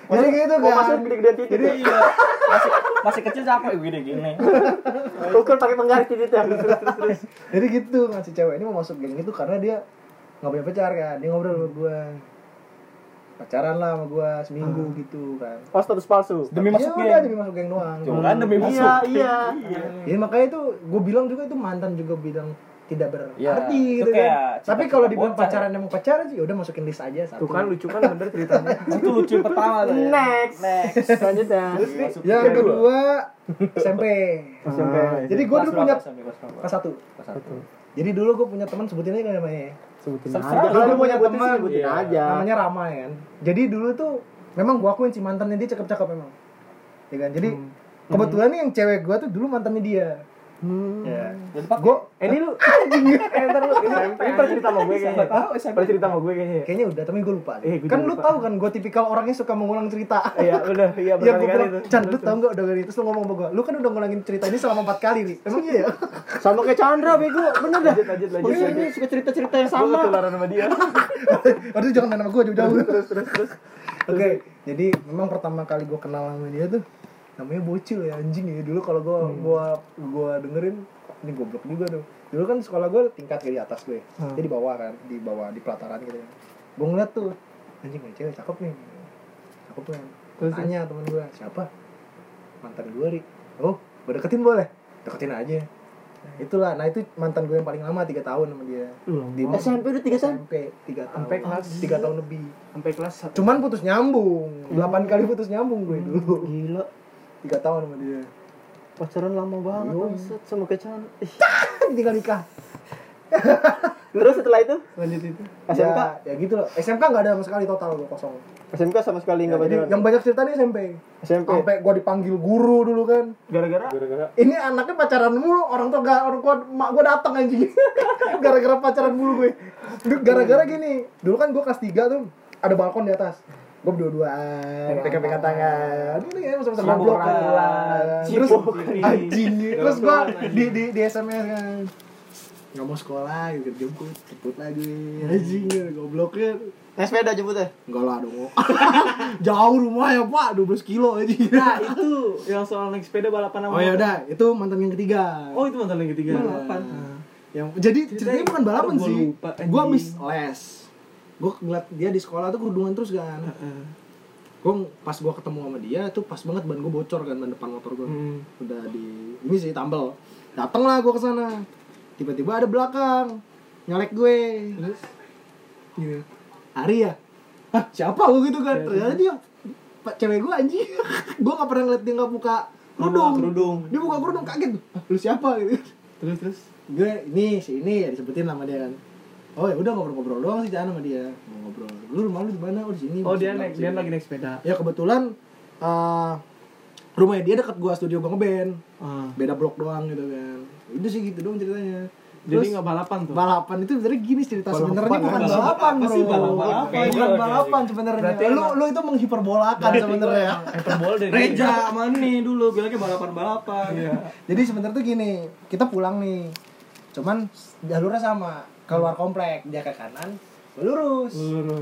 S4: Jadi gitu
S5: Mau
S4: kan.
S5: masuk oh, gede-gede titik. ya?
S3: Masih masih kecil cakwe gini gini.
S5: Ukur pakai penggaris titik ya. Terus, terus, terus.
S4: Jadi gitu kan si cewek ini mau masuk geng itu karena dia nggak punya pacar kan. Dia ngobrol sama gua. Pacaran lah sama gua seminggu gitu kan.
S5: Oh, status palsu.
S4: Demi masuk ya, geng. Udah, demi masuk geng doang.
S3: Cuman demi
S5: Iya,
S3: masuk.
S5: iya.
S4: Ya makanya itu gue bilang juga itu mantan juga bilang tidak berarti
S3: Ya, itu
S4: gitu
S3: kayak
S4: kan. Tapi
S3: cita-cita
S4: kalau dibilang
S3: bocah.
S4: pacaran emang pacaran sih, ya udah masukin list aja satu.
S6: tuh kan lucu kan bener ceritanya
S3: Itu lucu pertama tuh. ya.
S5: Next. Next. Lanjutan.
S3: Masuk
S4: Yang
S3: ke-
S4: kedua SMP.
S5: SMP.
S4: Jadi gue
S3: Kelas
S4: dulu
S3: berapa
S4: punya
S3: sampai kelas berapa?
S4: kelas satu. Jadi dulu gue punya teman sebutin aja kan namanya. ya.
S16: sebutin
S3: Seserah.
S5: Kalau Nah, lu punya
S4: Sebutin
S5: teman,
S4: sih,
S5: sebutin
S6: iya.
S5: aja.
S4: Namanya Rama ya kan. Jadi dulu tuh memang gue akuin si mantannya dia cakep-cakep memang. Ya kan? Jadi
S6: Hmm.
S4: kebetulan nih yang cewek gue tuh dulu mantannya dia.
S6: Hmm.
S4: Ya. Gue
S6: eh ini lu eh ntar lu ini, ini pernah cerita sama gue kayaknya pernah cerita sama gue kayaknya
S4: kayaknya udah tapi gue lupa.
S6: Eh, gua
S4: kan
S6: juga
S4: lu
S6: lupa.
S4: tahu kan gue tipikal orangnya suka mengulang cerita.
S6: iya udah iya
S4: Iya gue
S6: berkali-kali
S4: bilang,
S6: tuh
S4: Chan lu tau gak udah gini Terus lu ngomong sama gue Lu kan udah ngulangin cerita ini selama 4 kali nih Emang iya ya?
S5: Sama kayak Chandra bego, bener dah.
S6: lanjut lanjut
S3: Oh,
S6: lanjut
S5: Iya, ini suka cerita-cerita yang
S6: gue
S5: sama.
S6: ketularan sama dia
S4: Aduh jangan main sama gue jauh-jauh Terus terus terus Oke jadi memang pertama kali gue kenal sama dia tuh Namanya bocil ya anjing ya Dulu kalau gue gua, gua dengerin Ini goblok juga dong Dulu kan sekolah gue tingkat ya di atas gue Dia di bawah kan Di bawah di pelataran gitu ya Gue ngeliat tuh Anjing nih cewek cakep nih Cakep kan Tanya temen gue Siapa? Mantan gue Ri Oh gue deketin boleh? Deketin aja Itulah, nah itu mantan gue yang paling lama 3 tahun sama dia Di-
S5: SMP udah tiga tahun.
S4: SMP tiga tahun
S6: Sampai kelas-
S4: tiga tahun lebih
S6: sampai kelas satu
S4: cuman putus nyambung delapan kali putus nyambung gue dulu
S5: Hmm. Gila,
S4: tiga tahun sama dia
S5: pacaran lama banget bangsat sama kayak Chandra. Ih.
S4: tinggal nikah
S5: Terus setelah itu
S4: lanjut itu
S5: SMK?
S4: ya, ya gitu loh SMK nggak ada sama sekali total gue kosong
S5: SMK sama sekali
S4: Ya,
S5: nggak
S4: jadi
S5: pacaran.
S4: yang banyak cerita nih SMP
S5: SMP.
S4: sampai gue dipanggil guru dulu kan
S6: gara-gara
S4: ini anaknya pacaran mulu orang tua gak orang tua mak gue datang anjing gara-gara pacaran mulu gue Duh, gara-gara gini dulu kan gue kelas 3 tuh ada balkon di atas gue berdua-duaan pegang-pegang tangan ini kayaknya masuk sama goblok kan terus anjing terus gue di di di SMS kan nggak mau sekolah gitu jemput jemput lagi Gitu, anjing gobloknya
S5: Naik sepeda jemputnya.
S4: enggak lah dong jauh rumah ya pak 12 kilo anjing
S6: nah itu yang soal naik sepeda balapan
S4: oh
S6: sama
S4: ya udah itu mantan yang ketiga
S6: oh itu mantan yang ketiga Nah.
S4: balapan. Yang jadi ceritanya bukan balapan
S6: Aduh, gua
S4: sih.
S6: lupa, anjing.
S4: Gua miss les. Gua ngeliat dia di sekolah tuh kerudungan terus kan.
S6: Nah. eh.
S4: Gua pas gua ketemu sama dia tuh pas banget ban gua bocor kan ban depan motor gua.
S6: Hmm.
S4: Udah di ini sih tambel. Dateng lah gua ke sana. Tiba-tiba ada belakang nyalek gue. Terus gitu. Ari ya? Hah, siapa gua gitu
S6: Iya,
S4: kan? Ternyata dia Pak cewek gua anjing. gua gak pernah ngeliat dia gak buka kerudung.
S6: kerudung.
S4: Dia buka kerudung kaget. "Hah, Lu siapa gitu?
S6: terus terus
S4: gue ini si ini ya disebutin nama dia kan oh ya udah ngobrol-ngobrol doang sih jangan sama dia mau ngobrol lu rumah lu di mana oh di sini
S6: oh
S4: Maksudnya,
S6: dia naik
S4: di
S6: dia
S4: sini.
S6: lagi naik sepeda
S4: ya kebetulan eh rumahnya dia dekat gua studio gua ngeband
S6: Ah,
S4: beda blok doang gitu kan udah sih gitu dong ceritanya
S6: jadi nggak balapan tuh
S4: balapan itu sebenarnya gini cerita sebenarnya bukan
S6: balapan.
S4: balapan bro
S6: sih balapan?
S4: bukan balapan sebenarnya lu lu itu menghiperbolakan sebenarnya
S6: hyperbole dari
S3: Reja mana nih dulu bilangnya balapan-balapan.
S4: Jadi sebenarnya tuh gini, kita pulang nih. Cuman jalurnya sama, keluar komplek, dia ke kanan, gua lurus.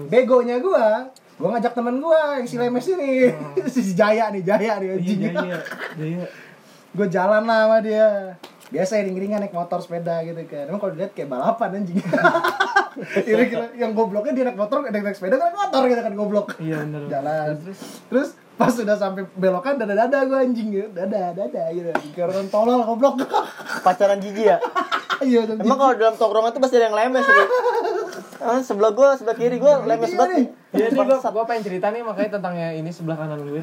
S4: Begonya gua, gua ngajak teman gua yang si lemes ini. si Jaya nih, Jaya nih anjing.
S6: Hmm. Iya, Jaya Jaya
S4: Gua jalan lah sama dia. Biasa iring-iringan naik motor sepeda gitu kan. Emang kalau dilihat kayak balapan anjing. Iring-iringan yang gobloknya dia naik motor, naik, naik sepeda, gua naik motor gitu kan goblok.
S6: iya benar
S4: Jalan. Terus, pas sudah sampai belokan dada-dada gua anjing gitu. Dada, dada gitu. Karena tolol goblok.
S5: Pacaran jijik ya.
S4: Iya, dong.
S5: Emang kalau dalam tongkrongan tuh pasti ada yang lemes gitu. Ah, sebelah gua, sebelah kiri gua lemes banget.
S6: Iya nih gua,
S5: Bangsat.
S6: gua pengen cerita nih makanya tentang yang ini sebelah kanan ya. gue.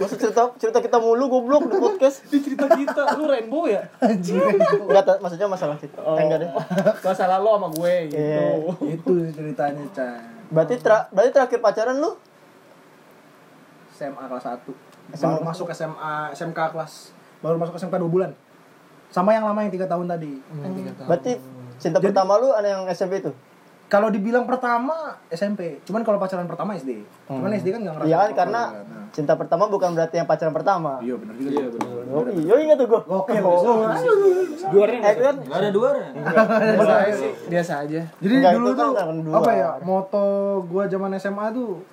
S5: Gua cerita cerita kita mulu goblok di podcast.
S6: Di cerita kita lu rainbow ya?
S4: Anjing.
S5: Enggak ta- maksudnya masalah kita.
S2: Oh.
S5: Eh, Enggak deh.
S6: Masalah lo sama gue gitu.
S5: Iya.
S4: Itu ceritanya, Chan.
S5: Berarti tra- berarti terakhir pacaran lu
S4: SMA kelas 1. Baru masuk SMA, SMK kelas. Baru masuk SMK 2 bulan. Sama Hmm, yang lama yang 3 tahun tadi.
S5: berarti cinta pertama lu ada yang SMP itu.
S4: Kalau dibilang pertama SMP, cuman kalau pacaran pertama SD. Cuman SD kan nggak ngerasa.
S5: Iya kan
S4: apa-apa.
S5: karena cinta pertama bukan berarti yang pacaran pertama.
S4: Iya benar juga. Iya benar.
S5: Yoi, yoi ingat tuh gua.
S4: Oke, oh,
S5: Eh kan
S3: Gak ada dua ya?
S2: biasa aja
S4: Jadi
S5: Enggak,
S4: dulu
S5: itu kan
S4: tuh
S5: tangan dua.
S4: apa ya? Moto gua zaman SMA tuh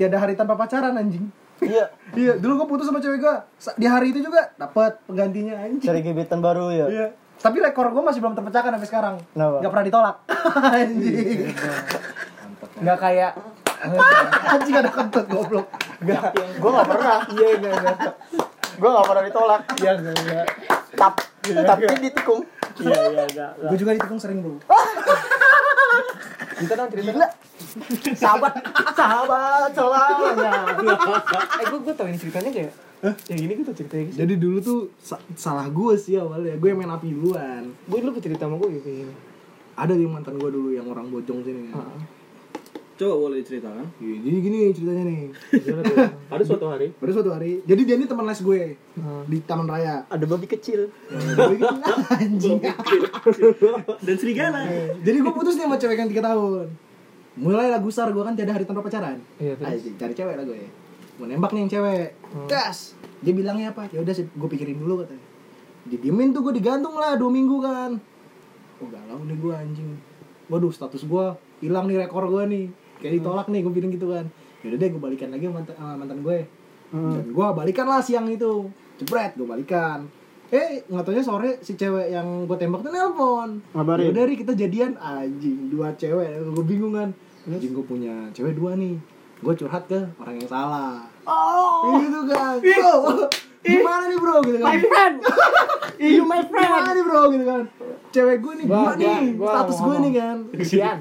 S4: tiada hari tanpa pacaran anjing.
S5: iya
S4: Iya, dulu gua putus sama cewek gua. Sa- Di hari itu juga dapat penggantinya anjing.
S5: cari gebetan baru ya.
S4: Iya. Tapi rekor gua masih belum terpecahkan sampai sekarang.
S5: Kenapa?
S4: Gak pernah ditolak. anjing. ya.
S2: nggak kayak
S4: Anjing ada kentut goblok. Enggak.
S5: Gua enggak pernah.
S4: Iya, enggak, enggak.
S5: Gua enggak pernah ditolak.
S4: Iya, enggak, enggak.
S5: Tap, tapi ditikung.
S4: Gua juga ditikung sering, Bro.
S2: cerita dong cerita
S5: Gila. Sahabat, sahabat selamanya.
S2: eh gue gue tau ini ceritanya kayak yang gini gue tau ceritanya gitu
S4: Eh, Jadi dulu tuh sa- salah gue sih awalnya. Gue yang main api duluan.
S2: gue dulu cerita sama gue kayak gini
S4: Ada yang mantan gue dulu yang orang bojong sini. kan.
S3: Coba boleh diceritakan
S4: Iya, jadi gini ceritanya nih.
S6: Ada suatu hari
S4: Pada suatu hari, jadi dia ini teman les gue di Taman Raya.
S5: Ada babi kecil.
S4: Anjing.
S3: Dan serigala
S4: jadi gue putus nih sama cewek yang 3 tahun. Mulai lah gusar gue kan tiada hari tanpa pacaran.
S2: Iya, terus? Hmm.
S4: Anjing, cari cewek lah gue. Mau nembak nih yang cewek. Das. Dia bilangnya apa? Ya udah gue pikirin dulu katanya. Didiemin tuh gue digantung lah 2 minggu kan. Oh galau nih gue anjing. Waduh status gue hilang nih rekor gue nih. Kayak ditolak nih gue bilang gitu kan. Yaudah deh gue balikan lagi sama mantan, sama mantan ya. gue. Hmm. Dan gue balikan lah siang itu. Jebret gue balikan. Eh nggak taunya sore si cewek yang gue tembak tuh nelpon.
S5: Ngabarin.
S4: Yaudah ri kita jadian anjing dua cewek. Gue bingung kan. Anjing gue punya cewek dua nih. Gue curhat ke orang yang salah. Oh. Gitu kan. Bro, gimana nih bro gitu kan.
S5: You my friend.
S4: Gimana nih bro gitu kan Cewek gue nih
S2: Gua-
S4: gua
S2: gua-
S4: nih
S2: gua
S4: Status gue nih kan
S2: kesian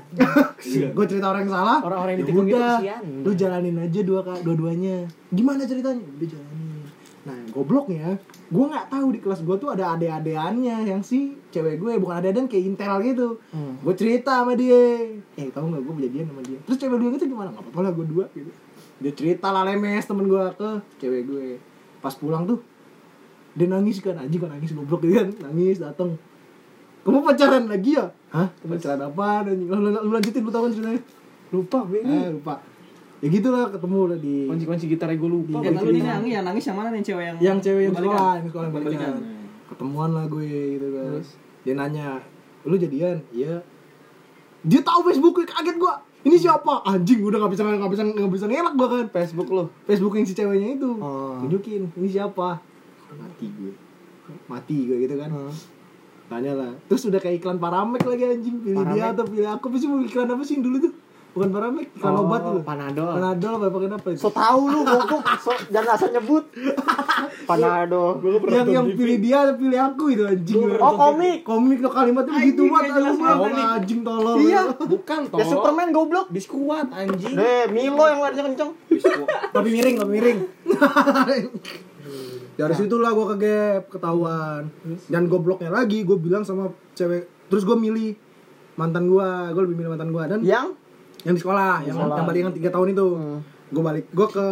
S4: Gue cerita orang yang salah
S2: Orang-orang yang
S4: ya
S2: ditikung gitu
S4: udah,
S2: kesian.
S4: Lu jalanin aja dua ka- dua-duanya Gimana ceritanya Udah jalanin Nah gobloknya Gue gak tahu di kelas gue tuh ada ade-adeannya Yang si cewek gue Bukan ade-adean kayak intel gitu
S2: Hmm.
S4: Gue cerita sama dia Eh tau gak gue jadian sama dia Terus cewek gue itu gimana Gak apa-apa lah gue dua gitu Dia cerita lah lemes temen gue ke cewek gue Pas pulang tuh dia nangis kan anjing kan nangis goblok gitu kan nangis datang kamu pacaran lagi ya hah pacaran apa anjing lu, lu- lu lanjutin lu tau kan ceritanya
S2: lupa gue ini
S4: eh lupa ya gitu lah ketemu lah di
S2: kunci kunci gitar gue lupa
S3: Eh lalu ini nangis yang nangis yang mana nih cewek yang
S4: yang cewek yang
S3: balikan?
S4: sekolah yang sekolah yang balikan
S3: Balikan.
S4: ketemuan lah gue gitu kan dia nanya lu jadian iya dia tahu Facebook gue kaget gue ini siapa anjing udah nggak bisa nggak bisa nggak bisa ngelak gue kan
S2: Facebook lo
S4: Facebookin si ceweknya itu tunjukin ini siapa mati gue mati gue gitu kan tanya lah terus udah kayak iklan paramek lagi anjing pilih dia atau pilih aku pasti mau iklan apa sih yang dulu tuh bukan paramek iklan obat tuh
S2: Panadol.
S4: panadol apa pakai apa itu
S5: So tau lu goblok. So, jangan asal nyebut. Panado.
S4: yang yang pilih dia atau pilih aku itu anjing
S5: Oh komik.
S4: komik lo kalimatnya begitu banget anjing anjing tolol iya
S2: bukan
S5: Ya Superman goblok.
S2: biskuat anjing
S5: Deh, Milo yang larinya kenceng.
S4: tapi miring tapi miring dari situlah gue kegep ketahuan dan gobloknya lagi gue bilang sama cewek terus gue milih mantan gue gue lebih milih mantan gue dan
S5: Yang
S4: yang Iya. di sekolah Hmm. yang yang balik yang tiga tahun itu gue balik gue ke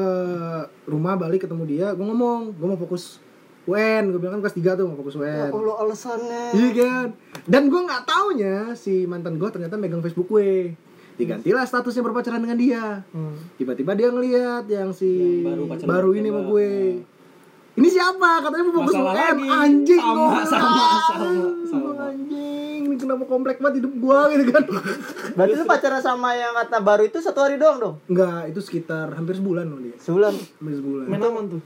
S4: rumah balik ketemu dia gue ngomong gue mau fokus UN gue bilang kan kelas tiga tuh mau fokus UN
S5: Allah alasannya.
S4: Iya kan? Dan gue nggak taunya si mantan gue ternyata megang Facebook gue. Digantilah statusnya berpacaran dengan dia. Tiba-tiba dia ngeliat yang si
S3: Yang baru
S4: baru,
S3: pacaran
S4: ini
S3: sama
S4: sama gue. Ini siapa? Katanya mau fokus
S3: Masalah
S4: UM
S3: lagi.
S4: anjing
S3: Sama,
S4: gua bilang,
S3: sama, sama,
S4: "Aduh,
S3: sama."
S4: Anjing, ini kenapa komplek banget hidup gue gitu kan?
S5: Berarti lu pacaran sama yang kata baru itu satu hari doang dong.
S4: Enggak, itu sekitar hampir sebulan loh dia.
S5: Sebulan.
S4: Hampir sebulan.
S2: main aman tuh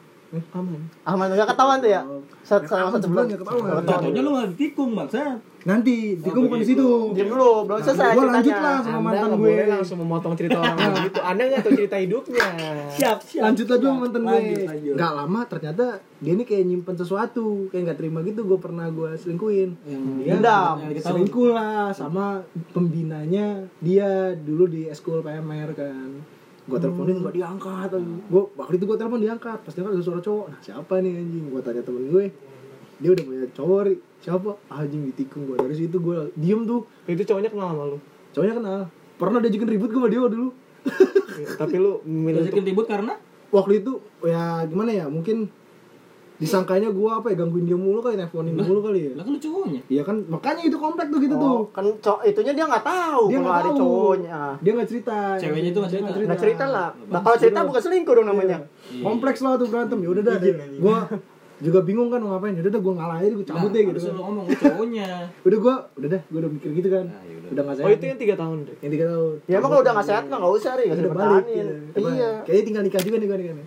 S2: aman
S5: Ahmad enggak ketahuan tuh ya? Satu
S4: Eh, Aman,
S5: sama satu
S4: sebulan
S5: bulan.
S4: nggak ketahuan.
S3: Taunya lu gak ditikung bangsa
S4: Nanti, jadi gue bukan di situ.
S5: Diam dulu, belum selesai
S4: Gue lanjut lah
S5: ceritanya.
S4: sama
S2: anda
S4: mantan
S2: nggak
S4: gue.
S2: boleh langsung memotong cerita orang lain gitu anda nggak tahu cerita hidupnya
S3: Siap siap
S4: lanjut lagi sama mantan
S3: Lanjut,
S4: gue
S3: lanjut.
S4: nggak lama ternyata dia ini kayak nyimpen sesuatu kayak nggak terima gitu gue pernah gue selingkuhin dia
S5: Dendam.
S4: selingkuh lah sama pembinanya dia dulu di eskul PMR kan gue teleponin gak diangkat gue waktu itu gue telepon diangkat pas diangkat ada suara cowok nah siapa nih anjing gue tanya temen gue dia udah punya cowok Ri. siapa Ah, anjing ditikung gue dari situ gue diem tuh
S2: itu cowoknya kenal sama lu
S4: cowoknya kenal pernah diajakin ribut gue sama dia dulu
S2: Iya, tapi lu memilih
S3: Jadi ribut karena
S4: waktu itu ya gimana ya mungkin disangkanya gua apa ya gangguin dia mulu kali nelfonin mulu kali ya
S1: Lah kan lu cowoknya.
S4: iya kan makanya itu komplek tuh gitu
S5: Oh,
S4: tuh
S5: kan co- itunya dia nggak tahu
S4: dia
S5: kalau
S4: nggak
S5: ada
S4: tahu Iya.
S5: cowoknya.
S4: dia nggak cerita
S1: Ceweknya itu nggak
S4: Dia
S1: cerita.
S5: Nggak cerita lah. Nah, kalau cerita bukan selingkuh dong namanya.
S4: Iya. kompleks lah tuh berantem ya udah dah gua juga bingung kan mau ngapain udah dah gua ngalah aja gua cabut deh gitu
S1: Terus
S4: kan.
S1: lu ngomong gua cowoknya.
S4: udah gua udah dah gua udah mikir gitu kan udah nggak
S2: Oh
S4: sayang
S2: itu yang tiga tahun deh.
S4: yang tiga tahun
S5: Ya emang kalau udah nggak sehat mah nggak usah nih, nggak usah
S4: Iya. udah balik
S5: dipertahanin.
S4: gitu. Coba.
S5: Iya.
S4: kayaknya tinggal nikah juga nih gua nih kan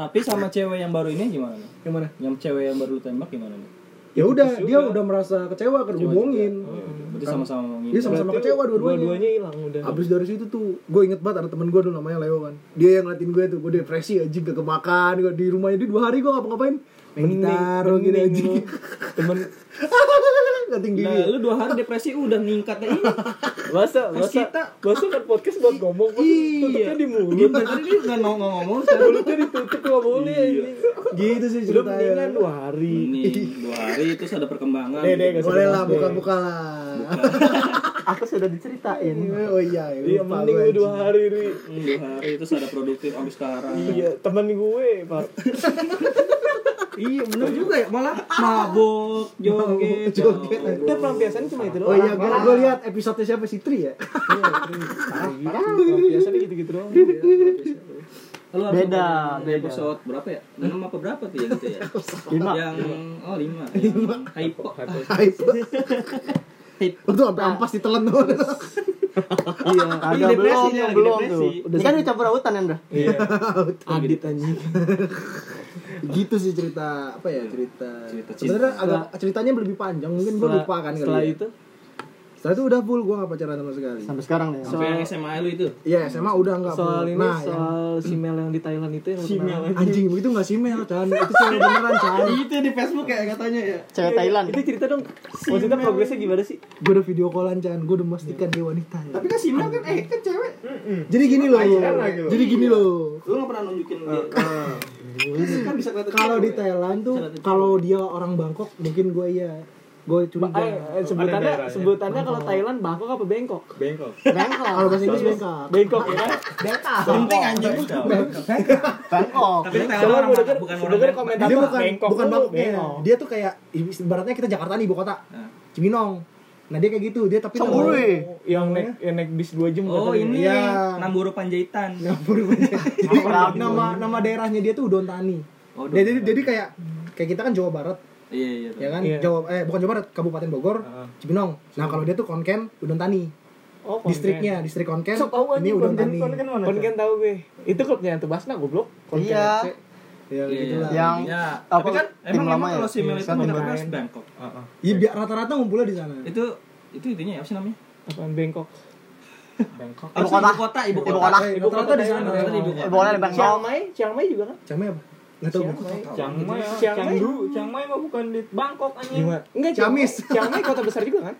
S1: Tapi sama cewek yang baru ini gimana? nih?
S4: yang mana
S1: Yang cewek yang baru lu tembak gimana nih?
S4: ya udah dia udah merasa kecewa kan dibohongin
S1: Berarti sama-sama mau
S4: dia Iya, sama-sama kecewa dua-duanya
S2: Dua-duanya hilang udah.
S4: Abis dari situ tuh, gue inget banget ada temen gue dulu namanya Leo kan Dia yang ngeliatin gue tuh, gue depresi anjing gak kemakan gua Di rumahnya dia dua hari gue ngapa-ngapain Main gitar gitu anjing
S2: Temen
S4: Ngating diri
S1: Nah, lu dua hari depresi udah ningkat ini.
S2: masa masa masa kan podcast buat ngomong tutupnya di mulut.
S1: Tadi dia nggak ngomong ngomong sekarang
S2: Mulutnya ditutup nggak boleh. ini.
S4: Gitu sih
S2: Lu
S4: ceritanya
S2: mendingan dua hari.
S1: nih dua hari terus ada perkembangan.
S2: Deh, deh, nggak usah
S4: Boleh lah,
S2: dibahas deh.
S4: buka-buka lah
S5: Aku sudah diceritain.
S4: Oh iya,
S2: Iya,
S4: lupa
S2: mending
S4: gua,
S2: gue dua
S4: anjing.
S2: hari ri.
S1: Hmm, dua hari terus ada produktif abis sekarang.
S2: Iya, temen gue, Pak.
S1: Iya bener juga ya malah mabok joget.
S4: Joget.
S1: joget.
S2: Udah pelampiasan cuma itu
S4: Oh
S2: doang.
S4: iya, gue gue lihat episode siapa sih Tri ya?
S2: Pelampiasannya gitu-gitu doang.
S1: Lu harus
S5: Beda,
S1: nonton
S5: beda.
S1: Episode berapa ya? Enam apa berapa tuh yang itu ya?
S5: Lima.
S1: Yang oh lima. Lima. Hypo. Ah,
S4: Hype. Itu sampai ampas ditelan tuh.
S5: Iya.
S1: Lagi
S5: Agak
S1: depresi
S5: belum,
S1: dia, lagi
S5: belum
S1: depresi.
S5: tuh. Ini kan dicampur hutan ya, Bro.
S4: Adit anjing. gitu sih cerita apa ya cerita.
S1: Cerita cinta.
S4: Sebenarnya agak ceritanya lebih panjang mungkin gue lupa kan kali.
S2: Setelah
S4: ya.
S2: itu,
S4: Setelah itu udah full gue gak pacaran sama sekali.
S5: Sampai sekarang nih.
S1: Sampai yang SMA lu itu.
S4: Iya SMA udah gak
S2: soal
S4: full.
S2: ini
S4: nah, yang-
S2: soal si Mel yang di Thailand itu yang si Mel
S4: anjing itu gak si Mel Chan. Itu cewek beneran Chan.
S2: Iya.
S1: Itu di Facebook kayak katanya ya.
S5: Cewek Thailand.
S2: itu cerita dong maksudnya progresnya gimana sih
S4: Gue udah video callan Chan. Gue udah memastikan dia wanita. Ya.
S1: Tapi kan si Mel kan eh kan cewek.
S4: Jadi gini loh. Jadi gini
S2: Iya.
S4: loh.
S1: Lu nggak pernah nunjukin dia. Kan bisa kelihatan
S4: Kalau di Thailand tuh kalau dia orang Bangkok mungkin gue iya. Gue curiga.
S2: eh, sebutannya sebutannya kalau Thailand Bangkok apa Bengkok
S3: Bengkok.
S4: Kalau bahasa Inggris bengkak.
S2: Bengkok ya kan
S1: penting anjing.
S5: Bangkok.
S1: Tapi
S2: Soalnya
S1: Thailand
S2: gua
S1: orang
S2: denger-
S1: bukan
S2: gua
S1: orang
S2: denger
S1: Bangkok.
S2: komentar
S4: Dia bukan
S2: Bangkok
S4: bukan
S2: dulu,
S4: Bangkoknya.
S2: Bengkok.
S4: Dia tuh kayak ibaratnya kita Jakarta nih ibu kota. Cibinong. Nah dia kayak gitu, dia tapi
S5: Cemburu ya?
S2: Oh, yang naik yang naik bis 2 jam
S1: Oh
S2: katanya.
S1: ini
S4: Iya.
S1: Namburu Panjaitan.
S4: Jadi, nama nama daerahnya dia tuh Udon Tani.
S1: Oh,
S4: Jadi
S1: Udon
S4: jadi-
S1: Tani.
S4: jadi kayak kayak kita kan Jawa Barat,
S1: Iya iya.
S4: ya kan?
S2: Iya.
S4: Jawa eh bukan Jawa Barat, Kabupaten Bogor, Cibinong. Nah, kalau dia tuh Konken, Udon Tani.
S2: oh konten.
S4: Distriknya, distrik Konken.
S5: Tahu
S4: ini Udon Tani.
S3: kan
S5: mana?
S2: konten kan tahu gue itu klubnya tuh Basna goblok kan Konten
S5: Iya.
S2: FC.
S4: Ya
S1: Iya,
S4: gitu lah.
S5: iya. Yang-
S1: Ya,
S5: apa,
S1: tapi kan
S5: tim
S1: emang
S5: lama
S1: lama
S5: ya?
S1: kalau si Mel itu
S4: satu tim
S1: mereka
S4: lain.
S1: harus Bangkok.
S3: Ah,
S4: Iya, biar rata-rata ngumpulnya di sana.
S1: Itu itu itunya apa sih namanya?
S2: apaan Bangkok
S5: kota.
S1: Apa sih, Ibu kota, ibu
S5: Ibu
S1: kota.
S5: kota.
S4: Eh, Rata-rata di sana.
S1: Rata-rata di ibu
S5: Eh,
S1: kota.
S5: boleh di Bangkok.
S2: Chiang Mai Chiang Mai juga kan
S4: Camnya apa? Nggak tahu.
S3: Chiang Mai.
S2: Chiang Mai
S3: Chiang Mai mah bukan di Bangkok anjing.
S2: Gimana? Enggak, Chiang Mai-
S4: Ciamis.
S2: Chiang Mai kota besar juga kan?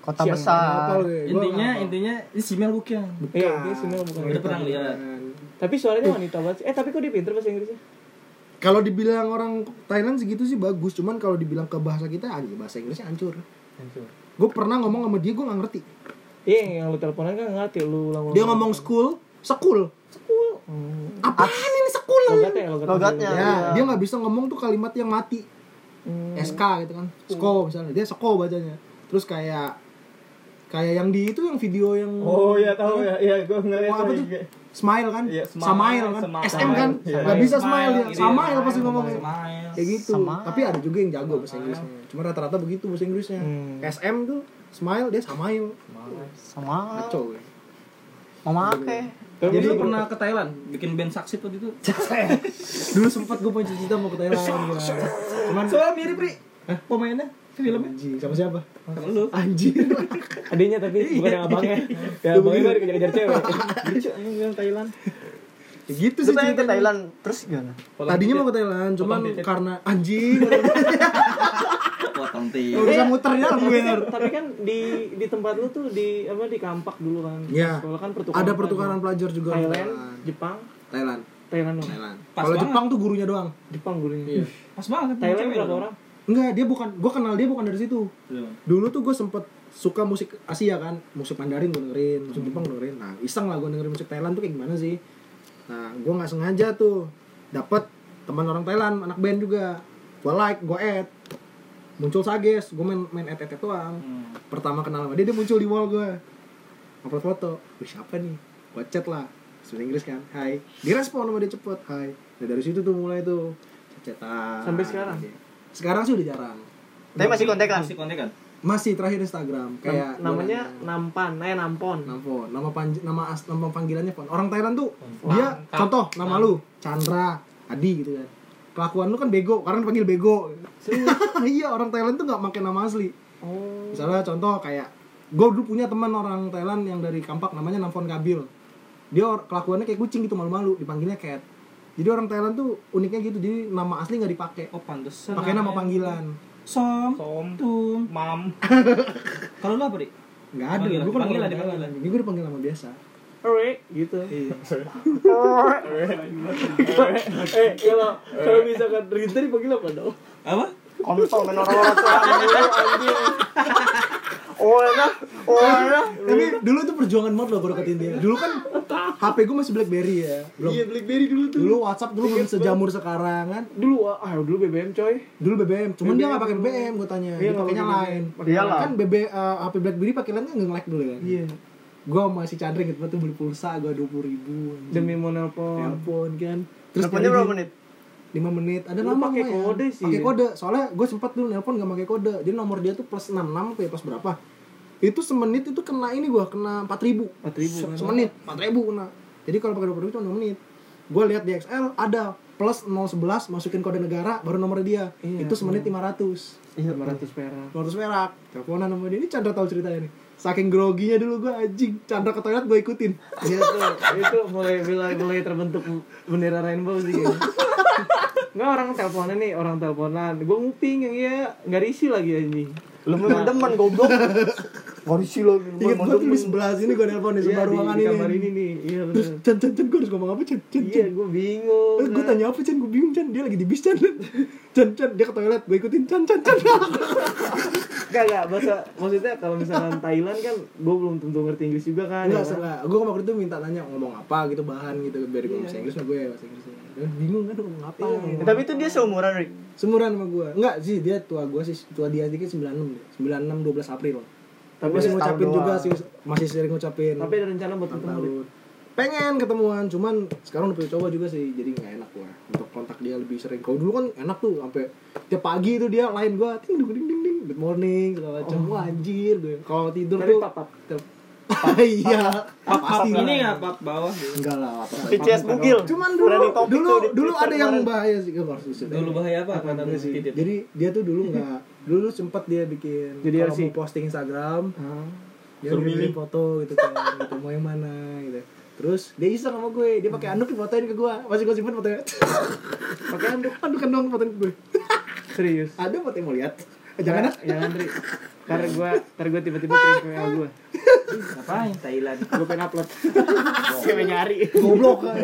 S5: Kota
S2: Siang.
S5: besar.
S1: Intinya intinya ini si Mel bukan.
S2: Iya, dia sebenarnya bukan.
S1: Udah pernah lihat.
S2: Tapi suaranya wanita banget sih. Eh, tapi kok dia pinter bahasa Inggrisnya?
S4: Kalau dibilang orang Thailand segitu sih bagus, cuman kalau dibilang ke bahasa kita anjir, bahasa Inggrisnya hancur. Gue pernah ngomong sama dia, gue nggak ngerti.
S2: Iya, yang lu teleponan kan nggak ngerti lu ulang-ulang.
S4: Dia ngomong school, sekul. Apaan ini sekul?
S2: logatnya, logatnya.
S5: Logatnya. iya.
S4: Ya, dia nggak bisa ngomong tuh kalimat yang mati. SK gitu kan. Sko misalnya, dia sko bacanya. Terus kayak kayak yang di itu yang video yang
S3: Oh iya tahu ya. Iya gua ngeliat.
S4: Apa tuh? Smile kan?
S3: Iya, smile,
S4: Samail kan?
S3: semail.
S4: SM kan?
S3: Samail.
S4: Nggak bisa smile dia.
S1: gitu ya.
S4: Samail pasti ngomongnya.
S1: Smile.
S4: kayak gitu tapi ada juga yang jago bahasa Inggrisnya cuma rata-rata begitu bahasa Inggrisnya SM tuh smile dia samail
S5: Sama.
S4: kacau ya.
S5: Memakai.
S1: Jadi lu pernah ke Thailand bikin band saksit waktu itu?
S4: dulu sempat gue punya cita mau ke Thailand gila. cuman
S1: Soalnya mirip Ri. Pemainnya filmnya
S4: anjing sama siapa Iya.
S1: sama lu.
S4: anjir
S2: Adanya tapi bukan yang abangnya. Ya, abangnya baru kejar-kejar cewek. Lucu anjing bilang Thailand.
S4: Ya gitu
S5: Lu
S4: sih
S5: pengen ke
S4: ceritanya.
S5: Thailand terus gimana?
S4: tadinya mau ke Thailand cuman karena anjing
S1: Potong ti.
S4: nggak bisa muter ya gue
S2: Tapi kan di di tempat lu tuh di apa di Kampak dulu kan.
S4: Iya.
S2: Sekolah kan pertukaran.
S4: ada pertukaran pelajar juga ke
S2: Thailand,
S4: Thailand
S2: Jepang,
S4: Thailand
S2: Thailand dong.
S4: Thailand
S1: Pas
S4: kalau
S1: banget.
S4: Jepang tuh gurunya doang
S2: Jepang gurunya.
S1: Pas banget.
S2: Thailand
S1: cewek
S2: berapa
S1: dong.
S2: orang?
S4: Enggak, dia bukan gue kenal dia bukan dari situ. Dulu tuh gue sempet suka musik Asia kan, musik Mandarin gue dengerin, musik Jepang gue dengerin. Nah, iseng lah gue dengerin musik Thailand tuh kayak gimana sih? Nah, gue nggak sengaja tuh dapat teman orang Thailand anak band juga gue like gue add muncul sages gue main main add add add doang pertama kenal sama dia dia muncul di wall gue upload foto Wih, siapa nih gue chat lah bahasa Inggris kan hai direspon sama dia cepet hai nah dari situ tuh mulai tuh chatan
S6: Sampai sekarang?
S4: sekarang sih udah jarang
S5: Tapi masih kan? kontekan.
S3: Masih kontekan.
S1: kan?
S4: masih terakhir Instagram kayak
S6: Nam- namanya nampan, eh nampon.
S4: Nampon, nama panj- nama as- nama panggilannya pon. Orang Thailand tuh dia contoh nama lu Chandra, Adi gitu kan. Kelakuan lu kan bego, karena dipanggil bego. iya, orang Thailand tuh nggak pakai nama asli.
S6: Oh.
S4: Misalnya contoh kayak gue dulu punya teman orang Thailand yang dari Kampak namanya Nampon Kabil. Dia or- kelakuannya kayak kucing gitu malu-malu, dipanggilnya cat. Jadi orang Thailand tuh uniknya gitu, jadi nama asli nggak dipakai.
S3: Oh pantesan.
S4: Pakai
S6: ya?
S4: nama panggilan.
S3: Som,
S17: Som.
S3: tum, mam. Kalau lu apa, Dik?
S4: Nggak ada,
S3: Panggilan,
S4: gue kan
S3: panggilan,
S4: orang Thailand.
S3: panggilan.
S4: Ini gue dipanggil nama biasa.
S6: Alright, gitu.
S4: Iya.
S6: eh, kalau kalau misalkan Rinta dipanggil apa dong?
S3: Apa?
S5: Kontol main orang-orang tua anjing. Oh, enak. Oh, enak.
S4: Tapi dulu tuh perjuangan banget loh gue deketin dia. Dulu kan HP gue masih BlackBerry ya. Belum. Iya BlackBerry dulu tuh. Dulu WhatsApp dulu belum sejamur sekarang kan.
S6: Dulu ah dulu BBM coy.
S4: Dulu BBM, cuman dia gak pakai BBM gue tanya. dia
S6: Iya, nggak
S4: pakainya
S6: pakai
S4: lain.
S6: BBM. Iyalah.
S4: Kan BB eh, HP BlackBerry pakai lain kan nggak nge-like dulu kan.
S6: Iya.
S4: Gue masih cadre gitu tuh beli pulsa gue dua puluh ribu.
S6: Demi mau nelpon.
S4: telepon kan. Terus
S5: Teleponnya berapa
S4: jadi-
S5: menit?
S4: lima menit ada
S6: Lu
S4: lama
S6: pakai
S4: lumayan.
S6: kode sih,
S4: pakai
S6: ya?
S4: kode soalnya gue sempat dulu nelpon gak pakai kode jadi nomor dia tuh plus enam enam apa ya plus berapa itu semenit itu kena ini gue kena empat ribu
S6: 4.000 kan?
S4: semenit empat ribu kena jadi kalau pakai dua ribu cuma enam menit gue lihat di XL ada plus 011 masukin kode negara baru nomor dia
S6: Iya,
S4: itu semenit lima ratus
S6: Iya, 500 perak.
S4: perak teleponan sama dia ini Chandra tahu ceritanya nih saking groginya dulu gue anjing Chandra ke toilet gue ikutin
S6: Iya tuh, itu mulai mulai mulai terbentuk bendera rainbow sih
S2: gitu.
S6: kayaknya. Nggak orang teleponan nih, orang teleponan. Gue nguping yang iya nggak risi lagi anjing.
S5: Lu
S6: Nah.
S5: belum demen goblok. Korisi lo.
S4: Ingat gue tuh di sebelah sini gue nelpon di
S6: Iya,
S4: sebelah
S6: di,
S4: ruangan
S6: di kamar ini
S4: ini
S6: nih. Iya
S4: terus
S6: bener.
S4: Chan Chan Chan gue harus ngomong apa Chan Chan Chan
S6: Iya, gue bingung. nah.
S4: Terus gue tanya apa Chan, gue bingung Chan, dia lagi di bis Chan Chan, Chan, dia ke toilet, gue ikutin Chan, Chan, Chan
S6: Gak, gak, bahasa, maksudnya kalau misalkan Thailand kan gue belum tentu ngerti Inggris juga kan
S4: Enggak,
S6: ya kan?
S4: enggak, gue waktu itu minta nanya ngomong apa gitu, bahan gitu Biar gue
S6: Iya.
S4: bahasa Inggris, nah gue bahasa Inggris Dia bingung kan ngomong apa gitu.
S5: Tapi itu dia seumuran, Rik.
S4: Semuran sama gue, enggak sih, dia tua gue sih, tua dia sedikit 96 deh 96, 12 April Tapi masih ngucapin
S5: setahun
S4: juga
S5: doang.
S4: sih, masih sering ngucapin
S6: Tapi ada rencana buat
S4: ulang
S6: ketemu Rik.
S4: tahun pengen ketemuan cuman sekarang udah punya cowok juga sih jadi nggak enak gua untuk kontak dia lebih sering kalau dulu kan enak tuh sampai tiap pagi itu dia lain gua ting ding ding ding ding good morning segala macam Wah, anjir gue kalau tidur
S6: Oh. Tapi
S4: tuh
S6: papap.
S4: tiap- iya
S3: Pap, pap
S4: pasti
S3: ini
S4: lah.
S3: nggak pap bawah.
S4: enggak lah apa
S5: PCS Bugil.
S4: cuman dulu
S5: Berani topik
S4: dulu
S5: tuh di
S4: dulu
S5: Twitter
S4: ada yang
S5: kemarin.
S4: bahaya sih gue harus usut
S3: Dulu bahaya apa? Kata
S4: Enggak
S3: lu
S4: sih.
S3: titip.
S4: jadi dia tuh dulu nggak dulu sempat dia bikin
S6: Jadi
S4: kalau
S6: LC.
S4: mau posting Instagram
S6: Ah.
S4: dia milih foto gitu kan gitu mau yang mana gitu terus dia iseng sama gue dia pakai anduk difotoin ke gue masih gue simpen fotonya pakai anduk anduk dong fotoin ke gue
S6: Serius.
S4: ada foto yang mau lihat Eh, jangan ah
S6: Ya Andri. Ntar gue, ntar gue tiba-tiba kirim ke WA gue.
S3: Ngapain Thailand?
S6: Gue pengen upload.
S5: Siapa nyari?
S4: goblok kan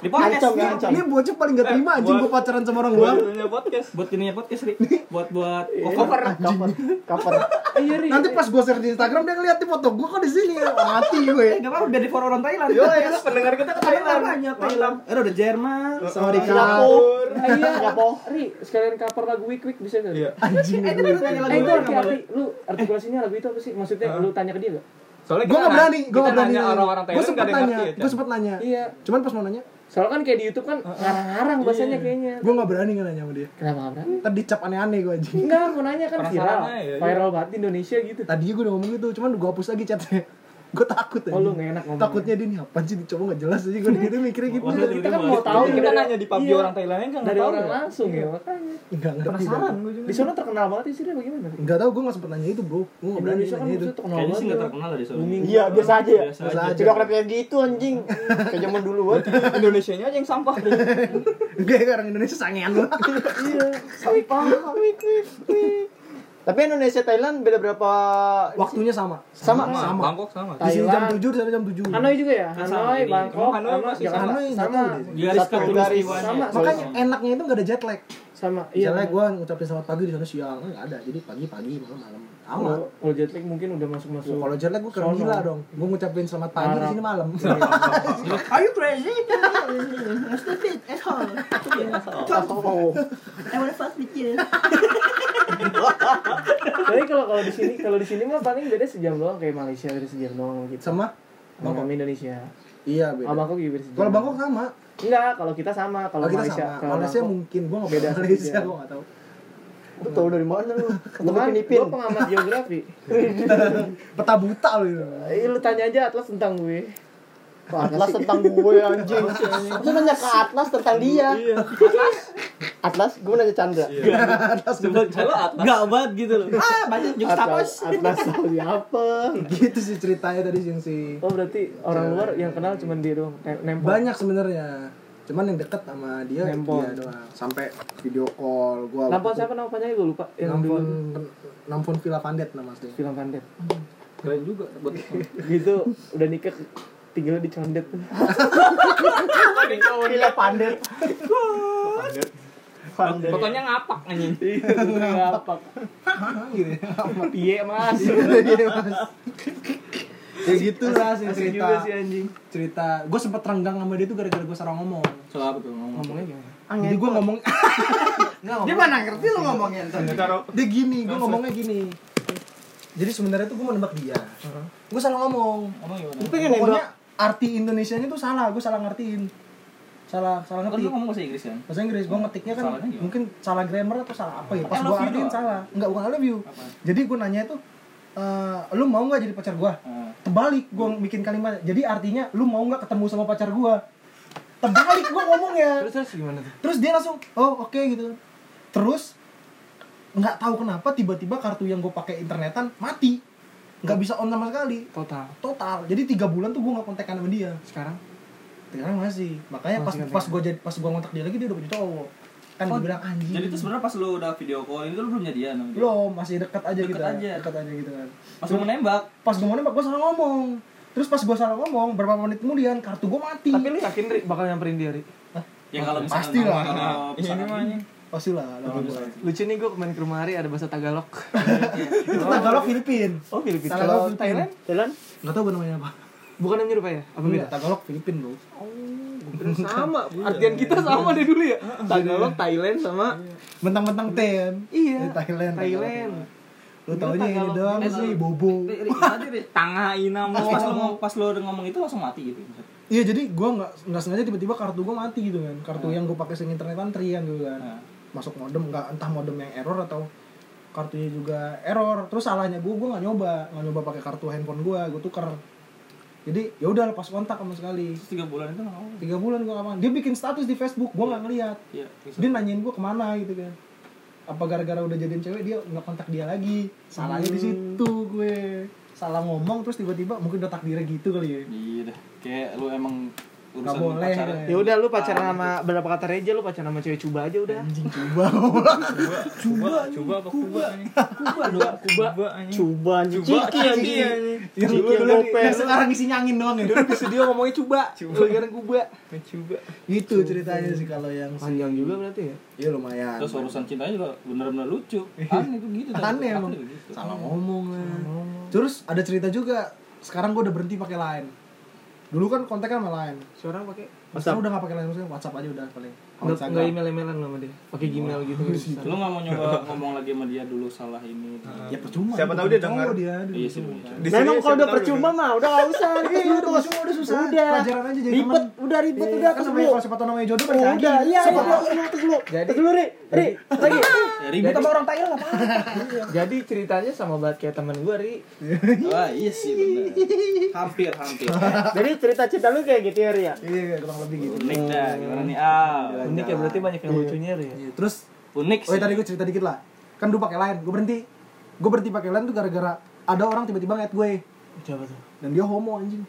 S3: Di podcast.
S5: Ancam,
S3: Dik.
S5: ya.
S4: ini bocah paling gak terima anjing
S3: buat-
S4: gue pacaran sama orang gue
S3: Buat dunia podcast. Buat dunia podcast, Rik. Buat buat
S5: Cover, cover. Cover.
S6: Iya Ri.
S4: nanti pas gue share di Instagram dia ngeliat di foto gue kok di sini mati gue
S3: Eh, gak apa-apa biar di for orang Thailand.
S5: Yo, ya, pendengar kita ke Thailand.
S3: banyak Thailand. Eh, udah Jerman.
S4: sorry kak
S5: Singapura.
S6: Ah, Iya.
S5: Singapura.
S6: Ri, sekalian cover lagu Week Week bisa gak? Iya.
S4: anjing
S3: Eh, tadi udah nyanyi lagu
S6: Eh, itu
S3: Jerman,
S6: arti,
S3: nggak
S6: arti, lu artikulasinya lagu itu apa sih? Maksudnya lu tanya ke dia gak?
S3: Soalnya
S4: gue gak berani gue gak berani
S3: orang-orang
S4: gue
S3: Thailand
S4: sempet
S3: gak ada yang
S4: nanya
S3: ngerti ya.
S4: gue sempet nanya
S6: Iya.
S4: cuman pas mau nanya
S6: Soalnya kan kayak di Youtube kan ngarang-ngarang bahasanya kayaknya.
S4: gue gak berani nggak nanya sama dia
S6: Kenapa nggak berani?
S4: ntar dicap aneh-aneh gue anjing
S6: Enggak, mau nanya kan
S3: Penasaran
S6: viral.
S3: aja, iya.
S6: Viral banget di Indonesia gitu.
S4: tadinya gue udah ngomong gitu cuman gue hapus lagi chatnya gue takut
S6: Oh,
S4: anjing.
S6: lu nggak enak ngomong.
S4: takutnya dia nih apa sih nih cowok gak jelas aja gue gitu mikirnya gitu
S3: Maksudnya
S6: Kita kan
S3: tiba-tiba
S6: mau tahu
S3: kita
S6: dari-
S3: nanya di PUBG
S6: iya.
S3: orang Thailandnya kan nggak
S6: Dari
S3: tahu
S6: orang
S3: ya.
S6: langsung ya, makanya.
S4: nggak ngerti
S3: Penasaran
S4: gue.
S3: gue juga.
S6: Di sana terkenal banget ya sih dia bagaimana?
S4: nggak tahu gue nggak sempet nanya itu bro gue nggak berani
S6: Indonesia kan
S4: nanya itu
S6: maksudnya terkenal
S3: Kayaknya
S6: banget.
S3: sih nggak terkenal lah di sana.
S6: ya. Booming.
S5: Iya, biasa aja ya.
S3: Biasa
S4: Biasa
S3: aja.
S4: aja
S5: Tidak kenapa kayak gitu anjing. Kayak zaman dulu banget.
S3: Indonesia nya aja yang sampah.
S4: Gak orang Indonesia sangean lu
S5: Sampah. Tapi Indonesia Thailand beda berapa
S4: waktunya sama
S5: Sama.
S4: sama
S3: Bangkok sama.
S4: di sini jam
S6: Thailand.
S4: 7 di sana jam 7
S6: Hanoi juga ya?
S3: Kan sama
S6: Hanoi,
S3: ini.
S6: Bangkok,
S3: Emang Hanoi
S6: sama
S3: masih
S6: Jakarta.
S4: Hanoi nggak
S6: sama.
S4: tahu deh.
S3: Garis
S5: Satu garis.
S3: katulistiwaannya.
S6: Sama.
S4: makanya enaknya itu gak ada jet lag
S2: sama iya
S4: Misalnya gue ngucapin selamat pagi di sana siang, nggak ada. Jadi pagi pagi malam malam. Amat.
S2: kalau kalau jet lag mungkin udah masuk masuk
S4: Kalau jet lag gue keren
S2: Oh, Sono. Iya.
S4: gila dong. Gue ngucapin selamat pagi di
S2: Parah.
S4: sini malam.
S3: Are you crazy? Stupid asshole. I wanna fuck with you.
S2: tapi kalau kalau di sini kalau di sini mah paling beda sejam doang kayak Malaysia beda sejam doang gitu
S4: Sama?
S2: Bangkok Indonesia
S4: Iya
S2: kalau
S4: beda.
S2: Bangkok juga beda sejam
S4: Kalau Bangkok sama.
S2: enggak kalau kita sama kalau
S4: Kalau kita
S2: Malaysia
S4: sama.
S2: kalau
S4: Malaysia
S2: Bangkok-
S4: mungkin gue nggak
S2: Beda ya.
S4: beda Malaysia
S2: sendiri.
S4: gue nggak tahu.
S5: Lu tau dari mana lu? Ketemu
S2: Bukan,
S5: Filipin.
S2: gue pengamat geografi
S4: Peta buta lu. itu.
S2: Eh, lu tanya aja Atlas tentang gue
S5: Atlas tentang gue anjing. Lu nanya ke Atlas tentang dia.
S2: Iya.
S5: Atlas, gue nanya Chandra.
S3: Gak banget gitu loh. Ah, banyak juga
S5: Atlas, Atlas tahu siapa?
S4: Gitu sih ceritanya tadi sih yang si
S2: oh berarti orang luar yang kenal cuma dia doang Nem- nempel
S4: banyak sebenarnya. Cuman yang deket sama dia
S2: Nempel.
S4: dia doang. Sampai video call gue.
S2: Nampol siapa nama panjangnya gue lupa yang
S4: Nampon
S2: dulu
S4: Nampon Villa Vandet nama aslinya.
S2: film pandet
S18: Keren juga buat
S2: gitu udah nikah tinggal di condet
S5: Gila pandir.
S3: Fotonya ngapak anjing.
S2: Iya, apa piye mas
S4: Gitu ya. Iya, Mas. ya gitu lah sih
S2: Asik
S4: cerita
S2: juga sih anjing
S4: cerita gue sempet renggang sama dia tuh gara-gara gue salah ngomong
S18: Soal apa tuh ngomong?
S2: ngomongnya gimana
S4: jadi gue ngomong
S3: Dia mana ngerti lu ngomongnya entar.
S4: dia gini gue ngomongnya gini jadi sebenarnya tuh gue mau nembak dia gue salah ngomong
S5: Itu pengen nembak.
S4: pokoknya arti Indonesianya tuh salah gue salah ngertiin salah salah
S1: Kan lu
S4: ngerti
S1: ngomong bahasa Inggris kan?
S4: bahasa Inggris gue ngetiknya kan
S1: Salahnya gimana?
S4: mungkin salah grammar atau salah apa ya pas
S1: I
S4: gue
S1: love you
S4: artiin
S1: doang.
S4: salah nggak bukan I love you jadi gue nanya tuh eh, lu mau nggak jadi pacar gue
S1: Ah.
S4: terbalik gue bikin kalimat jadi artinya lu mau nggak ketemu sama pacar gue terbalik gue ngomongnya
S2: terus terus gimana tuh
S4: terus dia langsung oh oke gitu terus nggak tahu kenapa tiba-tiba kartu yang gue pakai internetan mati nggak bisa on sama sekali
S2: total
S4: total jadi tiga bulan tuh gue nggak kontekan sama dia
S2: sekarang
S4: sekarang masih makanya pas
S2: Masih kontekan.
S4: pas gue jadi pas gue ngontak dia lagi dia udah punya cowok kan gue bilang anjing
S1: Jadi itu sebenarnya pas lu udah video call itu lu belum jadian sama dia.
S4: belum masih dekat aja
S1: Deket
S4: gitu kan.
S1: aja.
S4: dekat aja gitu kan
S1: Pas lu menembak,
S4: pas gue mau nembak gue salah ngomong terus pas gue salah ngomong berapa menit kemudian kartu gue mati
S2: tapi lu yakin Ri bakal nyamperin dia Ri
S1: ya kalau misalnya
S4: Pasti lah. Nah,
S1: Ini
S4: pasti lah lagi gue
S2: lucu nih gue kemarin ke rumah Ari ada bahasa Tagalog
S4: itu Tagalog Filipin
S2: oh Filipina
S4: Tagalog
S2: Kalau
S4: Filipin.
S2: Thailand
S5: Jalan.
S4: nggak tahu gua namanya apa Oh,
S2: bukan yang nyerupai ya apa beda
S4: Enggak, Iya, Tagalog Filipin bro
S2: sama Iya, artian kita
S4: iya.
S2: sama deh dulu ya Tagalog Thailand sama
S4: Mentang-mentang ten
S2: iya
S4: Di Thailand,
S2: Thailand
S4: Lu taunya ini
S2: Tagalog.
S4: doang
S1: Eh,
S4: sih,
S1: Tagalog.
S4: bobo
S3: Tangah ina
S4: Oh.
S3: mau.
S1: Pas, pas lu ngomong, pas lu udah ngomong itu langsung mati gitu.
S4: Iya jadi gua nggak nggak sengaja tiba-tiba kartu gua mati gitu kan
S1: Ah.
S4: Kartu yang gua pakai sing internetan trian gitu kan
S1: Nah.
S4: Masuk modem, nggak entah modem yang error atau kartunya juga error terus salahnya gua, gua nggak nyoba nggak nyoba pakai kartu handphone gua, gua tuker jadi ya udah lepas kontak sama sekali
S1: Terus tiga bulan itu nggak ngomong.
S4: tiga bulan gua kapan dia bikin status di Facebook gua nggak ngeliat
S1: Iya.
S4: dia nanyain gua kemana gitu kan apa gara-gara udah jadian cewek dia nggak kontak dia lagi salahnya
S1: Hmm.
S4: di situ gue salah ngomong terus tiba-tiba mungkin udah takdirnya gitu kali ya
S1: Iya dah. Kayak lu emang urusan
S4: nggak boleh
S1: pacaran.
S2: ya udah lu pacaran sama berapa kata reja lu pacaran sama cewek cuba aja udah
S4: anjing coba
S3: Coba, coba apa Kuba anjing. Kuba dua, Kuba. anjing.
S5: Coba anjing.
S3: Coba
S5: Ciki
S3: anjing.
S5: anjing.
S3: anjing.
S4: yang
S5: Dulu,
S4: dulu
S5: dulu,
S4: dulu
S5: dulu.
S4: yang sekarang isinya angin doang ya
S2: dulu di studio ngomongnya cuba cuba sekarang cuba
S3: Coba.
S4: gitu ceritanya sih kalau yang
S2: panjang juga berarti ya
S4: ya lumayan
S1: Terus urusan cintanya juga bener-bener lucu. Aneh itu gitu. tadi.
S4: Iya. Aneh emang.
S1: Aku juga gitu.
S4: salah ngomong lah terus ada cerita juga sekarang gue udah berhenti pakai lain dulu kan kontaknya sama lain
S2: seorang pakai
S4: sekarang udah gak pakai lain maksudnya WhatsApp aja udah paling Kalau
S2: nggak nggak
S4: Instagram.
S2: email emailan sama dia pakai gmail gitu
S1: Lu nggak mau nyoba ngomong lagi sama dia dulu salah ini.
S4: ya percuma
S19: Siapa
S4: itu
S19: tahu
S4: bukan
S19: dia dengar.
S4: cowok dia, dia bukan
S1: Iya sih.
S4: cowok.
S1: bener.
S19: Di sini
S5: Memang kalau
S19: siapa
S5: udah
S19: tahu
S5: percuma mah udah gak usah
S4: Iya,
S5: ribut.
S4: udah percuma, udah susah.
S5: Udah.
S4: Pelajaran aja jadi
S5: Ribet,
S4: teman.
S5: udah ribet,
S4: Iya,
S5: udah
S4: kan
S5: terus
S4: sampai
S5: lu.
S4: kalau siapa tahu namanya jodoh balik lagi.
S5: Udah, iya,
S4: Siapa
S5: iya,
S4: tahu?
S5: iya, terus lu.
S2: Jadi-
S5: Terus lu, Ri. Ri, lagi.
S1: Ya ribut sama orang Thailand apa?
S2: jadi ceritanya sama banget kayak teman gue ri
S1: Wah iya sih bener. Hampir hampir.
S5: Jadi cerita-cerita lu kayak gitu ya, Ri ya?
S4: Iya, kurang lebih gitu.
S1: Unik dah gimana nih Al?
S2: unik ya berarti banyak yang lucunya ri ya
S4: Iya, Terus,
S1: Unik
S4: oh ya,
S1: sih.
S4: tadi gue cerita dikit lah. Kan dulu pakai lain, gue berhenti. Gue berhenti pakai lain tuh gara-gara ada orang tiba-tiba ngeliat gue
S2: siapa tuh
S4: dan dia homo anjing.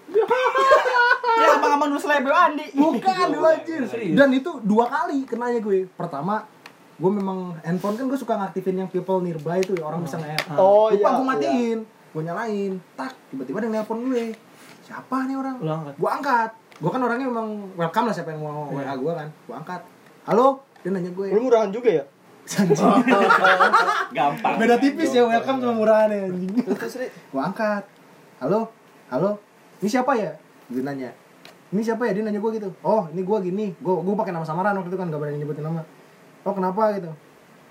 S3: Ya abang-abang lu selebel Andi.
S4: Bukan lu anjir. Dan itu dua kali kenanya gue. Pertama, gue memang handphone kan gue suka ngaktifin yang people nearby tuh ya, orang bisa nge Lupa
S5: Oh, iya,
S4: gue matiin, gue nyalain. Tak, tiba-tiba ada yang nelpon gue. Siapa nih orang?
S2: Lu angkat.
S4: Gue angkat. Gue kan orangnya memang welcome lah siapa yang mau WA gue kan. Gue angkat. Halo? Dia nanya gue.
S5: Lu murahan juga ya?
S1: Gampang.
S4: Beda tipis ya welcome sama murahan ya anjing.
S2: Terus Ri,
S4: Gua angkat. Halo? Halo? Ini siapa ya? Dia nanya. Ini siapa ya? Dia nanya gua gitu. Oh, ini gua gini. Gua gua pakai nama samaran waktu itu kan gak berani nyebutin nama. Oh, kenapa gitu?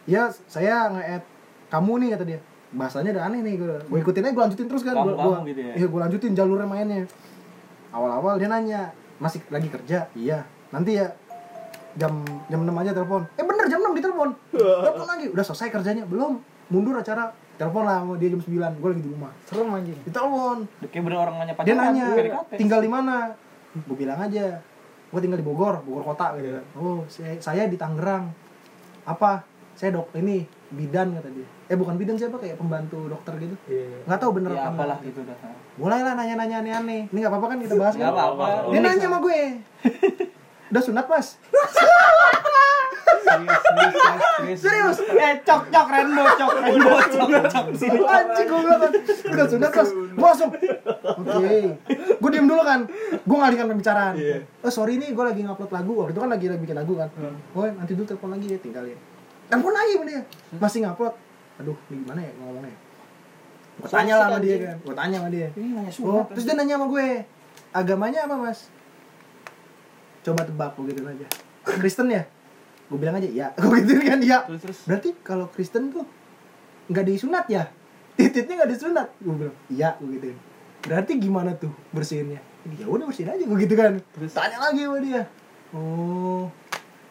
S4: Ya, saya nge-add kamu nih kata dia. Bahasanya udah aneh nih gua. Gua ikutin aja gua lanjutin terus kan. Gua,
S1: Kamu-kamu
S4: gua,
S1: Hmm. gitu ya?
S4: Iya, gua lanjutin jalurnya mainnya. Awal-awal dia nanya, "Masih lagi kerja?" Iya. Nanti ya jam jam 6 aja telepon. Eh bener jam 6 ditelepon. Telepon lagi, udah selesai kerjanya. Belum. Mundur acara. Telepon lah sama dia jam 9. Gue lagi di rumah.
S16: Serem anjing.
S4: Ditelepon.
S1: Kayak bener orang nanya
S4: Dia
S1: pacaran.
S4: nanya,
S1: PDKT.
S4: tinggal di mana? Gue bilang aja. Gue tinggal di Bogor, Bogor kota gitu kan. Oh, saya, saya di Tangerang. Apa? Saya dok ini bidan kata dia. Eh bukan bidan siapa kayak pembantu dokter gitu. Nggak tahu bener
S1: Ya
S4: apa
S1: apalah
S4: enggak.
S1: gitu dah.
S4: Mulailah nanya-nanya aneh-aneh. Ini nggak apa-apa kan kita bahas
S1: Gak
S4: kan?
S1: apa-apa.
S4: Dia nanya sama gue. Udah sunat, Mas? Serius?
S5: Eh, cok cok rendo cok.
S4: Anjing gue bilang kan Udah sunat terus Masuk Oke Gue diem dulu kan Gue ngalihkan pembicaraan Oh sorry nih gue lagi ngupload lagu Waktu itu kan lagi lagi bikin lagu kan Oh nanti dulu telepon lagi ya tinggalin Telepon lagi sama dia Masih ngupload Aduh ini gimana ya ngomongnya Gue tanya lah sama dia kan Gue tanya sama dia
S1: Ini nanya
S4: Oh,
S1: surat.
S3: kan.
S4: terus dia nanya sama gue, agamanya apa mas? Coba tebak gue gitu aja. Kristen ya? Gue bilang aja iya. Gue gitu kan iya. Berarti kalau Kristen tuh nggak disunat ya? Tititnya nggak disunat? Gue bilang iya. Gue gituin. Berarti gimana tuh bersihinnya? Ya udah bersihin aja gue gitu kan. Tanya lagi sama dia. Oh,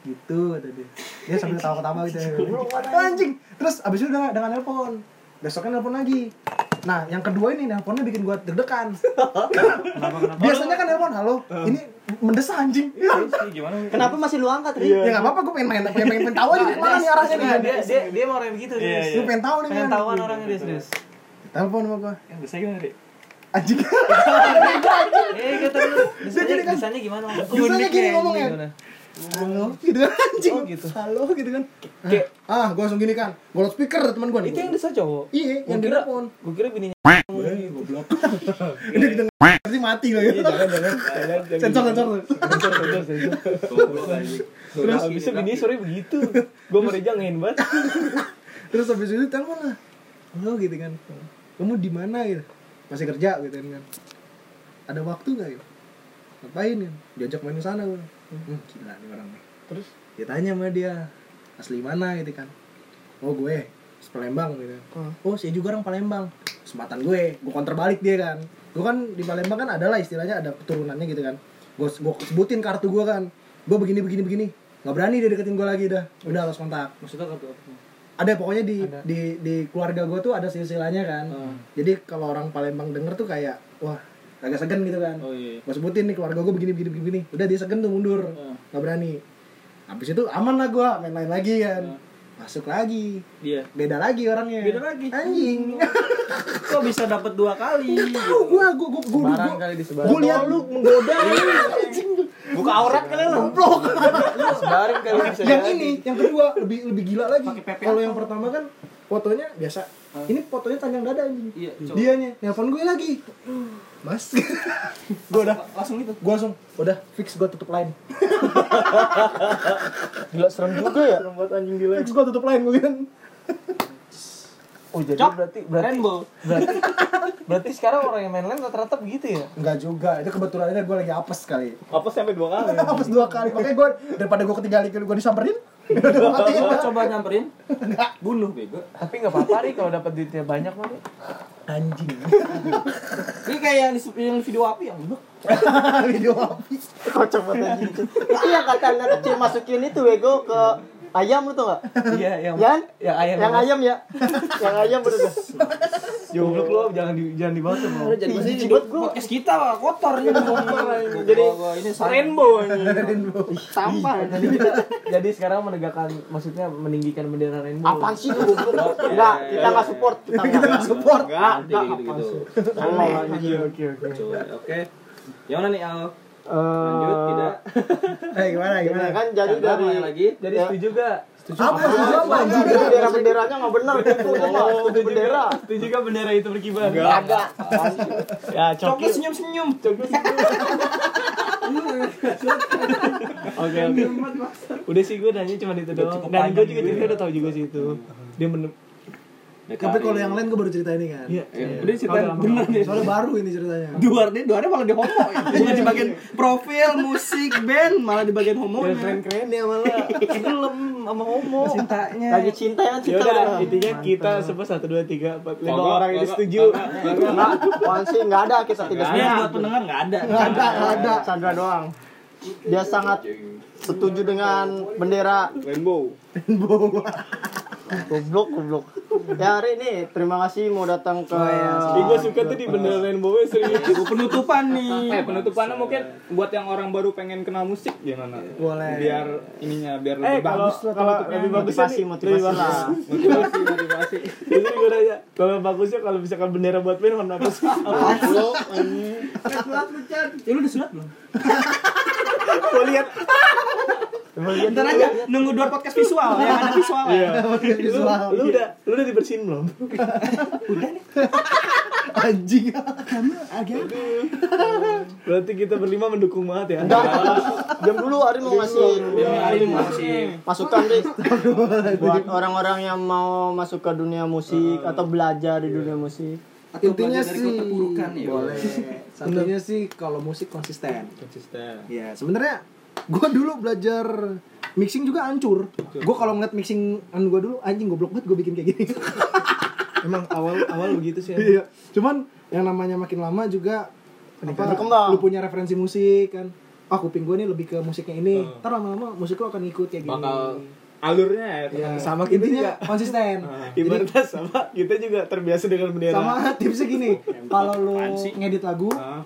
S4: gitu kata dia. Dia sambil tawa-tawa gitu. Anjing. Terus abis itu dengan, dengan nelpon. Besoknya nelpon lagi. Nah, yang kedua ini nelponnya bikin gua deg-degan. Biasanya kan nelpon, halo, ini mendesah anjing. Ya
S1: Gimana?
S5: Kenapa masih lu angkat, Ri?
S4: nggak apa-apa, gua pengen main, pengen, pengen, pengen tahu aja nih kemana nih arahnya nih.
S2: Iya, dia dia dia mau orang begitu
S3: gitu,
S1: Iya,
S2: dia.
S1: iya.
S4: Gua pengen tahu nih
S2: Pengen
S4: kan.
S2: tahuan orangnya dia serius.
S4: Telepon sama gua.
S1: Yang biasa gimana, Ri?
S4: Anjing.
S2: Eh,
S3: gitu,
S2: kata lu,
S4: Dia jadi
S2: desanya
S4: kan-
S2: desanya gimana?
S4: Biasanya gini
S2: Uniknya
S4: ngomongnya.
S2: ya, gimana? Oh,
S4: Halo, gitu kan anjing. Halo gitu kan.
S2: Kayak-
S4: Ah, gua langsung gini kan. Gua loudspeaker teman gua nih.
S2: Itu yang desa cowok.
S4: Iya, yang di
S2: Gua kira-
S4: telepon.
S2: Gue kira bininya iya.
S4: Ini kita pasti mati loh. ya.
S2: gitu.
S4: Sensor sensor.
S2: Terus bisa bini sore begitu. Gue mereka ngin banget.
S4: Terus habis itu telepon lah. Halo gitu kan. Kamu di mana gitu? Masih kerja gitu kan. Ada waktu nggak gitu? Ngapain kan? Diajak main ke sana gua. Hmm, gila nih orang nih.
S2: Terus?
S4: Dia tanya sama dia, asli mana gitu kan. Oh gue, Palembang gitu.
S2: Hmm.
S4: Oh saya juga orang Palembang. Sematan gue, gue konter balik dia kan. Gue kan di Palembang kan adalah istilahnya ada keturunannya gitu kan. Gue gue sebutin kartu gue kan. Gue begini begini begini. Gak berani dia deketin gue lagi dah. Udah harus kontak
S2: Maksudnya kartu apa?
S4: ada pokoknya di di di keluarga gue tuh ada silsilanya kan
S2: Hmm.
S4: jadi kalau orang Palembang denger tuh kayak wah agak segen gitu kan
S2: Oh iya.
S4: gue sebutin nih keluarga gue begini begini begini begini. udah dia segen tuh mundur nggak berani habis itu aman lah gue main lain lagi kan masuk lagi
S1: Iya.
S2: Dia.
S4: beda lagi orangnya
S2: Beda lagi.
S4: anjing
S2: Kok bisa dapat dua kali?
S4: tahu gue gue gue gue
S2: Barang kali disebarin.
S4: gue lihat lu menggoda anjing
S5: Buka aurat kali lu.
S2: Sebarin kali bisa.
S4: yang ini yang kedua lebih lebih gila lagi kalau yang pertama kan fotonya biasa ini fotonya tanjang dada anjing
S2: Iya, cowok.
S4: dianya nelpon gue lagi mas gue udah
S1: Langsung gitu.
S4: gue langsung udah fix gue tutup line
S5: Gila serem juga ya.
S4: fix gue tutup line gue kan
S2: Oh, jadi berarti berarti Berarti berarti sekarang orang yang main lain rata-rata begitu ya?
S4: Enggak juga, itu kebetulan aja gue lagi apes kali
S6: Apa sampai dua kali?
S4: Apes dua kali, makanya gue Daripada gue ketinggalan gue disamperin Udah gue matiin
S1: Gua coba nyamperin. Bunuh bego.
S2: Tapi nggak apa-apa nih kalau dapat duitnya banyak mah. Ri.
S4: Anjing
S1: Ini kayak yang di yang di video api
S3: ya?
S1: yang bunuh.
S4: Video api
S5: Kocok banget anjing. Itu yang kata anak kecil masukin itu bego ke ayam lu tuh enggak?
S2: Iya, yang
S5: Yang
S2: yang ayam.
S5: yang ayam ya. Yang ayam bener tuh.
S2: Jomblo lu jangan di jangan dibawa sama.
S5: Jadi
S20: Iya,
S5: buat gua
S1: Podcast kita wah, kotor ini. Jadi ini saran.
S5: rainbow ini. Ih, Sampah.
S2: Jadi kita
S5: Iya.
S2: jadi sekarang menegakkan maksudnya meninggikan bendera rainbow.
S5: Apaan sih lu goblok? Enggak, kita enggak support. Kita enggak.
S4: Kita support
S6: Ah,
S1: Nanti gitu gitu.
S5: Aneh.
S2: Oke, oke.
S1: Oke. Yang mana nih Al? Lanjut
S5: Eh,
S1: tidak?
S4: Eh gimana
S5: Gimana
S4: gimana
S5: kan jadi
S1: Ada
S5: dari
S1: apa lagi?
S2: Jadi
S5: Ya.
S2: setuju gak? Setuju.
S4: Apa sih apa anjing
S5: Jadi bendera-benderanya nggak bener gitu ya nggak? Setuju bendera.
S2: Setuju gak bendera itu berkibar?
S6: Ya,
S5: Agak.
S1: Coba senyum senyum.
S6: Oke oke. Udah sih gue nanya cuma itu doang. Dan gue juga cerita
S1: ya.
S6: udah tahu juga sih itu. Dia menem.
S16: Tapi kalau yang lain gue baru cerita ini kan.
S6: Iya.
S1: Udah ceritain
S6: Kalau
S1: bener deh.
S16: Soalnya baru ini ceritanya.
S1: Duar nih, duarnya malah di homo. Bukan di bagian profil, musik, band, malah di bagian homo. Iya.
S6: Keren keren ya malah. Gelem sama homo.
S1: Cintanya.
S5: Lagi cinta ya cinta.
S6: Yaudah, intinya kita semua satu dua tiga empat lima
S20: Kagak,
S6: orang ini
S20: kagak,
S6: setuju. Iya.
S5: Enggak, apaan sih enggak ada kita tidak
S1: Nah,
S5: setuju.
S1: buat pendengar nggak ada.
S5: Enggak ada, enggak ada. Sandra doang. Dia sangat setuju dengan bendera
S20: Rainbow.
S5: goblok goblok. Ya hari ini terima kasih mau datang ke
S6: Ih, gue suka tuh di bendera rainbow serius.
S1: Penutupan nih.
S20: Eh penutupannya mungkin buat yang orang baru pengen kenal musik gimana?
S4: Boleh.
S20: Biar ininya biar
S6: Eh
S20: lebih
S6: kalau
S20: bagus.
S6: kalau lebih bagus
S5: motivasi
S6: ini,
S5: motivasi
S6: lebih bagus.
S5: lah.
S20: Motivasi, motivasi.
S6: Jadi gue nanya, kalau bagusnya kalau misalkan bendera buat band warna apa sih?
S1: Ya lu udah sunat belum?
S6: Gue lihat
S1: Bentar aja, nunggu duar podcast visual yang ada visual ya.
S6: lu, lu udah lu udah dibersihin belum?
S16: Anjing.
S4: ya.
S6: Berarti kita berlima mendukung banget ya.
S5: Enggak. Diam dulu Ari mau ngasih masukan deh buat orang-orang yang mau masuk ke dunia musik atau belajar di dunia musik.
S4: Intinya
S1: dari
S4: sih
S1: keterpurukan ya.
S4: boleh. Satunya sih kalau musik konsisten.
S20: Konsisten.
S4: Ya, sebenarnya gue dulu belajar mixing juga hancur. Gue kalau ngeliat mixing an gue dulu anjing goblok banget gue bikin kayak gini.
S6: Emang awal awal begitu sih.
S4: Iya. Cuman yang namanya makin lama juga apa,
S5: Berkembang.
S4: lu punya referensi musik kan. Ah kuping gue nih lebih ke musiknya ini. Ntar lama-lama musik lo akan ngikut kayak gini.
S20: Bakal alurnya ya.
S4: Ya,
S6: Sama kita
S4: intinya konsisten.
S6: Ibaratnya sama kita juga terbiasa dengan bendera.
S4: Sama tipsnya gini, kalau lu
S20: Iya. Apaan sih?
S4: ngedit lagu,
S20: Ah,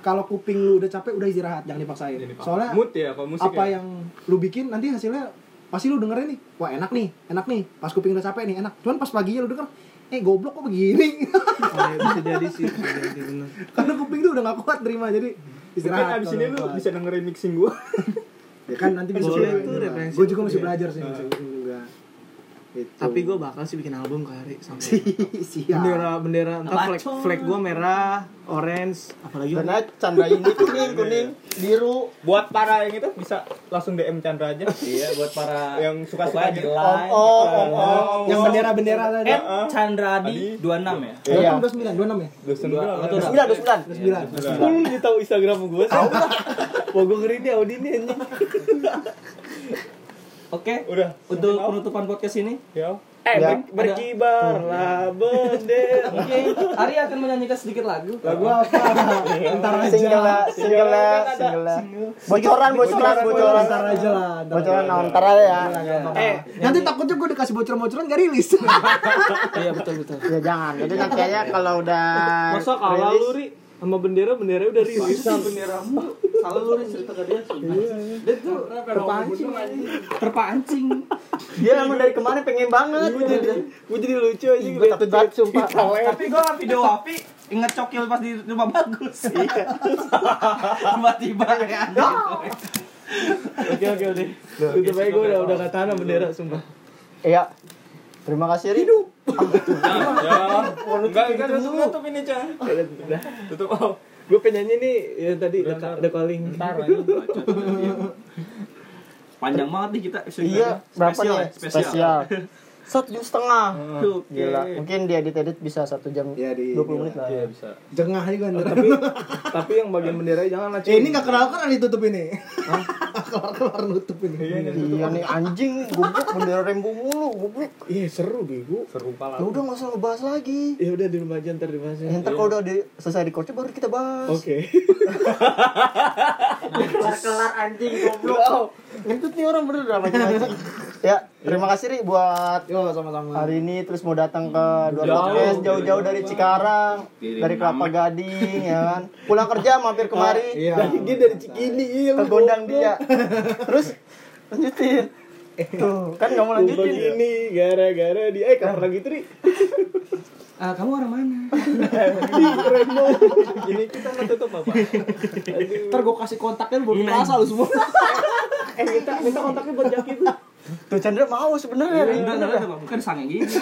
S4: kalau kuping lu udah capek udah istirahat, jangan dipaksain.
S20: jadi paham.
S4: Soalnya
S20: mood ya kalau musik.
S4: apa
S20: ya?
S4: yang lu bikin nanti hasilnya pasti lu dengerin nih wah enak nih enak nih pas kuping udah capek nih enak cuman pas paginya lu denger eh goblok kok begini
S6: Oh, ya, bisa jadi sih. Bisa jadi bener.
S4: karena kuping tuh udah gak kuat terima jadi
S20: Mungkin
S4: istirahat
S20: kan abis
S4: kalau
S20: ini
S4: nggak
S20: lu
S4: kuat.
S20: bisa dengerin mixing gua.
S4: ya kan nanti bisa coba
S6: Boleh tuh
S4: ini lah.
S6: referensi
S4: gua juga masih
S6: itu,
S4: belajar
S20: Ah.
S4: sih masih kuping juga Gitu.
S6: Tapi gue bakal sih bikin album kali sama
S4: siap
S6: bendera bendera entah flag flag gue merah, orange, apalagi
S5: Karena Chandra ini kuning kuning biru
S20: Buat para yang itu bisa langsung DM Chandra aja.
S3: Iya buat para
S20: yang suka-suka
S3: pokoknya di
S20: aja.
S5: om
S3: line.
S5: om om om.
S4: yang bendera bendera
S20: Oh.
S4: tadi
S3: Eh, Chandra di 26 ya.
S4: Lo
S5: Iya.
S4: kan udah sembilan dua enam ya
S20: Dosen dulu.
S3: Betul.
S5: Sudah, udah sudah.
S4: udah sembilan
S6: Lu jadi tahu Instagram gue sih. Mau gue ngeri nih Audi nih anjing.
S3: Oke.
S20: Udah.
S3: Untuk penutupan podcast ini, ya.
S20: Ya.
S6: Eh,
S5: Ya.
S6: ber- berkibarlah bendera.
S3: oke, Ari akan menyanyikan sedikit lagu.
S4: lagu apa ntar aja
S5: Single lah, single lah, single lah. Bocoran, bocoran, bocoran.
S4: ntar aja lah ntar
S5: Bocoran
S4: aja.
S5: nah, ntar aja ya.
S6: eh,
S4: nanti takutnya gua dikasih bocoran-bocoran gak rilis
S6: iya betul betul.
S5: Ya jangan. Jadi nanti aja kalau udah
S6: Masa kalah lu Ri sama bendera bendera udah rilis.
S3: Salah lu Ri, cerita ke dia. Dia tuh Iya. terpancing. Terpancing.
S5: dia emang dari kemarin pengen banget. Gue jadi
S6: Gue jadi lucu aja
S5: gue takut banget sumpah.
S3: Tapi gua video Wafi inget cokil pas di rumah bagus. Tiba-tiba ya.
S6: Oke oke oke. Itu baik gue udah udah gak tahan sama bendera sumpah.
S5: Iya. Terima kasih Ri.
S20: Ya. Enggak, enggak tutup tutup ini, Chan. Tutup. Oh.
S6: Gue penyanyi nih ya tadi The, Ca- The Calling.
S20: Ntar anjing bacot.
S3: Panjang banget nih kita episode
S5: Iya,
S3: ini.
S5: berapa
S3: Spesial
S5: nih?
S3: ya, Spesial.
S5: Satu jam setengah.
S3: Tuh,
S5: Gila, mungkin dia edit-edit bisa satu jam
S4: Iya, di-
S5: 20 menit lah.
S20: Iya bisa.
S4: jengah juga ntar
S6: Ya, Tapi tapi yang bagian bendera jangan lah.
S4: Eh, ini gak kenal kan ditutup ini. Kelar-kelar nutup ini.
S5: Iya nih anjing, goblok bendera rembo mulu, goblok.
S6: Iya seru bego.
S20: Serupa lah.
S5: Ya udah nggak usah ngebahas lagi.
S6: Ya udah di rumah aja ntar dibahasnya.
S5: Ya, ntar kalau udah di, selesai di baru kita bahas.
S6: Oke.
S5: Kelar-kelar anjing goblok. Ngentut nih orang bener dah anjing. Ya, terima kasih Ri buat
S4: Yo, sama-sama.
S5: hari ini terus mau datang ke dua
S20: Jauh.
S5: podcast jauh-jauh dari Cikarang,
S20: Dari
S5: dari Kelapa Gading ya kan. Pulang kerja mampir kemari,
S4: Iya.
S6: Dia dari Cikini. iya, lu
S5: kegondang dia. Terus lanjutin. Tuh, kan kamu lanjutin.
S6: ini gara-gara dia eh kapan lagi tri
S3: Eh,
S4: Ah, kamu orang mana?
S20: Ini kita nggak tutup apa?
S4: Ntar gue kasih kontaknya lu baru merasa lu semua.
S6: eh minta minta kontaknya buat jaki
S5: Tuh Chandra mau sebenarnya.
S1: Udah, udah, udah, Bang. Kan sange gitu.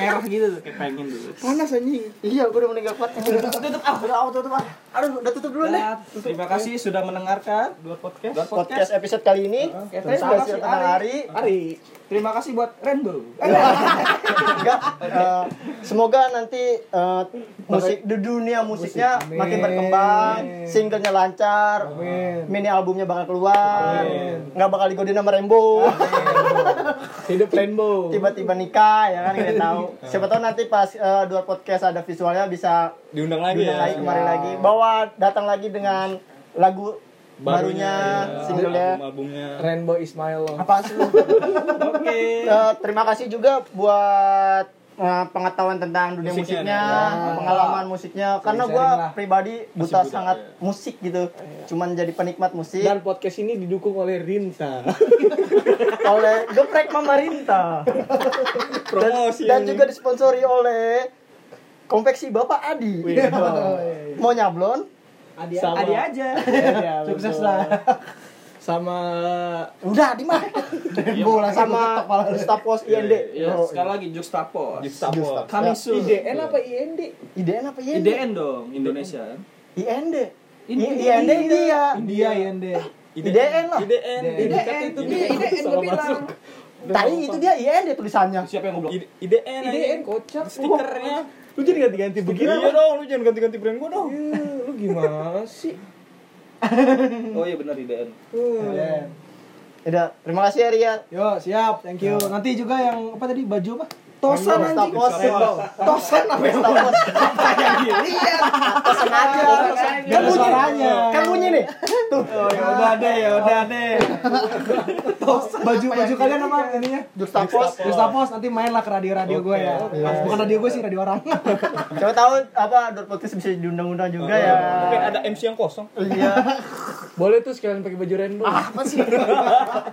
S1: Merah gitu tuh, kayak pengen dulu.
S5: Panas anjing. Iya, gua udah meninggal kuat. Tutup ah, udah auto tutup ah. Aduh, udah tutup dulu deh.
S1: Terima kasih sudah mendengarkan.
S5: Podcast episode kali ini
S1: Terima
S5: tentang
S1: kasih,
S5: tentang
S1: Ari.
S5: Ari.
S1: Ari. Terima kasih buat Rainbow.
S5: Enggak. eh, semoga nanti eh, musik di dunia musiknya
S4: Musik.
S5: makin
S4: Amin.
S5: berkembang, singlenya lancar, mini albumnya bakal keluar, nggak bakal digodain sama Rembo,
S4: Hidup rainbow. Iya.
S5: tiba-tiba nikah ya kan kita tahu. Siapa tahu nanti pas eh, dua podcast ada visualnya bisa
S20: Diundang lagi ya.
S5: diundang lagi kemarin
S4: Iya.
S5: lagi, bawa datang lagi dengan lagu barunya,
S4: iya.
S20: ya,
S5: singlenya.
S20: album- albumnya.
S2: Rainbow Ismail loh.
S5: Apa sih? Eh, terima kasih juga buat eh, pengetahuan tentang dunia
S20: Musiknya,
S5: musiknya, pengalaman musiknya. Karena gue pribadi buta sangat musik gitu, cuman jadi penikmat musik
S2: Dan podcast ini didukung oleh Rinta.
S5: oleh geprek pemerintah dan,
S20: Promosi.
S5: dan juga disponsori oleh konveksi Bapak Adi.
S4: iya. Oh,
S5: Mau nyablon?
S1: Adi aja.
S4: Sukses lah.
S2: Sama
S5: Udah, Adi mah. Bola sama staf pos IND.
S1: Ya, sekali lagi Juxtapos.
S20: Gestapo.
S1: Kami
S3: Iya.
S1: su.
S2: IDN apa IND?
S5: IDN apa IND?
S1: IDN dong, Indonesia.
S5: IND.
S1: Ini-
S5: IND India.
S3: Iya,
S4: India IND.
S5: IDN lah.
S20: IDN. IDN.
S2: Itu dia IDN gue bilang.
S5: Tadi itu dia IND tulisannya.
S1: Siapa yang goblok?
S20: I- IDN.
S2: IDN kocak.
S20: Stikernya.
S4: Iya.
S2: Lu jadi ganti-ganti begini.
S20: Iya dong, lu jangan ganti-ganti brand gua dong.
S2: Lu gimana sih?
S1: Oh iya benar IDN.
S5: Udah, terima kasih ya Ria.
S4: Yo, siap. Thank you. Nanti juga yang apa tadi baju apa?
S5: Tosan anjing. Tosan apa ya? Tosan. Tosan aja. Kan bunyi.
S4: suaranya.
S5: Kan bunyi nih. Tuh.
S1: Ya udah deh, ya udah deh.
S4: Baju baju kalian apa ya? ininya?
S5: Juxtapos.
S4: Gustapos nanti mainlah ke radio-radio gue ya. Bukan radio gue sih, radio orang.
S5: Coba tahu apa Dor Podcast bisa diundang-undang juga ya.
S20: Mungkin ada MC yang kosong.
S5: Iya. Ah,
S2: Boleh tuh sekalian pakai baju rainbow.
S5: Apa sih?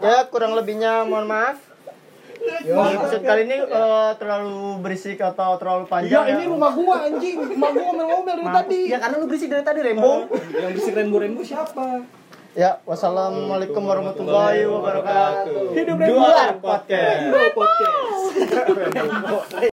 S5: Ya kurang lebihnya mohon maaf. Episode kali ini eh, terlalu berisik atau terlalu panjang.
S2: Ya
S4: Iya,
S2: ini rumah gua anjing. Rumah gua ngomel-ngomel dari tadi.
S5: Ya karena lu berisik dari tadi, Rembo.
S1: Yang bisik Rainbow-Rainbow siapa?
S5: Ya, wassalamualaikum warahmatullahi wabarakatuh.
S20: Hidup
S5: Jualan podcast.
S1: Podcast.